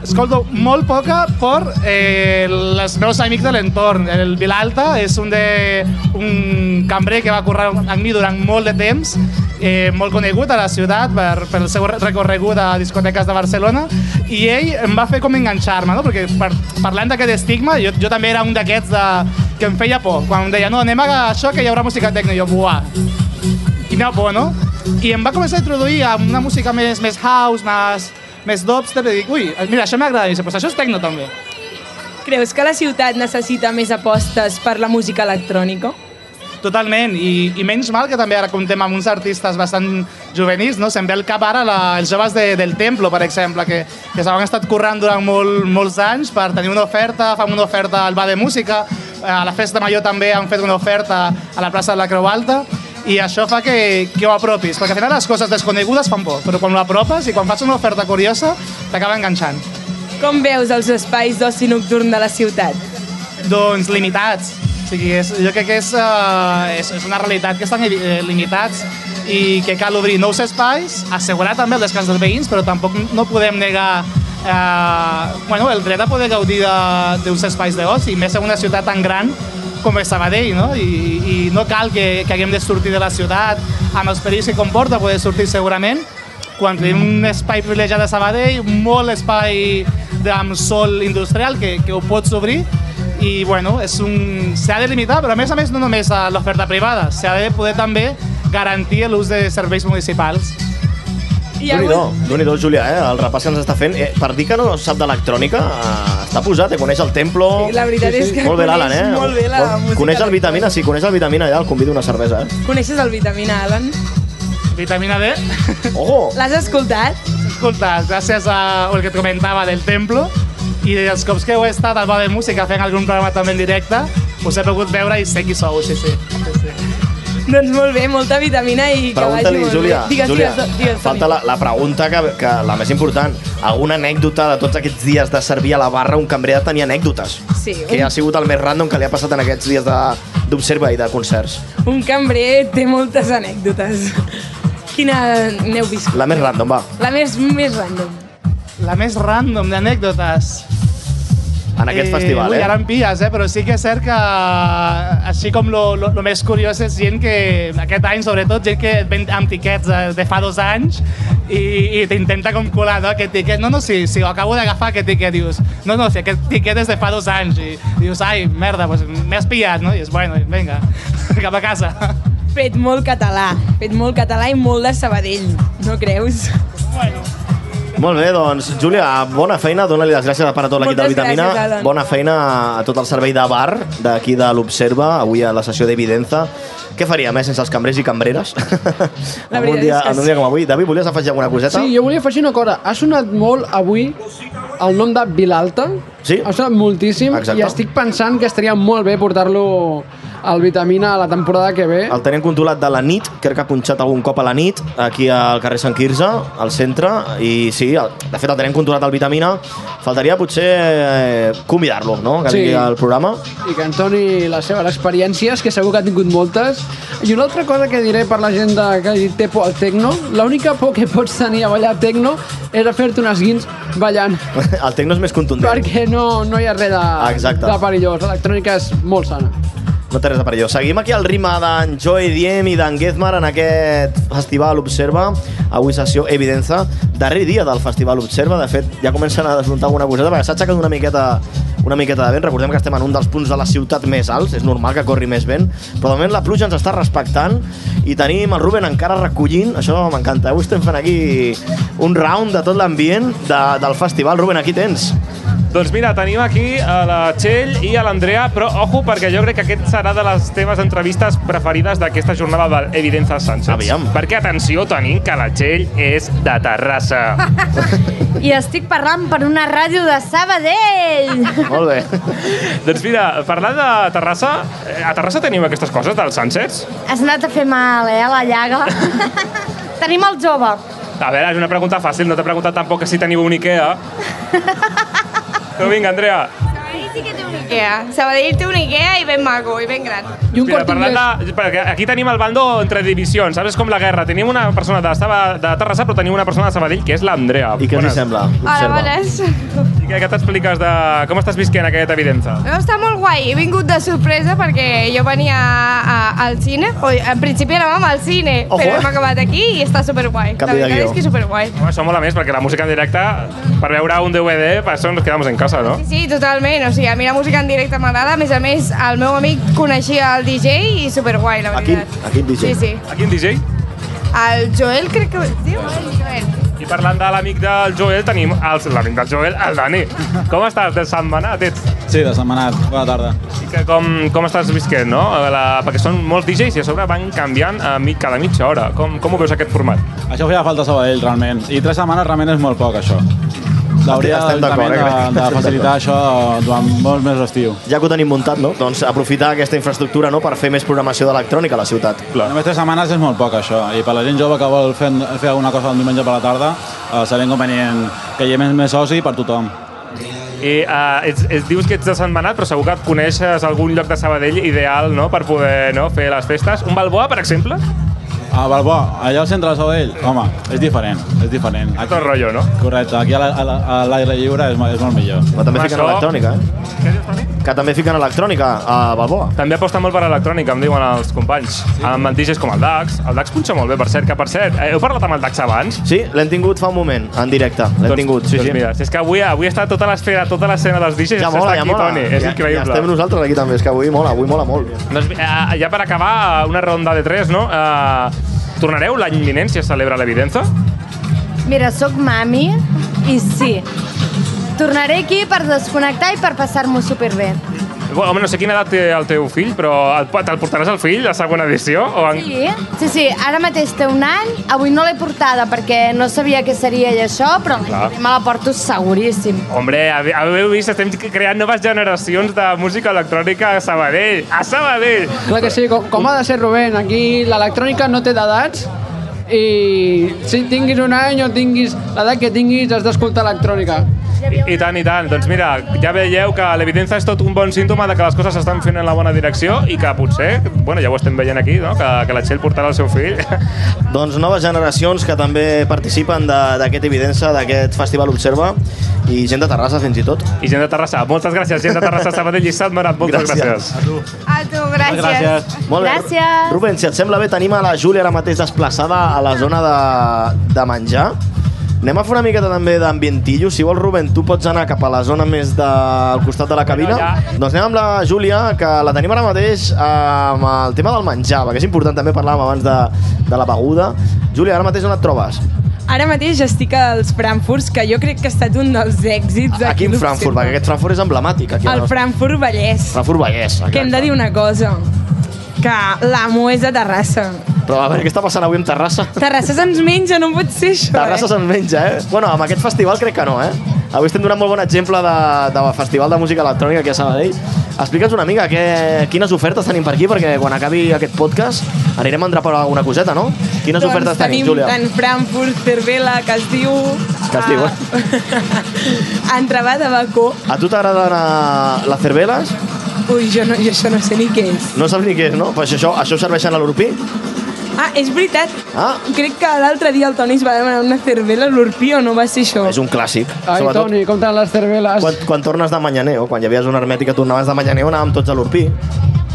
Escolto molt poca per eh, els meus amics de l'entorn. El Vilalta és un, de, un cambrer que va currar amb mi durant molt de temps, eh, molt conegut a la ciutat per, pel seu recorregut a discoteques de Barcelona, i ell em va fer com enganxar-me, no? perquè per, parlant d'aquest estigma, jo, jo també era un d'aquests de, que em feia por. Quan em deia, no, anem a això que hi haurà música tecno, jo, buah, quina por, no? I em va començar a introduir a una música més, més house, més, més dubstep, i dic, ui, mira, això m'agrada, i dic, pues això és tecno també.
Creus que la ciutat necessita més apostes per la música electrònica?
Totalment, I, i menys mal que també ara comptem amb uns artistes bastant juvenils, no? Se'm ve al cap ara la, els joves de, del Templo, per exemple, que, que s'han estat currant durant molt, molts anys per tenir una oferta, fan una oferta al bar de música, eh, a la Festa Major també han fet una oferta a la plaça de la Creu Alta, i això fa que, que ho apropis, perquè al final les coses desconegudes fan por, però quan ho apropes i quan fas una oferta curiosa, t'acaba enganxant.
Com veus els espais d'oci nocturn de la ciutat?
Doncs limitats. O sigui, és, jo crec que és, uh, és, és una realitat que estan eh, limitats i que cal obrir nous espais, assegurar també el descans dels veïns, però tampoc no podem negar eh, bueno, el dret a poder gaudir de- d'uns espais d'oci, més en una ciutat tan gran com a Sabadell, no? I, i no cal que, que haguem de sortir de la ciutat amb els perills que comporta poder sortir segurament, quan tenim un espai privilegiat a Sabadell, molt espai de- amb sol industrial que, que ho pots obrir i bueno, és un... s'ha de limitar, però a més a més no només a l'oferta privada, s'ha de poder també garantir l'ús de serveis municipals.
Hi ha
Déu-n'hi-do, Déu-n'hi-do, Júlia, eh? el repàs que ens està fent. Eh, per dir que no sap d'electrònica, eh, està posat, eh? coneix el Templo...
Sí, la veritat és que
molt bé, l'Alan, eh?
coneix molt bé la música
Bon- Coneix el
electrònica.
Vitamina, sí, coneix el Vitamina, ja el convido a una cervesa, eh?
Coneixes el Vitamina, Alan?
Vitamina D.
Ojo!
L'has escoltat?
Escolta, gràcies a el que et comentava del Templo i dels cops que heu estat al Bar de Música fent algun programa també en directe, us he pogut veure i sé qui sou, sí, sí.
Doncs molt bé, molta vitamina i que vagi
Pregunta-li,
molt
Júlia,
bé. Digues,
Júlia,
digues, digues,
falta la, la pregunta que, que la més important. Alguna anècdota de tots aquests dies de servir a la barra, un cambrer ha de tenir anècdotes.
Sí,
Que ha sigut el més random que li ha passat en aquests dies de- d'observa i de concerts.
Un cambrer té moltes anècdotes. Quina n'heu viscut?
La més random, va.
La més, més random.
La més random d'anècdotes.
En aquest festival,
ui,
eh?
Ara em pilles, eh? però sí que és cert que, eh, així com lo, lo, lo més curiós és gent que, aquest any sobretot, gent que et ven amb tiquets eh, de, de fa dos anys i, i t'intenta com colar, no? Aquest tiquet, no, no, si, si ho acabo d'agafar aquest tiquet, dius, no, no, si aquest tiquet és de fa dos anys, i dius, ai, merda, pues, m'has pillat, no? I és, bueno, vinga, cap a casa.
Fet molt català. Fet molt català i molt de Sabadell, no creus?
Molt bé, doncs, Júlia, bona feina. Dóna-li les gràcies per a tot l'equip de
Moltes
Vitamina.
gràcies, Alan.
bona feina a tot el servei de bar d'aquí de l'Observa, avui a la sessió d'Evidenza. Què faríem, eh, sense els cambrers i cambreres? en, un
veritat
dia,
és que
en un
sí.
dia com avui. David, volies afegir alguna coseta?
Sí, jo volia afegir una cosa. Ha sonat molt avui el nom de Vilalta.
Sí.
Ha sonat moltíssim
Exacte.
i estic pensant que estaria molt bé portar-lo al Vitamina a la temporada que ve.
El tenim controlat de la nit, crec que ha punxat algun cop a la nit, aquí al carrer Sant Quirze, al centre, i sí, el- de fet el tenim controlat al Vitamina. Faltaria potser eh, convidar-lo, no?, que
Sí.
vingui al programa.
i que ens doni les seves experiències, que segur que ha tingut moltes. I una altra cosa que diré per la gent de- que té por al tecno, l'única por que pots tenir a ballar tecno és a fer-te unes guins ballant,
El tecno és més contundent.
perquè no, no hi ha res de,
Exacte.
de perillós. L'electrònica és molt sana.
No té res de perillós. Seguim aquí al ritme d'en Joey Diem i d'en Gezmar en aquest Festival Observa. Avui sessió Evidenza, darrer dia del Festival Observa. De fet, ja comencen a desmuntar alguna coseta perquè s'ha aixecat una miqueta una miqueta de vent. Recordem que estem en un dels punts de la ciutat més alts, és normal que corri més vent, però de moment la pluja ens està respectant i tenim el Ruben encara recollint, això m'encanta. Avui estem fent aquí un round de tot l'ambient de, del festival. Ruben, aquí tens.
Doncs mira, tenim aquí a la Txell i a l'Andrea, però ojo, perquè jo crec que aquest serà de les teves entrevistes preferides d'aquesta jornada de l'Evidenza Sánchez. Aviam. Perquè, atenció, tenim que la Txell és de Terrassa.
I estic parlant per una ràdio de Sabadell.
Molt bé.
doncs mira, parlant de Terrassa, eh, a Terrassa teniu aquestes coses dels Sánchez?
Has anat a fer mal, eh, a la llaga. Tenim el jove.
A veure, és una pregunta fàcil, no t'he preguntat tampoc si teniu un Ikea. però vinga, Andrea,
Ikea. Sabadell té un Ikea i ben maco, i ben gran.
I un
Mira, parlant de, perquè aquí tenim el bando entre divisions, saps? És com la guerra. Tenim una persona de, Saba, de Terrassa, però tenim una persona de Sabadell, que és l'Andrea. I què
us hi sembla?
Hola, bones.
I què, què t'expliques de... Com estàs visquent aquesta evidença?
No, està molt guai. He vingut de sorpresa perquè jo venia a, a, al cine. O, en principi anàvem al cine,
Ojo,
però
eh?
hem acabat aquí i està superguai.
Canvi de
la veritat
guió.
és que és superguai.
Home, això mola més, perquè la música en directe, per veure un DVD, per això ens quedamos en casa, no?
Sí, totalment. O sigui, a mi la música en directe m'agrada. A més a més, el meu amic coneixia el DJ i superguai, la veritat.
a quin
DJ? Sí, sí.
A quin DJ?
El Joel crec que... Diu, el Joel.
I parlant de l'amic del Joel, tenim els- l'amic del Joel, el Dani. Com estàs? Dessetmanat ets?
Sí, de setmanat. Bona tarda.
I que com, com estàs visquent, no? Eh, La, perquè són molts DJs i a sobre van canviant a mi, cada mitja hora. Com, com ho veus aquest format?
Això feia falta a Sabadell, realment. I tres setmanes realment és molt poc, això. Hauria
Estem d'acord,
l'Ajuntament
eh, crec.
de, de
Estem
facilitar
d'acord.
això durant molts mesos d'estiu.
Ja que ho tenim muntat, no? Doncs aprofitar aquesta infraestructura no? per fer més programació d'electrònica a la ciutat.
Clar. Només tres setmanes és molt poc, això. I per la gent jove que vol fer, fer alguna cosa un diumenge per la tarda, eh, serà inconvenient que hi hagi més, més soci per tothom.
I uh, ets, ets, dius que ets de Setmanat, però segur que et coneixes algun lloc de Sabadell ideal no? per poder no? fer les festes. Un Balboa, per exemple?
A Balboa, Ah, allà al centre de Sabadell, home, és diferent, és diferent. Aquí,
Tot rotllo, no?
Correcte, aquí a la- a la- a l'aire lliure és, mo- és molt millor.
Però també fiquen electrònica, eh?
Què dius, Toni?
que també fiquen electrònica a Balboa.
També aposta molt per l'electrònica, em diuen els companys. Sí. Amb antiges com el DAX. El DAX punxa molt bé, per cert, que per cert, eh, heu parlat amb el DAX abans?
Sí, l'hem tingut fa un moment, en directe. L'hem tingut, sí,
doncs
sí.
Mira, si és que avui, avui està tota l'esfera, tota l'escena dels DJs,
ja mola,
està
ja
aquí,
mola.
Toni.
ja,
És increïble.
Ja estem nosaltres aquí també, és que avui mola, avui mola molt.
Doncs, eh, ja per acabar, una ronda de tres, no? Eh, tornareu l'any vinent si es celebra l'Evidenza?
Mira, sóc mami i sí. Tornaré aquí per desconnectar i per passar-m'ho superbé.
Bueno, home, no sé quina edat té el teu fill, però el, te'l portaràs al fill, la segona edició? O en...
Sí, sí, sí, ara mateix té un any, avui no l'he portada perquè no sabia què seria i això, però l'any
Clar.
que ve me la porto seguríssim.
Hombre, habe- heu vist, estem creant noves generacions de música electrònica a Sabadell. A Sabadell!
Clar que sí, com, com ha de ser, Rubén, aquí l'electrònica no té d'edats i si tinguis un any o tinguis l'edat que tinguis has d'escoltar electrònica.
I, I tant, i tant. Doncs mira, ja veieu que l'evidència és tot un bon símptoma de que les coses s'estan fent en la bona direcció i que potser, bueno, ja ho estem veient aquí, no? que, que la Txell portarà el seu fill.
Doncs noves generacions que també participen de- d'aquest Evidença, d'aquest Festival Observa, i gent de Terrassa fins i tot.
I gent de Terrassa. Moltes gràcies, gent de Terrassa, Sabadell i Salmarat. Moltes gràcies.
A Ah, tu, gràcies.
Molt bé.
Gràcies.
Rubén, si et sembla bé, tenim a la Júlia ara mateix desplaçada a la zona de, de menjar. Anem a fer una miqueta també d'ambientillo. Si vols, Rubén, tu pots anar cap a la zona més del costat de la cabina. Doncs anem amb la Júlia, que la tenim ara mateix eh, amb el tema del menjar, perquè és important també parlàvem abans de, de la beguda. Júlia, ara mateix on et trobes?
Ara mateix estic als Frankfurts, que jo crec que ha estat un dels èxits
Aquí en
d'Observa.
Frankfurt, perquè aquest Frankfurt és emblemàtic. Aquí a la
El
nostra-
Frankfurt Vallès.
Frankfurt Vallès. eh?
Que hem de dir una cosa, que l'amo és de Terrassa.
Però a veure, què està passant avui amb Terrassa?
Terrassa se'ns menja, no pot ser això.
Terrassa se'n menja, eh? Bueno, amb aquest festival crec que no, eh? Avui estem donant molt bon exemple de, de festival de música electrònica aquí a Sabadell. Explica'ns una mica què, quines ofertes tenim per aquí, perquè quan acabi aquest podcast anirem a endrapar alguna coseta, no? Quines
doncs
ofertes tenim,
tenim
Júlia?
tant Frankfurt, Cervela, que es diu
Que es diu, eh?
Entrebà de Bacó.
A tu t'agraden eh, les cerveles?
Ui, jo, no, jo això no sé ni què és.
No saps ni què és, no? Però això, això ho serveixen a l'Europí?
Ah, és veritat.
Ah.
Crec que l'altre dia el Toni es va demanar una cervela a l'Urpí o no va ser això?
És un clàssic.
Ai, Toni,
com tant les cerveles.
Quan, quan tornes de Manyaneo, quan hi havies una hermètica, tornaves de Manyaneo, anàvem tots a l'Urpí.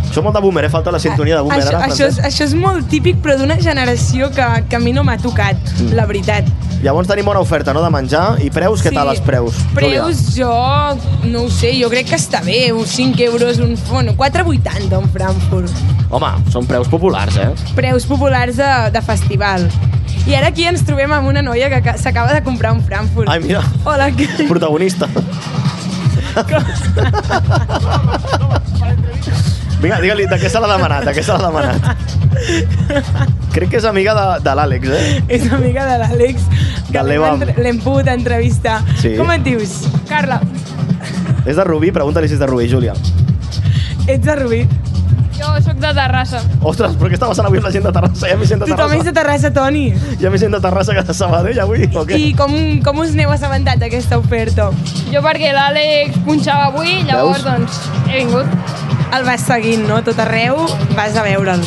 Això molt de boomer, eh? Falta la sintonia de boomer.
Això,
ara,
això, és,
Francesc.
això és molt típic, però d'una generació que, que a mi no m'ha tocat,
Mm.
la veritat.
Llavors tenim bona oferta, no?, de menjar. I preus, què
Sí.
tal els preus? Júlia?
Preus, jo no ho sé, jo crec que està bé, uns 5 euros, un bueno, 4,80 un Frankfurt.
Home, són preus populars, eh?
Preus populars de, de festival. I ara aquí ens trobem amb una noia que ca- s'acaba de comprar un Frankfurt.
Ai, mira.
Hola, què?
Protagonista. Vinga, digue-li, de què se l'ha demanat, de què se l'ha demanat. Crec que és amiga de, de l'Àlex, eh?
És amiga de l'Àlex, que
De
l'hem
l'Eva.
entre- l'hem pogut entrevistar.
Sí.
Com et dius? Carla,
És de Rubí, pregunta-li si és de Rubí, Júlia.
ets de Rubí.
Jo sóc de Terrassa.
Ostres, però què està passant avui amb la gent de Terrassa? Hi ha més gent de
Tothom
Terrassa.
és de Terrassa, Toni.
Hi ha més gent de Terrassa que de Sabadell avui, o què?
I com, com us n'heu assabentat d'aquesta oferta?
Jo perquè l'Àlex punxava avui, llavors
Veus?
doncs he vingut.
El vas seguint, no? Tot arreu vas a veure'l.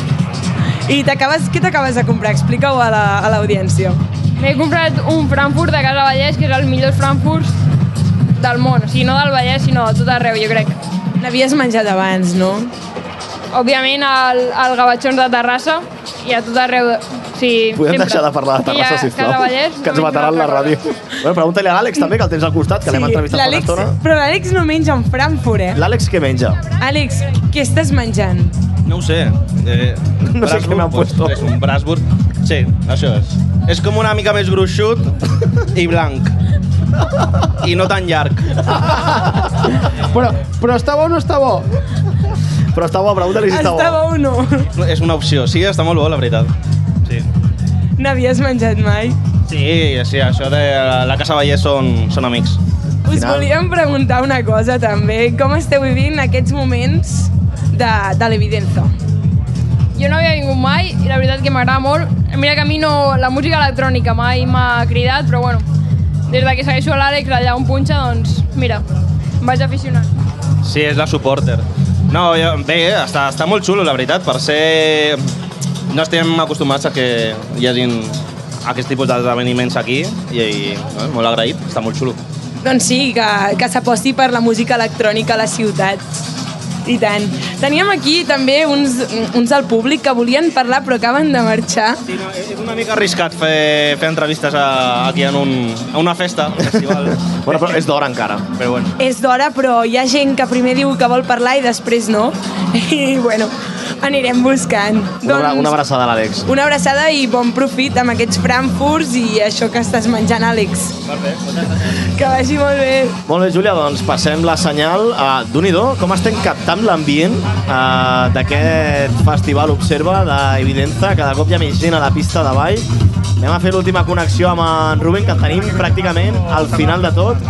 I t'acabes, què t'acabes de comprar? Explica-ho a la- a l'audiència.
M'he comprat un Frankfurt de Casa Vallès, que és el millor Frankfurt del món. O sigui, no del Vallès, sinó de tot arreu, jo crec.
N'havies menjat abans, no?
Òbviament, al, al Gavatxons de Terrassa i a tot arreu. de- O sigui,
Podem
sempre.
deixar de parlar de
Aquí
Terrassa,
a
sisplau,
Casa Vallès,
que ens mataran la ràdio. Bueno, pregunta-li a l'Àlex també, que el tens al costat, que l'hem entrevistat fa una
l'Àlex,
estona.
però l'Àlex no menja un Frankfurt, eh?
L'Àlex què menja?
Àlex, què estàs menjant?
No ho sé. Eh, no sé què m'han puesto. És un Brasburg. Sí, això és. És com una mica més gruixut i blanc. I no tan llarg.
Però, però està bo o no està bo?
Però està bo, pregunta-li si està bo.
Estava o no?
És una opció. Sí, està molt bo, la veritat. Sí.
N'havies menjat mai?
Sí, sí, això de la Casa Vallès són, són amics.
Us volíem preguntar una cosa també, com esteu vivint aquests moments de, de l'Evidenza?
Jo no havia vingut mai i la veritat que m'agrada molt. Mira que a mi no, la música electrònica mai m'ha cridat, però bueno, des de que segueixo a l'Àlex allà on punxa, doncs mira, em vaig aficionar.
Sí, és la supporter. No, jo, bé, està, està molt xulo, la veritat, per ser... No estem acostumats a que hi hagin aquest tipus d'esdeveniments aquí i, i eh, molt agraït, està molt xulo.
Doncs sí, que, que s'aposti per la música electrònica a la ciutat. I tant. Teníem aquí també uns, uns del públic que volien parlar però acaben de marxar. Sí, no,
És una mica arriscat fer, fer entrevistes a, aquí en un, a una festa, a un festival.
bueno, però és d'hora encara.
Però bueno.
És d'hora, però hi ha gent que primer diu que vol parlar i després no. I, bueno, anirem buscant.
Una, abra-
Doncs
una abraçada a l'Àlex.
Una abraçada i bon profit amb aquests frankfurts i això que estàs menjant, Àlex. Que vagi molt bé.
Molt bé, Júlia, doncs passem la senyal. a d'un i do, com estem captant l'ambient eh, d'aquest festival Observa d'Evidenza. Cada cop hi ha més gent a la pista de ball. Anem a fer l'última connexió amb en Ruben, que el tenim pràcticament al final de tot.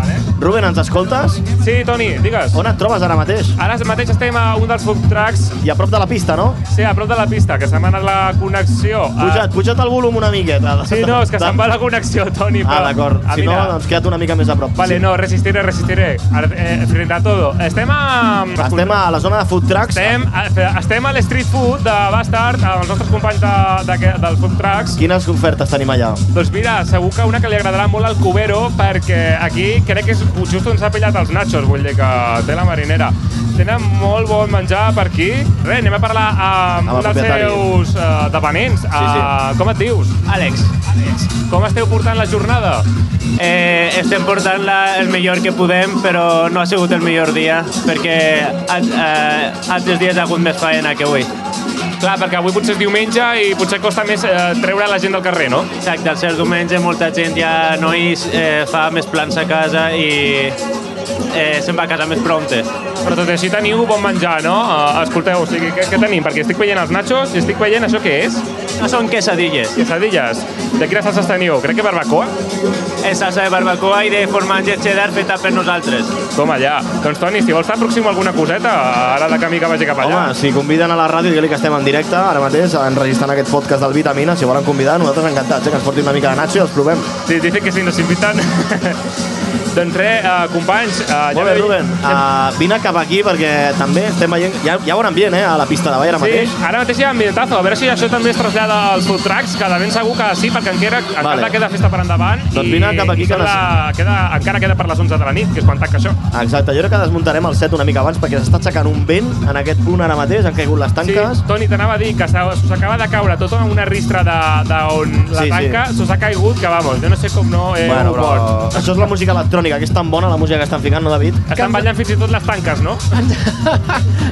Ruben, ens escoltes?
Sí, Toni, digues.
On et trobes ara mateix?
Ara mateix estem a un dels food trucks.
I a prop de la pista, no?
Sí, a prop de la pista, que se m'ha anat la connexió.
Puja't, puja't el volum una miqueta.
Sí, no, és que se'm va la connexió, Toni.
Ah,
però-
d'acord.
Ah,
Si no,
mira.
doncs queda't una mica més a prop.
Vale,
Sí.
no, resistiré, resistiré. Ara, eh, frente a todo. Estem a...
Estem a la zona de food trucks.
Estem, a- estem a l'street food de Bastard, amb els nostres companys de, de, que- del food trucks.
Quines ofertes tenim allà?
Doncs mira, segur que una que li agradarà molt al Cubero, perquè aquí crec que és just on s'ha pillat els nachos, vull dir que té la marinera. Tenen molt bon menjar per aquí. Res, anem a parlar amb,
Amb el
un dels
propietari.
seus uh, dependents.
sí.
Sí, Ah, com et dius? Àlex. Àlex. Com esteu portant la jornada?
Eh, estem portant-la el millor que podem, però no ha sigut el millor dia, perquè al- eh, altres dies ha hagut més faena que avui.
Clar, perquè avui potser és diumenge i potser costa més eh, treure la gent del carrer, no?
Exacte, al ser diumenge molta gent ja no hi eh, fa més plans a casa i eh, se'n va a casa més prompte.
Però tot i així teniu bon menjar, no? Uh, escolteu, o sigui, què, què tenim? Perquè estic veient els nachos i estic veient això què és?
No són quesadilles.
Quesadilles. De quines salses teniu? Crec que barbacoa?
És salsa de barbacoa i de formatge cheddar feta per nosaltres.
Com allà. Doncs Toni, si vols t'aproximo alguna coseta, ara de camí que vagi cap allà.
Home, si conviden a la ràdio, digue-li que estem en directe ara mateix, enregistrant aquest podcast del Vitamina. Si volen convidar, nosaltres encantats, eh, que ens portin una mica de nacho i els provem.
Sí, dice que si nos invitan... doncs res, uh, companys... Uh,
Molt bé, Ruben, uh, vine cap aquí perquè també estem veient... Hi ha, hi ha bon ambient, eh, a la pista de ball ara
Sí,
mateix.
ara mateix hi ha ambientazo. A veure si això també es trasllada als food trucks, que de ben segur que sí, perquè encara, encara
Vale.
queda festa per endavant.
Doncs vine cap aquí
i
que
són
les-
la, queda, encara queda per les 11 de la nit, que és quan tanca això.
Exacte, jo crec que desmuntarem el set una mica abans perquè s'està aixecant un vent en aquest punt ara mateix, han caigut les tanques.
Toni, t'anava a dir que s'ha- s'us acaba de caure tota una ristra d'on la
Sí, sí.
tanca, s'us ha caigut, que vamos, jo no sé com no eh,
bueno,
ho
però...
pot.
Això és la música electrònica, que és tan bona la música que estan ficant, no, David?
Estan ballant fins i tot les tanques, no?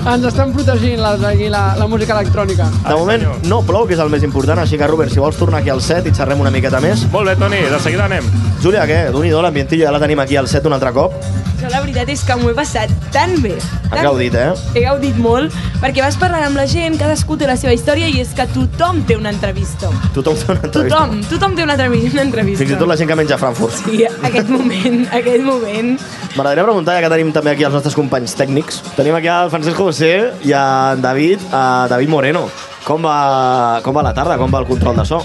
Ens estan protegint la, aquí la, la música electrònica.
De moment no plou, que és el més important, així que, Robert, si vols tornar aquí al set i xerrem una miqueta més.
Molt bé, Toni, de seguida anem.
Júlia, què? D'un i do, l'ambientilla ja la tenim aquí al set un altre cop.
Jo la veritat és que m'ho he passat tan bé.
Has
Tan
gaudit, eh?
He gaudit molt, perquè vas parlant amb la gent, cadascú té la seva història i és que tothom té una entrevista.
Tothom té una entrevista.
Tothom, tothom té una, entrevi- una entrevista.
Fins i tot la gent que menja Frankfurt.
Sí, aquest moment, aquest moment.
M'agradaria preguntar, ja que tenim també aquí els nostres companys tècnics, tenim aquí el Francesc José i en David, a David Moreno. Com va, com va la tarda? Com va el control de so?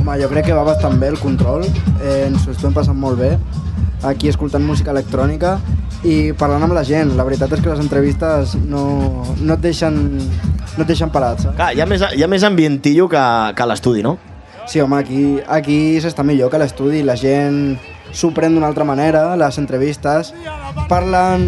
Home, jo crec que va bastant bé el control, eh, ens ho estem passant molt bé, aquí escoltant música electrònica i parlant amb la gent. La veritat és que les entrevistes no, no, et, deixen, no et deixen parat, saps?
Clar, hi ha més, hi ha més ambientillo que, que a l'estudi, no?
Sí, home, aquí, aquí s'està millor que a l'estudi, la gent s'ho pren d'una altra manera, les entrevistes, parlen...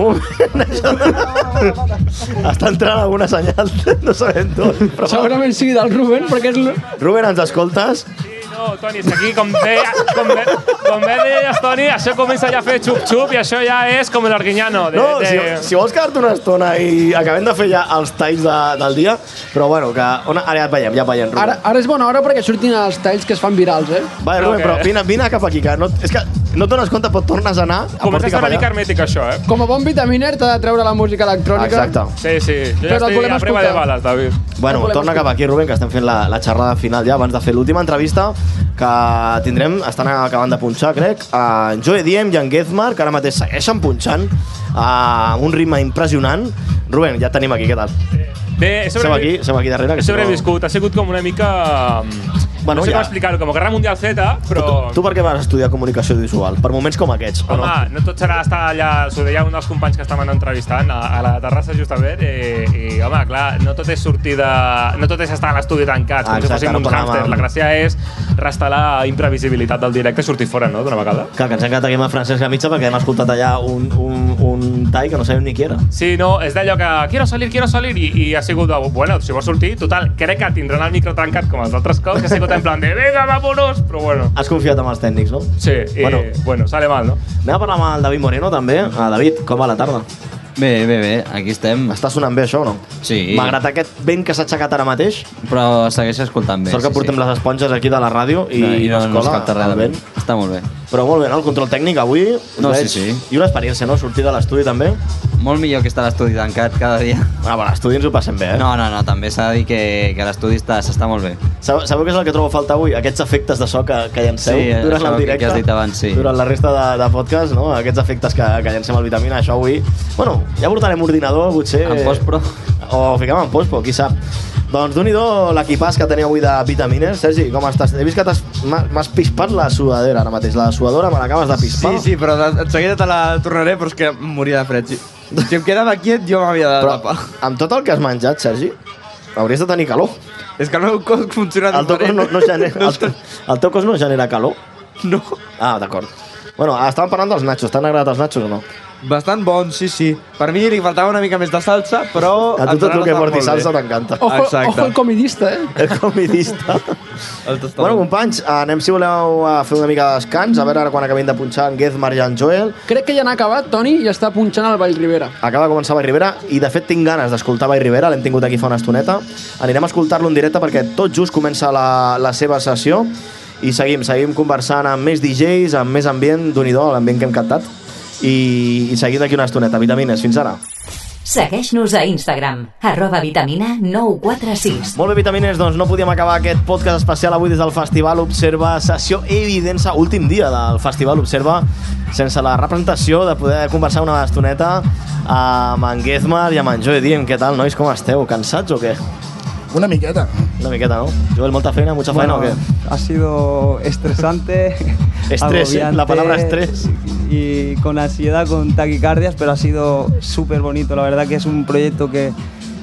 Oh,
Uh, Està entrant alguna senyal, no sabem tot. Però...
Segurament sigui del Ruben, perquè és... l-
Ruben, ens escoltes?
No, Toni, és que aquí, com bé, com bé, com bé deies, Toni, això comença ja a fer xup-xup i això ja és com l'Arguiñano. De,
No,
de...
si, si vols quedar-te una estona i acabem de fer ja els talls de, del dia, però bueno, que on, ara ja et veiem, ja et veiem, Ruben.
Ara, ara és bona hora perquè surtin els talls que es fan virals, eh?
Vale, Ruben, però vine, vine cap aquí, que no, és que no et dones compte, però tornes a anar a porti cap allà.
hermètic, això, eh?
Com a bon vitaminer t'ha de treure la música electrònica.
Exacte.
Sí, sí, jo
Però
ja
el
estic
volem
a prova de
escoltar.
bales, David.
Bueno,
volem
torna cap aquí, Ruben, que estem fent la, la xerrada final ja, abans de fer l'última entrevista que tindrem, estan acabant de punxar, crec, a en Joe Diem i en Gezmar, que ara mateix segueixen punxant a un ritme impressionant. Ruben, ja et tenim aquí, què tal?
Bé, he
Som aquí, som aquí darrere, que
He
si no-
sobreviscut, ha sigut com una mica... mm,
Bueno,
no sé
ja.
com explicar-ho, com Guerra Mundial Z, però...
Tu per què vas estudiar comunicació visual? Per moments com aquests, o
Home,
no?
no tot serà estar allà, s'ho deia un dels companys que estàvem entrevistant a, a la terrassa justament i, i home, clar, no tot és sortir de... no tot és estar a l'estudi tancat,
Ah,
com si
exacte,
fóssim
no
uns
parlàvem.
hàmsters. La gràcia és restar la imprevisibilitat del directe i sortir fora, no?, d'una vegada.
Clar, que ens hem quedat aquí amb el Francesc Gamitza perquè hem escoltat allà un, un, un tall que no sabem ni qui era.
Sí, no, és d'allò que quiero salir, quiero salir i, i ha sigut, de, bueno, si vols sortir, total, crec que tindran el micro tancat com els altres cops, que ha sigut en plan de venga, vámonos, però bueno.
Has confiat en els tècnics, no?
Sí, i bueno, bueno sale mal, no?
Anem a parlar amb el David Moreno, també. Ah, David, com va la tarda?
Bé, bé, bé, aquí estem.
Està sonant bé, això, o no?
Sí.
Malgrat aquest vent que s'ha aixecat ara mateix,
Però segueix escoltant bé.
sort que portem les esponges aquí de la ràdio i,
no, i no, no es
l'escola,
capta res
el
de
vent.
vent. Està molt bé.
Però molt bé, no? El control tècnic avui, us
No, sí,
veig.
sí.
I una experiència, no? Sortir de l'estudi també.
Molt millor que estar a l'estudi tancat cada dia.
Ah, però a l'estudi ens ho passem bé, eh?
No, no, no, també s'ha de dir que, que a l'estudi està- s'està molt bé.
Sabeu, sabeu què és el que trobo a falta avui? Aquests efectes de so que, que llanceu
Sí, eh,
durant
això
el
que-
directe.
que has dit abans, sí.
Durant la resta de, de podcast, no? Aquests efectes que, que llancem al Vitamina, això avui... Bueno, ja portarem ordinador, potser...
En postpro.
O fiquem en postpro, qui sap. Doncs d'un i do l'equipàs que teniu avui de vitamines. Sergi, com estàs? He vist que t'has- m'ha- m'has pispat la sudadera ara mateix. La sudadora me l'acabes de pispar.
Sí, sí, però de, de seguida te la tornaré, però és que em moria de fred. Si, si em quedava quiet, jo m'havia de
Però-
tapar.
Amb tot el que has menjat, Sergi, hauries de tenir calor.
És que el meu cos funciona
el teu cos no, no genera, el, teu- el teu cos no genera calor?
No.
Ah, d'acord. Bueno, ah, estàvem parlant dels nachos. T'han agradat els nachos o no?
Bastant bon, sí, sí. Per mi li faltava una mica més de salsa, però...
A tu
ens
tot
han
el que
estat
porti
molt bé.
salsa t'encanta.
Exacte.
comidista, eh? El comidista. bueno, companys, anem, si voleu, a fer una mica de descans, a veure ara quan acabem de punxar en Guez, Marja, en Joel.
Crec que ja n'ha acabat, Toni, i està punxant al Vall Ribera.
Acaba de començar Vall Rivera i de fet tinc ganes d'escoltar Vall Rivera, l'hem tingut aquí fa una estoneta. Anirem a escoltar-lo en directe perquè tot just comença la, la seva sessió i seguim, seguim conversant amb més DJs, amb més ambient, d'un i do, l'ambient que hem captat. I, i seguim d'aquí una estoneta. Vitamines, fins ara.
Segueix-nos a Instagram, arroba vitamina 946.
Molt bé, vitamines, doncs no podíem acabar aquest podcast especial avui des del Festival Observa, sessió evidença, últim dia del Festival Observa, sense la representació de poder conversar una estoneta amb en Gezmar i amb en Joe Diem. Què tal, nois, com esteu? Cansats o què?
Una miqueta.
Una miqueta, ¿no? Joel, molta feina, mucha feina
Bueno,
o qué?
ha sido estresante.
Estrés, ¿eh? La palabra
agobiante
estrés.
Y con ansiedad, con taquicardias, pero ha sido súper bonito. La verdad que es un proyecto que,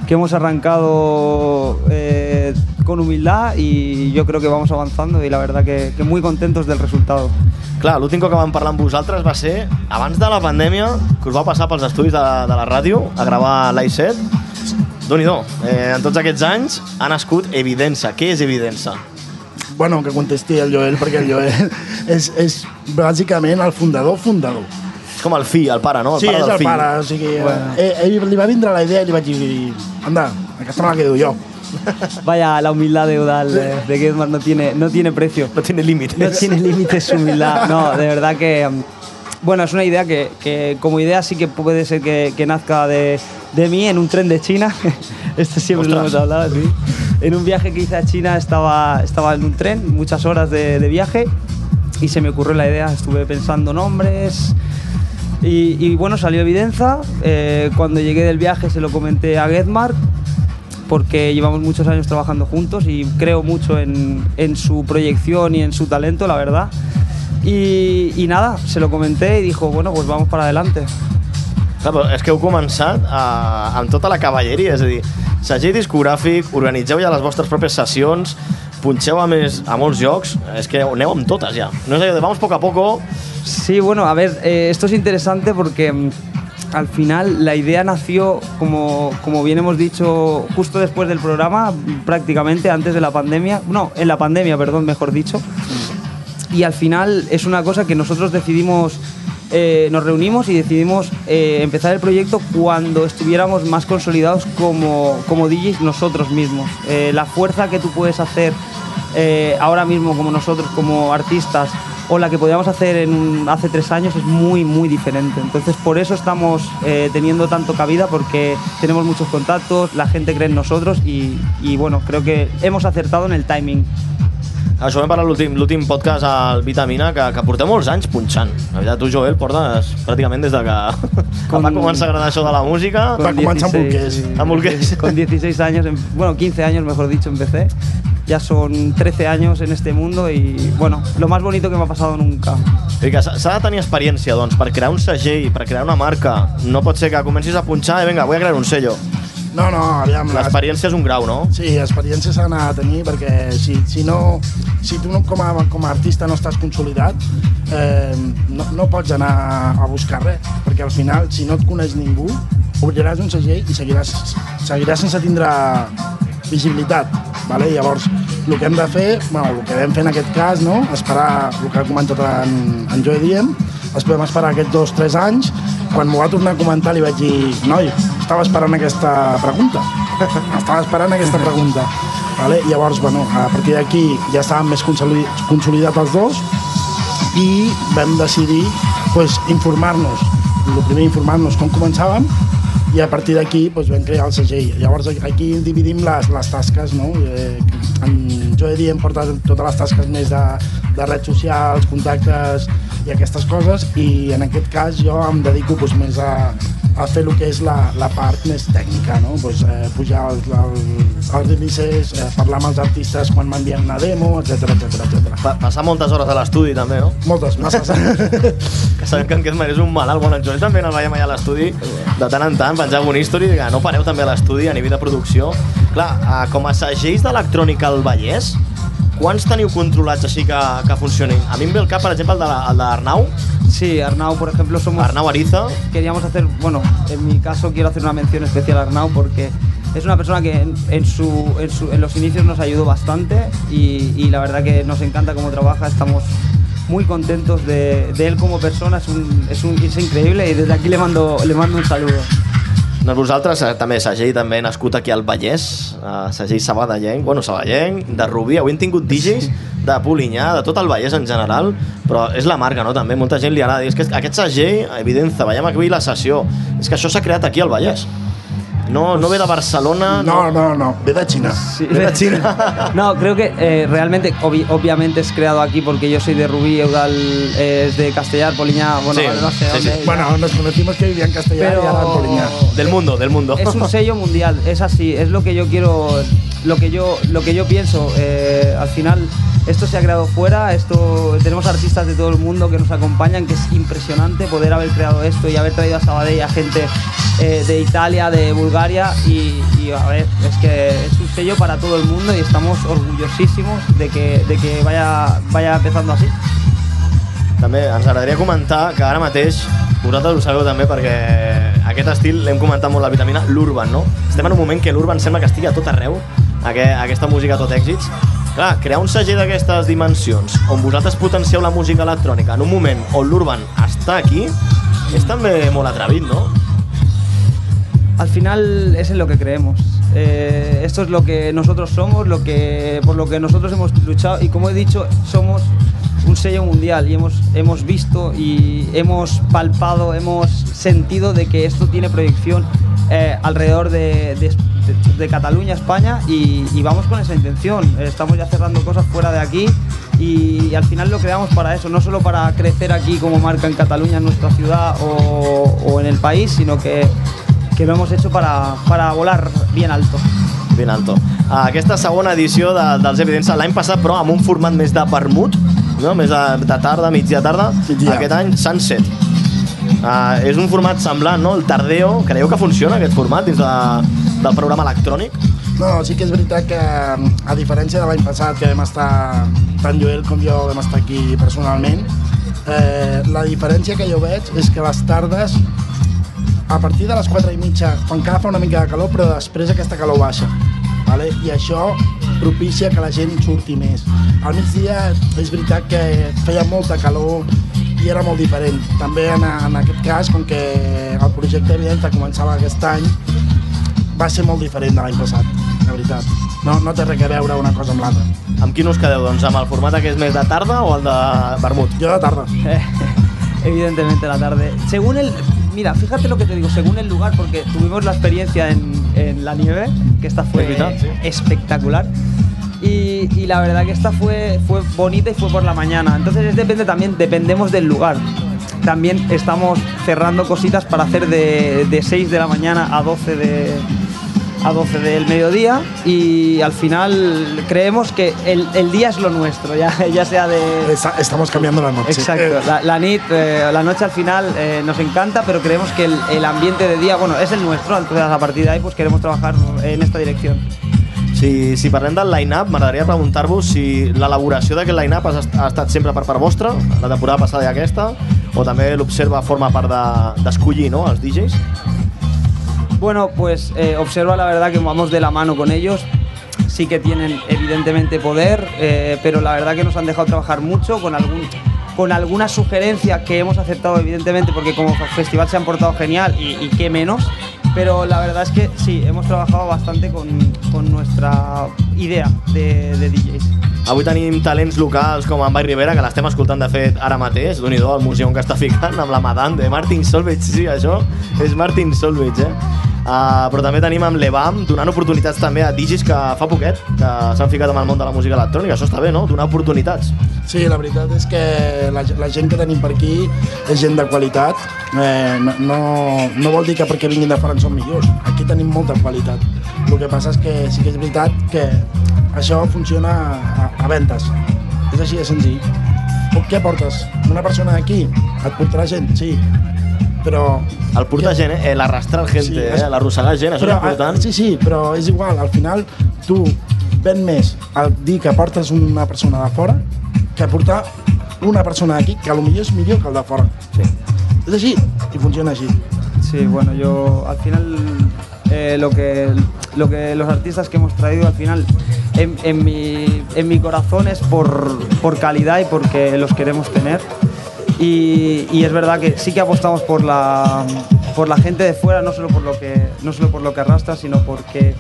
que hemos arrancado eh, con humildad y yo creo que vamos avanzando y la verdad que, que muy contentos del resultado.
Clar, l'últim cop que vam parlar amb vosaltres va ser abans de la pandèmia, que us va passar pels estudis de, de la ràdio a gravar l'i7. déu nhi eh, en tots aquests anys ha nascut Evidença. Què és Evidença?
Bueno, que contesti el Joel, perquè el Joel és, és bàsicament el fundador fundador.
És com el fill, el pare, no? El
sí,
pare
és
del
el
fill.
pare, o sigui,
Bueno.
bueno. eh, ell li va vindre la idea i li vaig dir, anda, aquesta me la quedo jo. Vaya, la humildad de Udal de, de Gedmar no tiene, no tiene precio.
No tiene límites.
No tiene límites su humildad. No, de verdad que... mm, Bueno, es una idea que, que como idea sí que puede ser que, que nazca de, de mí en un tren de China. Esto siempre lo hemos hablado, sí. En un viaje que hice a China estaba, estaba en un tren, muchas horas de, de viaje, y se me ocurrió la idea. Estuve pensando nombres, y, y bueno, salió Evidenza. Eh, cuando llegué del viaje se lo comenté a Gedmar porque llevamos muchos años trabajando juntos y creo mucho en, en su proyección y en su talento, la verdad. Y, y nada, se lo comenté y dijo, bueno, pues vamos para adelante.
Clar, però és que heu començat eh, amb tota la cavalleria, és a dir, segell discogràfic, organitzeu ja les vostres pròpies sessions, punxeu a, més, a molts jocs, és que aneu amb totes ja. No és allò de vamos poco a poco,
Sí, bueno, a ver, eh, esto es interesante porque mm, al final la idea nació, como, como bien hemos dicho, justo después del programa, prácticamente antes de la pandemia, no, en la pandemia, perdón, mejor dicho. Y al final es una cosa que nosotros decidimos, eh, nos reunimos y decidimos eh, empezar el proyecto cuando estuviéramos más consolidados como, como DJs nosotros mismos. Eh, la fuerza que tú puedes hacer eh, ahora mismo como nosotros, como artistas, o la que podíamos hacer en un- hace tres años es muy, muy diferente. Entonces, por eso estamos eh, teniendo tanto cabida, porque tenemos muchos contactos, la gente cree en nosotros y, y, bueno, creo que hemos acertado en el timing.
Això vam parlar l'últim l'últim podcast al Vitamina, que, que portem molts anys punxant. La veritat, tu, Joel, portes pràcticament des de que Com... va començar a agradar això de la música.
Con 16, sí,
Amb bolquers.
Con 16 años, em- bueno, 15 años mejor dicho, empecé. Ya son 13 años en este mundo y, bueno, lo más bonito que me ha pasado nunca.
I que s'ha s'ha de tenir experiència, doncs, per crear un segell, per crear una marca. No pot ser que comencis a punxar i vinga, vull crear un sello.
No, no, aviam.
L'experiència és un grau, no?
Sí, experiència s'ha d'anar a tenir perquè si, si, no, si tu no, com, a, com a artista no estàs consolidat eh, no, no pots anar a buscar res perquè al final si no et coneix ningú obriràs un segell i seguiràs, seguiràs sense tindre visibilitat vale? llavors el que hem de fer bueno, el que vam fer en aquest cas no? esperar el que ha comentat en, en Joe Diem ens podem esperar aquests dos o tres anys quan m'ho va tornar a comentar li vaig dir noi, estava esperant aquesta pregunta estava esperant aquesta pregunta vale? llavors bueno, a partir d'aquí ja estàvem més consoli- consolidats els dos i vam decidir pues, informar-nos el primer informar-nos com començàvem i a partir d'aquí doncs, vam crear el segell. Llavors aquí dividim les, les tasques, no? Eh, en Joe Diem porta totes les tasques més de, de redes socials, contactes i aquestes coses i en aquest cas jo em dedico doncs, més a, a fer el que és la, la part més tècnica, no? Doncs, eh, pujar els, els, els releases, eh, parlar amb els artistes quan m'envien una demo, etc etc etc.
Pa passar moltes hores a l'estudi, també, no?
Moltes, masses.
que sabem que en aquest Maria és un malalt. Bueno, en Joel també ens veiem allà a l'estudi de tant en tant, penjava un history, i digue, no pareu també a l'estudi a nivell de producció. Clar, eh, com a segells d'electrònica al Vallès, quants teniu controlats així que, que funcionin? A mi em ve el cap, per exemple, el de la- el d'Arnau.
Sí, Arnau, por ejemplo, somos...
Arnau Ariza.
Queríamos hacer, bueno, en mi caso quiero hacer una mención especial a Arnau porque es una persona que en, en su, en, su- en los inicios nos ayudó bastante y, y la verdad que nos encanta cómo trabaja, estamos muy contentos de, de él como persona, es, un- es un- es increíble y desde aquí le mando, le mando un saludo.
Doncs vosaltres eh, també, segell també nascut aquí al Vallès, eh, segell sabadellenc, bueno, sabadellenc, de Rubí, avui hem tingut DJs de Polinyà, de tot el Vallès en general, però és la marca, no?, també, molta gent li agrada dir, és que aquest segell, evidenza, veiem aquí la sessió, és que això s'ha creat aquí al Vallès. No, no ve de Barcelona...
No, no, no, ve de Xina.
Sí. Ve de Xina.
No, creo que eh, realmente, obvi- obviamente es creado aquí porque yo soy de Rubí, Eudal eh, es de Castellar, Poliña, bueno, no sé dónde.
Bueno, nos conocimos que vivía en Castellar y ahora en Poliñá.
Del mundo, del mundo.
Es un sello mundial, es así, es lo que yo quiero, lo que yo, lo que yo pienso. eh, al final, esto se ha creado fuera, esto tenemos artistas de todo el mundo que nos acompañan, que es impresionante poder haber creado esto y haber traído a Sabadell a gente eh, de Italia, de Bulgaria y, y, a ver, es que es un sello para todo el mundo y estamos orgullosísimos de que, de que vaya, vaya empezando así.
També ens agradaria comentar que ara mateix, vosaltres ho sabeu també perquè aquest estil l'hem comentat molt la vitamina, l'urban, no? Estem en un moment que l'urban sembla que estigui a tot arreu, aqu aquesta música a tot èxits. Clar, crear un segell d'aquestes dimensions, on vosaltres potencieu la música electrònica en un moment on l'urban està aquí, és també molt atrevit, no?
Al final es en lo que creemos. Eh, esto es lo que nosotros somos, lo que, por lo que nosotros hemos luchado y como he dicho, somos un sello mundial y hemos, hemos visto y hemos palpado, hemos sentido de que esto tiene proyección eh, alrededor de, de- de- de Cataluña, España y, y vamos con esa intención. Eh, Estamos ya cerrando cosas fuera de aquí y, al final lo creamos para eso, no solo para crecer aquí como marca en Cataluña, en nuestra ciudad o- o en el país, sino que que lo hemos hecho para, para volar bien alto.
Ben alto. Ah, Aquesta segona edició de, dels Evidença l'any passat, però amb un format més de vermut, no? més de, de tarda, migdia tarda,
Migdia.
aquest any Sunset. Ah, és un format semblant, no? El Tardeo. Creieu que funciona aquest format dins de, del programa electrònic?
No, sí que és veritat que, a diferència de l'any passat, que vam estar, tant Joel com jo vam estar aquí personalment, eh, la diferència que jo veig és que les tardes, a partir de les 4 i mitja, encara fa una mica de calor, però després aquesta calor baixa. Vale? I això propicia que la gent surti més. Al migdia és veritat que feia molta calor i era molt diferent. També en, en aquest cas, com que el projecte Evidenta començava aquest any, va ser molt diferent de l'any passat, la veritat. No, no té res a veure una cosa amb l'altra.
Amb quin us quedeu, doncs? Amb el format que és més de tarda o el de vermut?
Jo de tarda.
Evidentemente la tarde. Según el... Mira, fíjate lo que te digo, según el lugar, porque tuvimos la experiencia en, en la nieve, que esta fue espectacular. Y, y la verdad que esta fue, fue bonita y fue por la mañana. Entonces es depende también, dependemos del lugar. También estamos cerrando cositas para hacer de, de 6 de la mañana a 12 de, a 12 del mediodía y al final creemos que el, el día es lo nuestro, ya, ya sea de...
estamos cambiando la noche. Eh.
Exacto, la, la nit, eh, la noche al final eh, nos encanta, pero creemos que el, el ambiente de día, bueno, es el nuestro, entonces a partir de ahí pues queremos trabajar en esta dirección.
Si, si parlem del line-up, m'agradaria preguntar-vos si l'elaboració d'aquest line-up ha, est- ha estat sempre per part vostra, la temporada passada i aquesta, o també l'Observa forma part de- d'escollir, de, no?, els DJs.
Bueno, pues eh, observa la verdad que vamos de la mano con ellos. Sí que tienen evidentemente poder, eh, pero la verdad que nos han dejado trabajar mucho con algún con alguna sugerencia que hemos aceptado evidentemente porque como festival se han portado genial y, y qué menos. Pero la verdad es que sí, hemos trabajado bastante con, con nuestra idea de, de DJs.
Avui tenim talents locals com en Vall Rivera, que l'estem escoltant de fet ara mateix, d'un i do, el museu que està ficant amb la Madame de Martin Solveig, sí, això és Martin Solveig, eh? Uh, però també tenim amb l'Evam donant oportunitats també a digis que fa poquet que s'han ficat amb el món de la música electrònica això està bé, no? Donar oportunitats
Sí, la veritat és que la, la gent que tenim per aquí és gent de qualitat. Eh, no, no, no vol dir que perquè vinguin de fora en són millors. Aquí tenim molta qualitat. El que passa és que sí que és veritat que això funciona a, a ventes. És així de senzill. O què portes? Una persona d'aquí? Et portarà gent? Sí. Però...
El portar gent, eh? L'arrastrar gent, sí, eh? L'arrossegar gent, això
però, eh,
és important.
Sí, sí, però és igual. Al final, tu ven més al dir que portes una persona de fora que portar una persona d'aquí, que potser és millor que el de fora. Sí. És així, i funciona així.
Sí, bueno, yo al final eh, lo, que, lo que los artistas que hemos traído al final en, en mi, en mi corazón es por, por calidad y porque los queremos tener. Y, y es verdad que sí que apostamos por la, por la gente de fuera, no solo por lo que, no solo por lo que arrastra, sino porque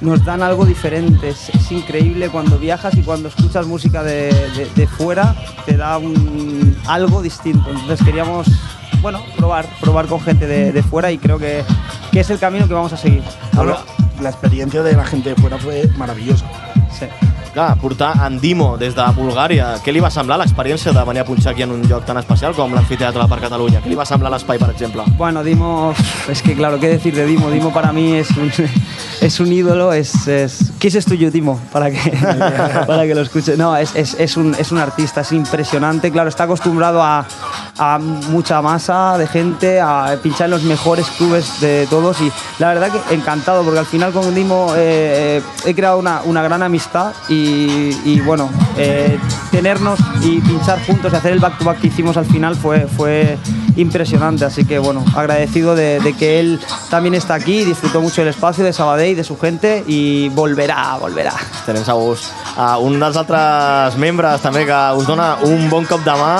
nos dan algo diferente. Es, es increíble cuando viajas y cuando escuchas música de, de- de fuera, te da un, algo distinto. Entonces queríamos, bueno, probar, probar con gente de, de fuera y creo que, que es el camino que vamos a seguir.
Ahora, la experiencia de la gente de fuera fue maravillosa.
Sí.
Clar, portar en Dimo des de Bulgària, què li va semblar l'experiència de venir a punxar aquí en un lloc tan especial com l'Amfiteatre del Parc Catalunya? Què li va semblar l'espai, per exemple?
Bueno, Dimo, es que claro, ¿qué decir de Dimo? Dimo para mí es un, es un ídolo, es, es... ¿Qué es tuyo, Dimo? Para que, para que lo escuche. No, es, es- es un, es un artista, es impresionante. Claro, está acostumbrado a, a mucha masa de gente, a pinchar en los mejores clubes de todos y la verdad que encantado, porque al final con Dimo eh, he creado una, una gran amistad y, y, bueno, eh, tenernos y pinchar juntos y hacer el back-to-back que hicimos al final fue, fue impresionante. Así que bueno, agradecido de, de que él también está aquí, disfrutó mucho el espacio de Sabadell, de su gente y volverá, volverá.
Tenim segurs. Uh, un dels altres membres també que us dona un bon cop de mà.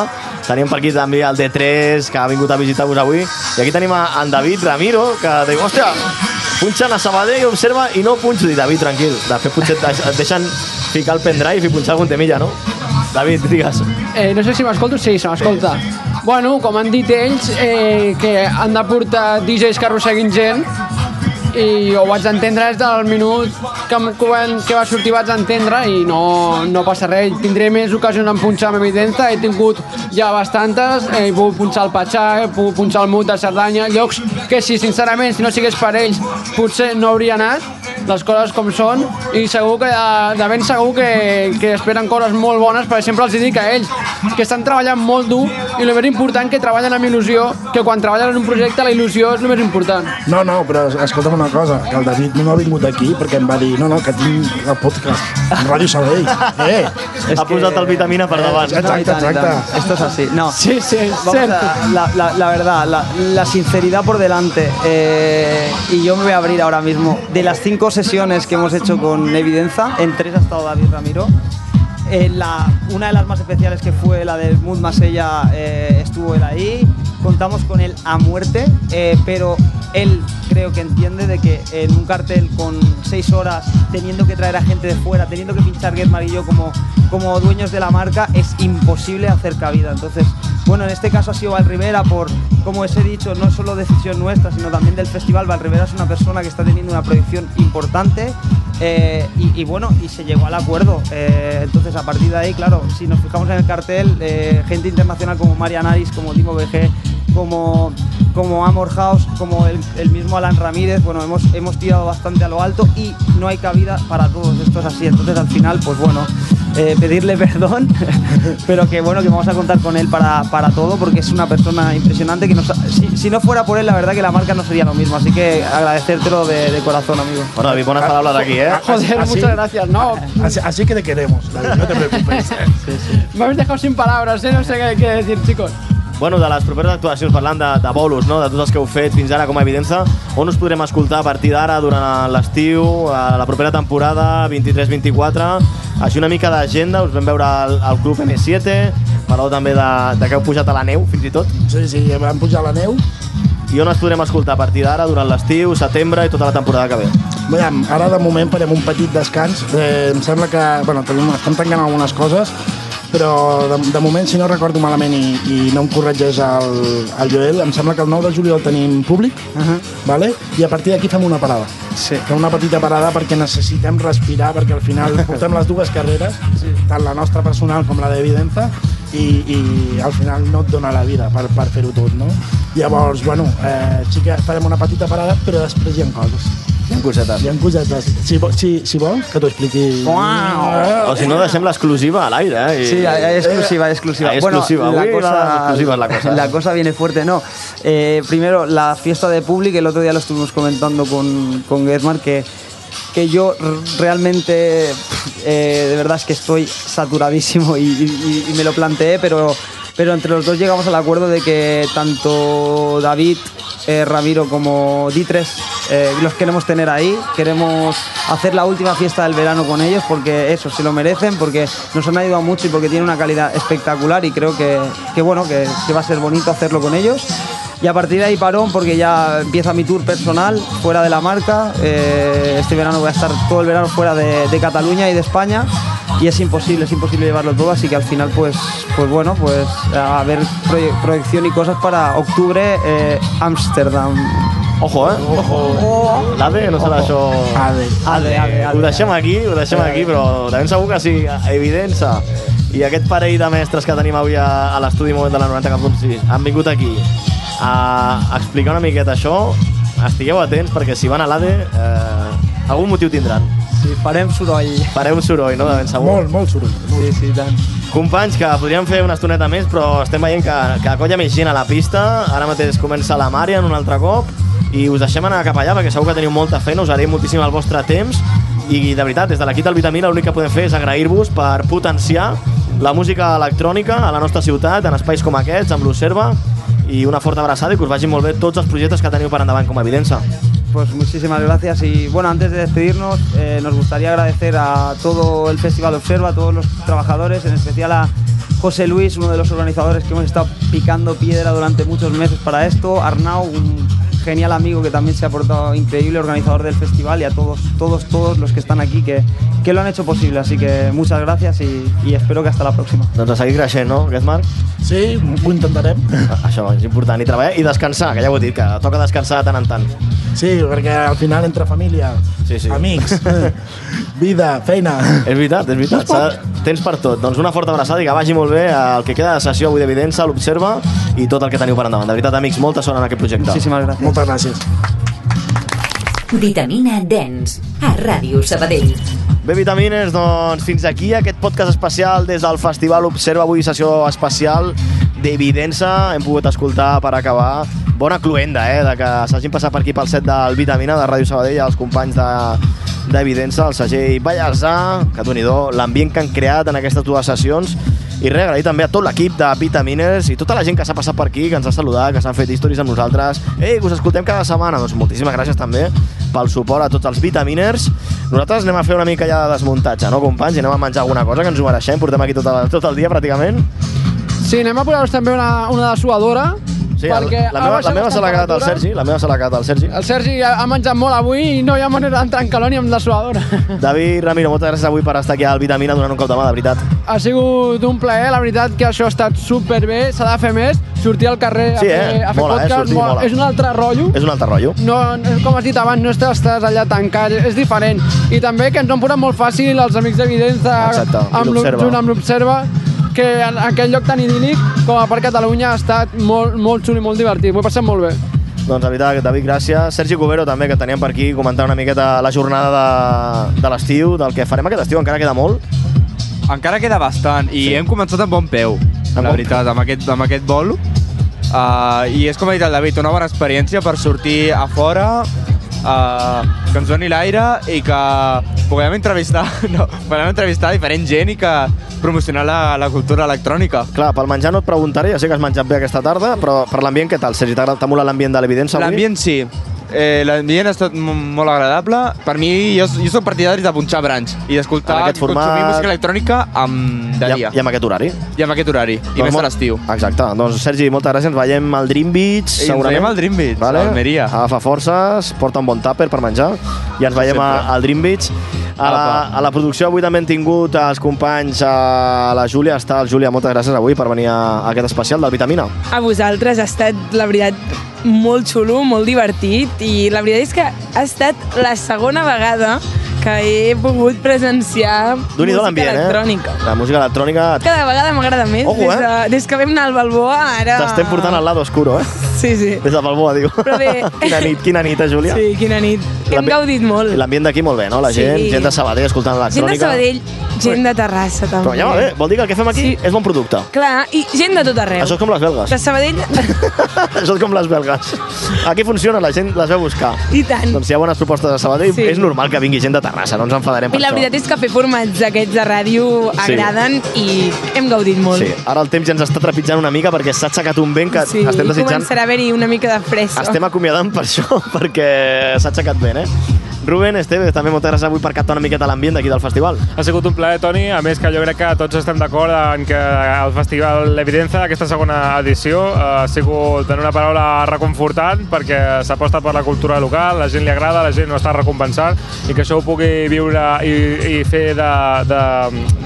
Tenim per aquí també el D3, que ha vingut a visitar-vos avui. I aquí tenim a en David Ramiro, que diu, hòstia, punxen a Sabadell, observa, i no punxo. Dic, David, tranquil, de fet potser et deix- et deixen ficar el pendrive i punxar algun temilla, no? David, digues.
Eh, no sé si m'escolto, sí, se m'escolta. Bueno, com han dit ells, eh, que han de portar DJs que arrosseguin gent i ho vaig entendre des del minut que, em- que, van, que va sortir vaig entendre i no, no passa res. Tindré més ocasions en punxar amb evidència, he tingut ja bastantes, eh, he pogut punxar el Patxà, he pogut punxar el Mut de eh, Cerdanya, llocs que si sincerament, si no sigués per ells, potser no hauria anat, les coses com són i segur que eh, de, de ben segur que, que esperen coses molt bones per exemple els dic a ells que estan treballant molt dur i el més important que treballen amb il·lusió que quan treballen en un projecte la il·lusió és el més important
No, no, però escolta'm una cosa, que el David no ha vingut aquí perquè em va dir, no, no, que tinc el podcast, Ràdio Sabadell. Eh,
ha posat el vitamina per davant.
Exacte, exacte.
Esto es así. No.
Sí, sí,
Vamos a- la, la- la verdad, la, la sinceridad por delante. eh, y yo me voy a abrir ahora mismo. De las cinco sesiones que hemos hecho con Evidenza, en tres ha estado David Ramiro. Eh, la- una de las más especiales que fue la del Mood Masella eh, estuvo él ahí. Contamos con él a muerte, eh, pero él creo que entiende de que eh, en un cartel con seis horas, teniendo que traer a gente de fuera, teniendo que pinchar Getmar y yo como, como dueños de la marca, es imposible hacer cabida. Entonces, bueno, en este caso ha sido Val Rivera por, como os he dicho, no es solo decisión nuestra, sino también del festival. Val Rivera es una persona que está teniendo una proyección importante eh, y, y bueno, y se llegó al acuerdo. Eh, entonces, a partir de ahí, claro, si nos fijamos en el cartel, eh, gente internacional como Marian Aris, como Timo BG, como, como Amor House, como el, el mismo Alan Ramírez. Bueno, hemos, hemos tirado bastante a lo alto y no hay cabida para todos. Esto es así. Entonces, al final, pues bueno, eh, pedirle perdón, pero que bueno, que vamos a contar con él para, para todo porque es una persona impresionante que nos ha- si, si no fuera por él, la verdad que la marca no sería lo mismo. Así que agradecértelo de, de corazón, amigo.
Bueno, David, buenas palabras aquí, ¿eh?
Joder, muchas gracias, no.
Así, así que te queremos, David, no te preocupes.
Me habéis dejado sin palabras, eh? no sé qué, qué decir, chicos.
Bueno, de les properes actuacions, parlant de, de bolos, no? de tots els que heu fet fins ara com a evidència, on us podrem escoltar a partir d'ara, durant l'estiu, a la propera temporada, 23-24, així una mica d'agenda, us vam veure al, al Club M7, parleu també de, de que heu pujat a la neu, fins i tot.
Sí, sí, vam pujar a la neu.
I on es podrem escoltar a partir d'ara, durant l'estiu, setembre i tota la temporada que ve?
Veiem, ara de moment farem un petit descans. Eh, em sembla que bueno, tenim, estem tancant algunes coses, però de, de moment, si no recordo malament i, i no em corregeix el, el Joel, em sembla que el 9 de juliol tenim públic, uh -huh. vale? i a partir d'aquí fem una parada.
Sí.
Fem una petita parada perquè necessitem respirar, perquè al final portem les dues carreres, sí. tant la nostra personal com la d'evidenza, i, i al final no et dona la vida per, per fer-ho tot, no? Llavors, bueno, eh, sí que farem una petita parada, però després hi ha coses.
Hi ha cosetes.
Hi ha cosetes. Si, vo- si, si vols, que t'ho expliqui... Ah.
O si no, deixem l'exclusiva a l'aire. Eh? I-
Sí, hay, hay exclusiva, hay exclusiva.
Ah,
Bueno,
exclusiva.
la
Avui
cosa-
la exclusiva és la cosa.
la cosa viene fuerte, no. Eh, primero, la fiesta de Public, el otro día lo estuvimos comentando con, con Gersmar, que, que yo r- realmente, pff, eh, de verdad es que estoy saturadísimo y, y- y- y me lo planteé, pero, pero entre los dos llegamos al acuerdo de que tanto David, eh, Ramiro como Ditres eh, los queremos tener ahí, queremos hacer la última fiesta del verano con ellos porque eso, se lo merecen, porque nos han ayudado mucho y porque tienen una calidad espectacular y creo que, que bueno, que, que va a ser bonito hacerlo con ellos. Y a partir de ahí parón porque ya empieza mi tour personal fuera de la marca. Eh, este verano voy a estar todo el verano fuera de, de Cataluña y de España y es imposible, es imposible llevarlo todo, así que al final pues, pues bueno, pues a haber proye- proyección y cosas para octubre, eh, Amsterdam.
Ojo, eh?
Ojo.
L'ADE, no serà això...
ADE.
ADE, ADE.
Ho deixem aquí, ho deixem aquí, però de ben segur que sí, evidència. I aquest parell de mestres que tenim avui a, a l'estudi Moment de la 90 cap punt han vingut aquí a explicar una miqueta això. Estigueu atents perquè si van a l'ADE eh, algun motiu tindran.
Sí, farem soroll.
Fareu soroll, no? De ben segur.
Molt, molt soroll.
Sí, sí, tant.
Companys, que podríem fer una estoneta més, però estem veient que, que acolla més gent a la pista. Ara mateix comença la Marian un altre cop i us deixem anar cap allà perquè segur que teniu molta feina, us haré moltíssim el vostre temps i de veritat, des de l'equip del Vitamina l'únic que podem fer és agrair-vos per potenciar la música electrònica a la nostra ciutat, en espais com aquests, amb l'Observa i una forta abraçada i que us vagin molt bé tots els projectes que teniu per endavant com a evidència.
Pues muchísimas gracias y bueno, antes de despedirnos eh, nos gustaría agradecer a todo el Festival Observa, a todos los trabajadores, en especial a José Luis, uno de los organizadores que hemos estado picando piedra durante muchos meses para esto, Arnau, un genial amigo que también se ha portado increíble, organizador del festival y a todos, todos, todos los que están aquí que, que lo han hecho posible, así que muchas gracias y, y espero que hasta la próxima.
Doncs a seguir creixent, no, aquest Marc?
Sí, ho intentarem.
Això és important, i treballar i descansar, que ja ho he dit, que toca descansar de tant en tant.
Sí, perquè al final entre família,
Sí, sí.
amics, vida, feina...
És veritat, és veritat. S'ha- Tens per tot. Doncs una forta abraçada i que vagi molt bé el que queda de sessió avui d'Evidència, l'Observa i tot el que teniu per endavant. De veritat, amics, molta sort en aquest projecte.
Moltíssimes gràcies.
Moltes gràcies.
Vitamina Dance, a Ràdio Sabadell.
Bé, vitamines, doncs fins aquí aquest podcast especial des del Festival Observa avui sessió especial d'Evidença. Hem pogut escoltar per acabar bona cluenda, eh, de que s'hagin passat per aquí pel set del Vitamina de Ràdio Sabadell els companys de d'Evidença, el segell Vallèsà, que doni do l'ambient que han creat en aquestes dues sessions. I res, agrair també a tot l'equip de Vitamines i tota la gent que s'ha passat per aquí, que ens ha saludat, que s'han fet històries amb nosaltres. Ei, que us escoltem cada setmana. Doncs moltíssimes gràcies també pel suport a tots els Vitaminers. Nosaltres anem a fer una mica ja de desmuntatge, no, companys? I anem a menjar alguna cosa, que ens ho mereixem. Portem aquí tot el, tot el dia, pràcticament.
Sí, anem a posar-vos també una, una dessuadora.
Sí, el, la, meva, la meva se l'ha quedat al Sergi, la meva se l'ha quedat al Sergi.
El Sergi ha ha menjat molt avui i no hi ha manera d'entrar en calor ni amb dessuadora.
David Ramiro, moltes gràcies avui per estar aquí al Vitamina donant un cop de mà, de veritat.
Ha sigut un plaer, la veritat que això ha estat superbé, s'ha de fer més, sortir al carrer
Sí,
a
eh?
fer, a fer
Mola, eh?
podcast,
Sortir, mola.
és un altre rotllo.
És un altre rotllo.
No, no, com has dit abans, no estàs, estàs allà tancat, és diferent. I també que ens ho han posat molt fàcil els amics d'Evidenza
Exacte, i
amb l'O-
l'Observa.
junt amb l'Observa, que en aquell lloc tan idíl·lic com a Parc Catalunya ha estat molt, molt xul i molt divertit. M'ho he passat molt bé.
Doncs la veritat, David, gràcies. Sergi Cubero també, que teníem per aquí, comentar una miqueta la jornada de, de l'estiu, del que farem aquest estiu, encara queda molt.
Encara queda bastant i sí. hem començat amb bon peu, la veritat, amb aquest, amb aquest vol. Uh, I és com ha dit el David, una bona experiència per sortir a fora, uh, que ens doni l'aire i que puguem entrevistar, no, puguem entrevistar diferent gent i que promocionar la, la cultura electrònica.
Clar, pel menjar no et preguntaré, ja sé que has menjat bé aquesta tarda, però per l'ambient què tal, Sergi? T'agrada- T'ha molat l'ambient de l'Evidència avui?
L'ambient sí. Eh, L'ambient ha estat mo- molt agradable. Per mi, jo, jo soc partidari de punxar brunch i d'escoltar,
En aquest format-
consumir música electrònica amb, de
I,
dia.
I amb aquest horari.
I amb aquest horari. I més a l'estiu.
Doncs Exacte. Doncs, Sergi, moltes gràcies. Ens veiem al Dream Beach,
ens
segurament.
veiem al Dream Beach, a Almeria.
Agafa forces, porta un bon tàper per menjar i ens veiem a,
Sempre.
al Dream Beach. A la, a la producció avui també hem tingut els companys, a la Júlia. Està el Júlia, moltes gràcies avui per venir a, a aquest especial del Vitamina.
A vosaltres ha estat, la veritat, molt xulo, molt divertit i la veritat és que ha estat la segona vegada que he pogut presenciar
D'un i
música
l'ambient, eh?
electrònica.
La música electrònica et-
Cada vegada m'agrada més.
Ojo, eh?
des, de, des que vam anar al Balboa, ara...
t'estem portant al lado oscuro, eh?
Sí, sí.
Des del Balboa, diu.
Però bé.
quina nit, quina nit, eh, Júlia?
Sí, quina nit. Hem gaudit molt.
L'ambient d'aquí molt bé, no? La
Sí.
gent, gent de Sabadell escoltant
Gent de
electrònica.
Sabadell, gent de Terrassa, també.
Però ja va bé, vol dir que el que fem aquí
Sí.
és bon producte.
Clar, i gent de tot arreu.
Això és com les belgues.
De Sabadell,
Això és com les belgues. Aquí funciona, la gent les veu buscar.
i tant.
Doncs si hi ha bones propostes de Sabadell,
Sí.
és normal que vingui gent de Terrassa, no ens enfadarem
I
per
la veritat és que fer formats aquests de ràdio agraden i hem gaudit molt.
Sí, ara el temps ja ens està trepitjant una mica perquè s'ha aixecat un vent que
Sí,
estem desitjant...
començarà a haver-hi una mica de fressa.
Estem acomiadant per això, perquè s'ha aixecat vent, eh? Ruben, Esteve, també moltes gràcies avui per captar una miqueta l'ambient d'aquí del festival.
Ha sigut un plaer, Toni. A més, que jo crec que tots estem d'acord en que el Festival L'Evidenza, aquesta segona edició, eh, ha sigut, en una paraula, reconfortant, perquè s'aposta per la cultura local, la gent li agrada, la gent no està recompensant, i que això ho pugui viure i, i fer de, de,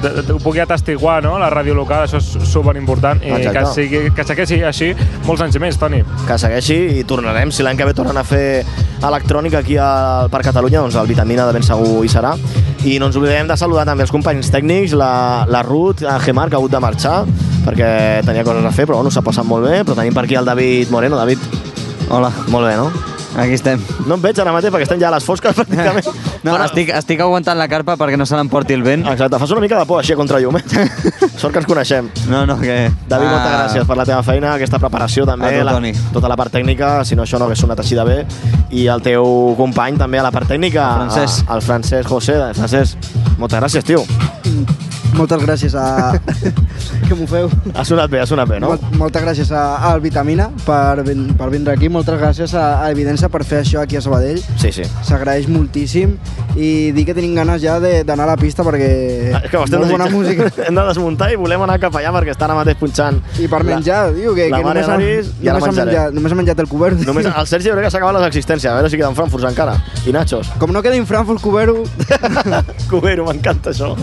de, de, Ho pugui atestiguar, no?, la ràdio local, això és superimportant, i
Exacte.
que, sigui, que segueixi així molts anys més, Toni.
que segueixi i tornarem. Si l'any que ve tornen a fer electrònica aquí al Parc Catalunya, doncs el Vitamina de ben segur hi serà. I no ens oblidem de saludar també els companys tècnics, la, la Ruth, en Gemar, que ha hagut de marxar perquè tenia coses a fer, però bueno, s'ha passat molt bé. Però tenim per aquí el David Moreno. David, hola. Molt bé, no?
Aquí estem.
No em veig ara mateix perquè estem ja a les fosques pràcticament.
No, bueno, estic, estic aguantant la carpa perquè no se l'emporti el vent.
Exacte, fas una mica de por així contra llum, eh? Sort que ens coneixem.
No, no, que...
David, moltes
Ah.
gràcies per la teva feina, aquesta preparació també,
A tu,
la,
Toni.
tota la part tècnica, si no això no hagués sonat així de bé, i el teu company també a la part tècnica,
Francesc.
a- el Francesc José. Francesc, moltes gràcies, tio.
Moltes gràcies a... que m'ho feu.
Ha sonat bé, ha sonat bé, no?
Molt, moltes gràcies a, al Vitamina per, ven- per vindre aquí, moltes gràcies a, a Evidència per fer això aquí a Sabadell.
Sí, sí.
S'agraeix moltíssim i dir que tenim ganes ja de- d'anar a la pista perquè
Ah, És que ho estem
molt bona
desitjant.
música.
Hem de desmuntar i volem anar cap allà perquè està ara mateix punxant.
I per menjar, diu que,
la
que
mare
només, ha,
Davis, i ara
només, ha
menjaré.
menjat, només ha menjat el cobert.
Només el Sergi jo crec que s'ha acabat les existències, a veure si queden Frankfurts encara. I Nachos.
Com no quedin Frankfurt, Cubero...
Cubero, m'encanta això.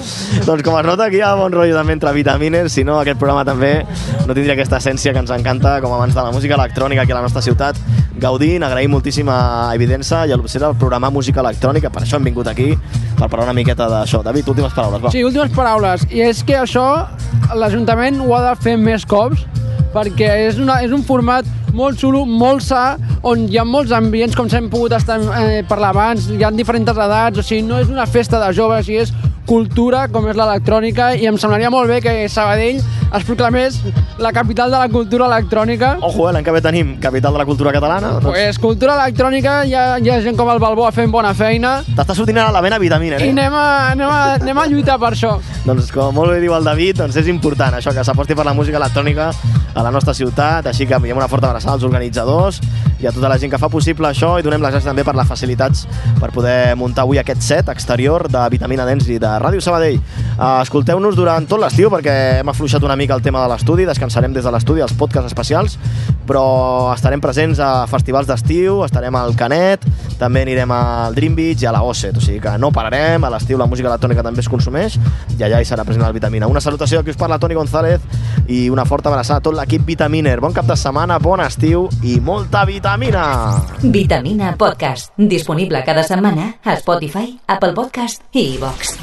doncs com es nota, aquí hi ha bon rotllo també entre vitamines, si no aquest programa també no tindria aquesta essència que ens encanta, com abans de la música electrònica aquí a la nostra ciutat. Gaudint, agraïm moltíssim a Evidença i a l'Obsera el programa Música Electrònica, per això hem vingut aquí, per parlar una miqueta d'això. David, últimes paraules, va.
Sí, últimes paraules. I és que això l'Ajuntament ho ha de fer més cops perquè és, una, és un format molt xulo, molt sa, on hi ha molts ambients, com s'hem pogut estar, eh, parlar abans, hi ha diferents edats, o sigui, no és una festa de joves, i és cultura, com és l'electrònica, i em semblaria molt bé que Sabadell es proclamés la capital de la cultura electrònica.
Ojo, eh, l'any que ve tenim Capital de la Cultura Catalana. Doncs...
Pues cultura electrònica, hi ha, hi ha gent com el Balboa fent bona feina,
T'està sortint ara la vena vitamina,
i
eh?
anem a, anem a, anem a lluitar per això.
Doncs com molt bé diu el David, doncs és important això, que s'aposti per la música electrònica a la nostra ciutat, així que enviem una forta abraçada als organitzadors i a tota la gent que fa possible això i donem les gràcies també per les facilitats per poder muntar avui aquest set exterior de Vitamina Dens i de Ràdio Sabadell. Eh, Escolteu-nos durant tot l'estiu perquè hem afluixat una mica el tema de l'estudi, descansarem des de l'estudi els podcasts especials, però estarem presents a festivals d'estiu, estarem al Canet, també anirem al Dream Beach i a la Osset, o sigui que no pararem, a l'estiu la música electrònica també es consumeix i allà hi serà present el Vitamina. Una salutació que us parla Toni González i una forta abraçada a tot l'equip Vitaminer. Bon cap de setmana, bon estiu i molta vitamina!
Vitamina Podcast, disponible cada setmana a Spotify, Apple Podcast i iVox.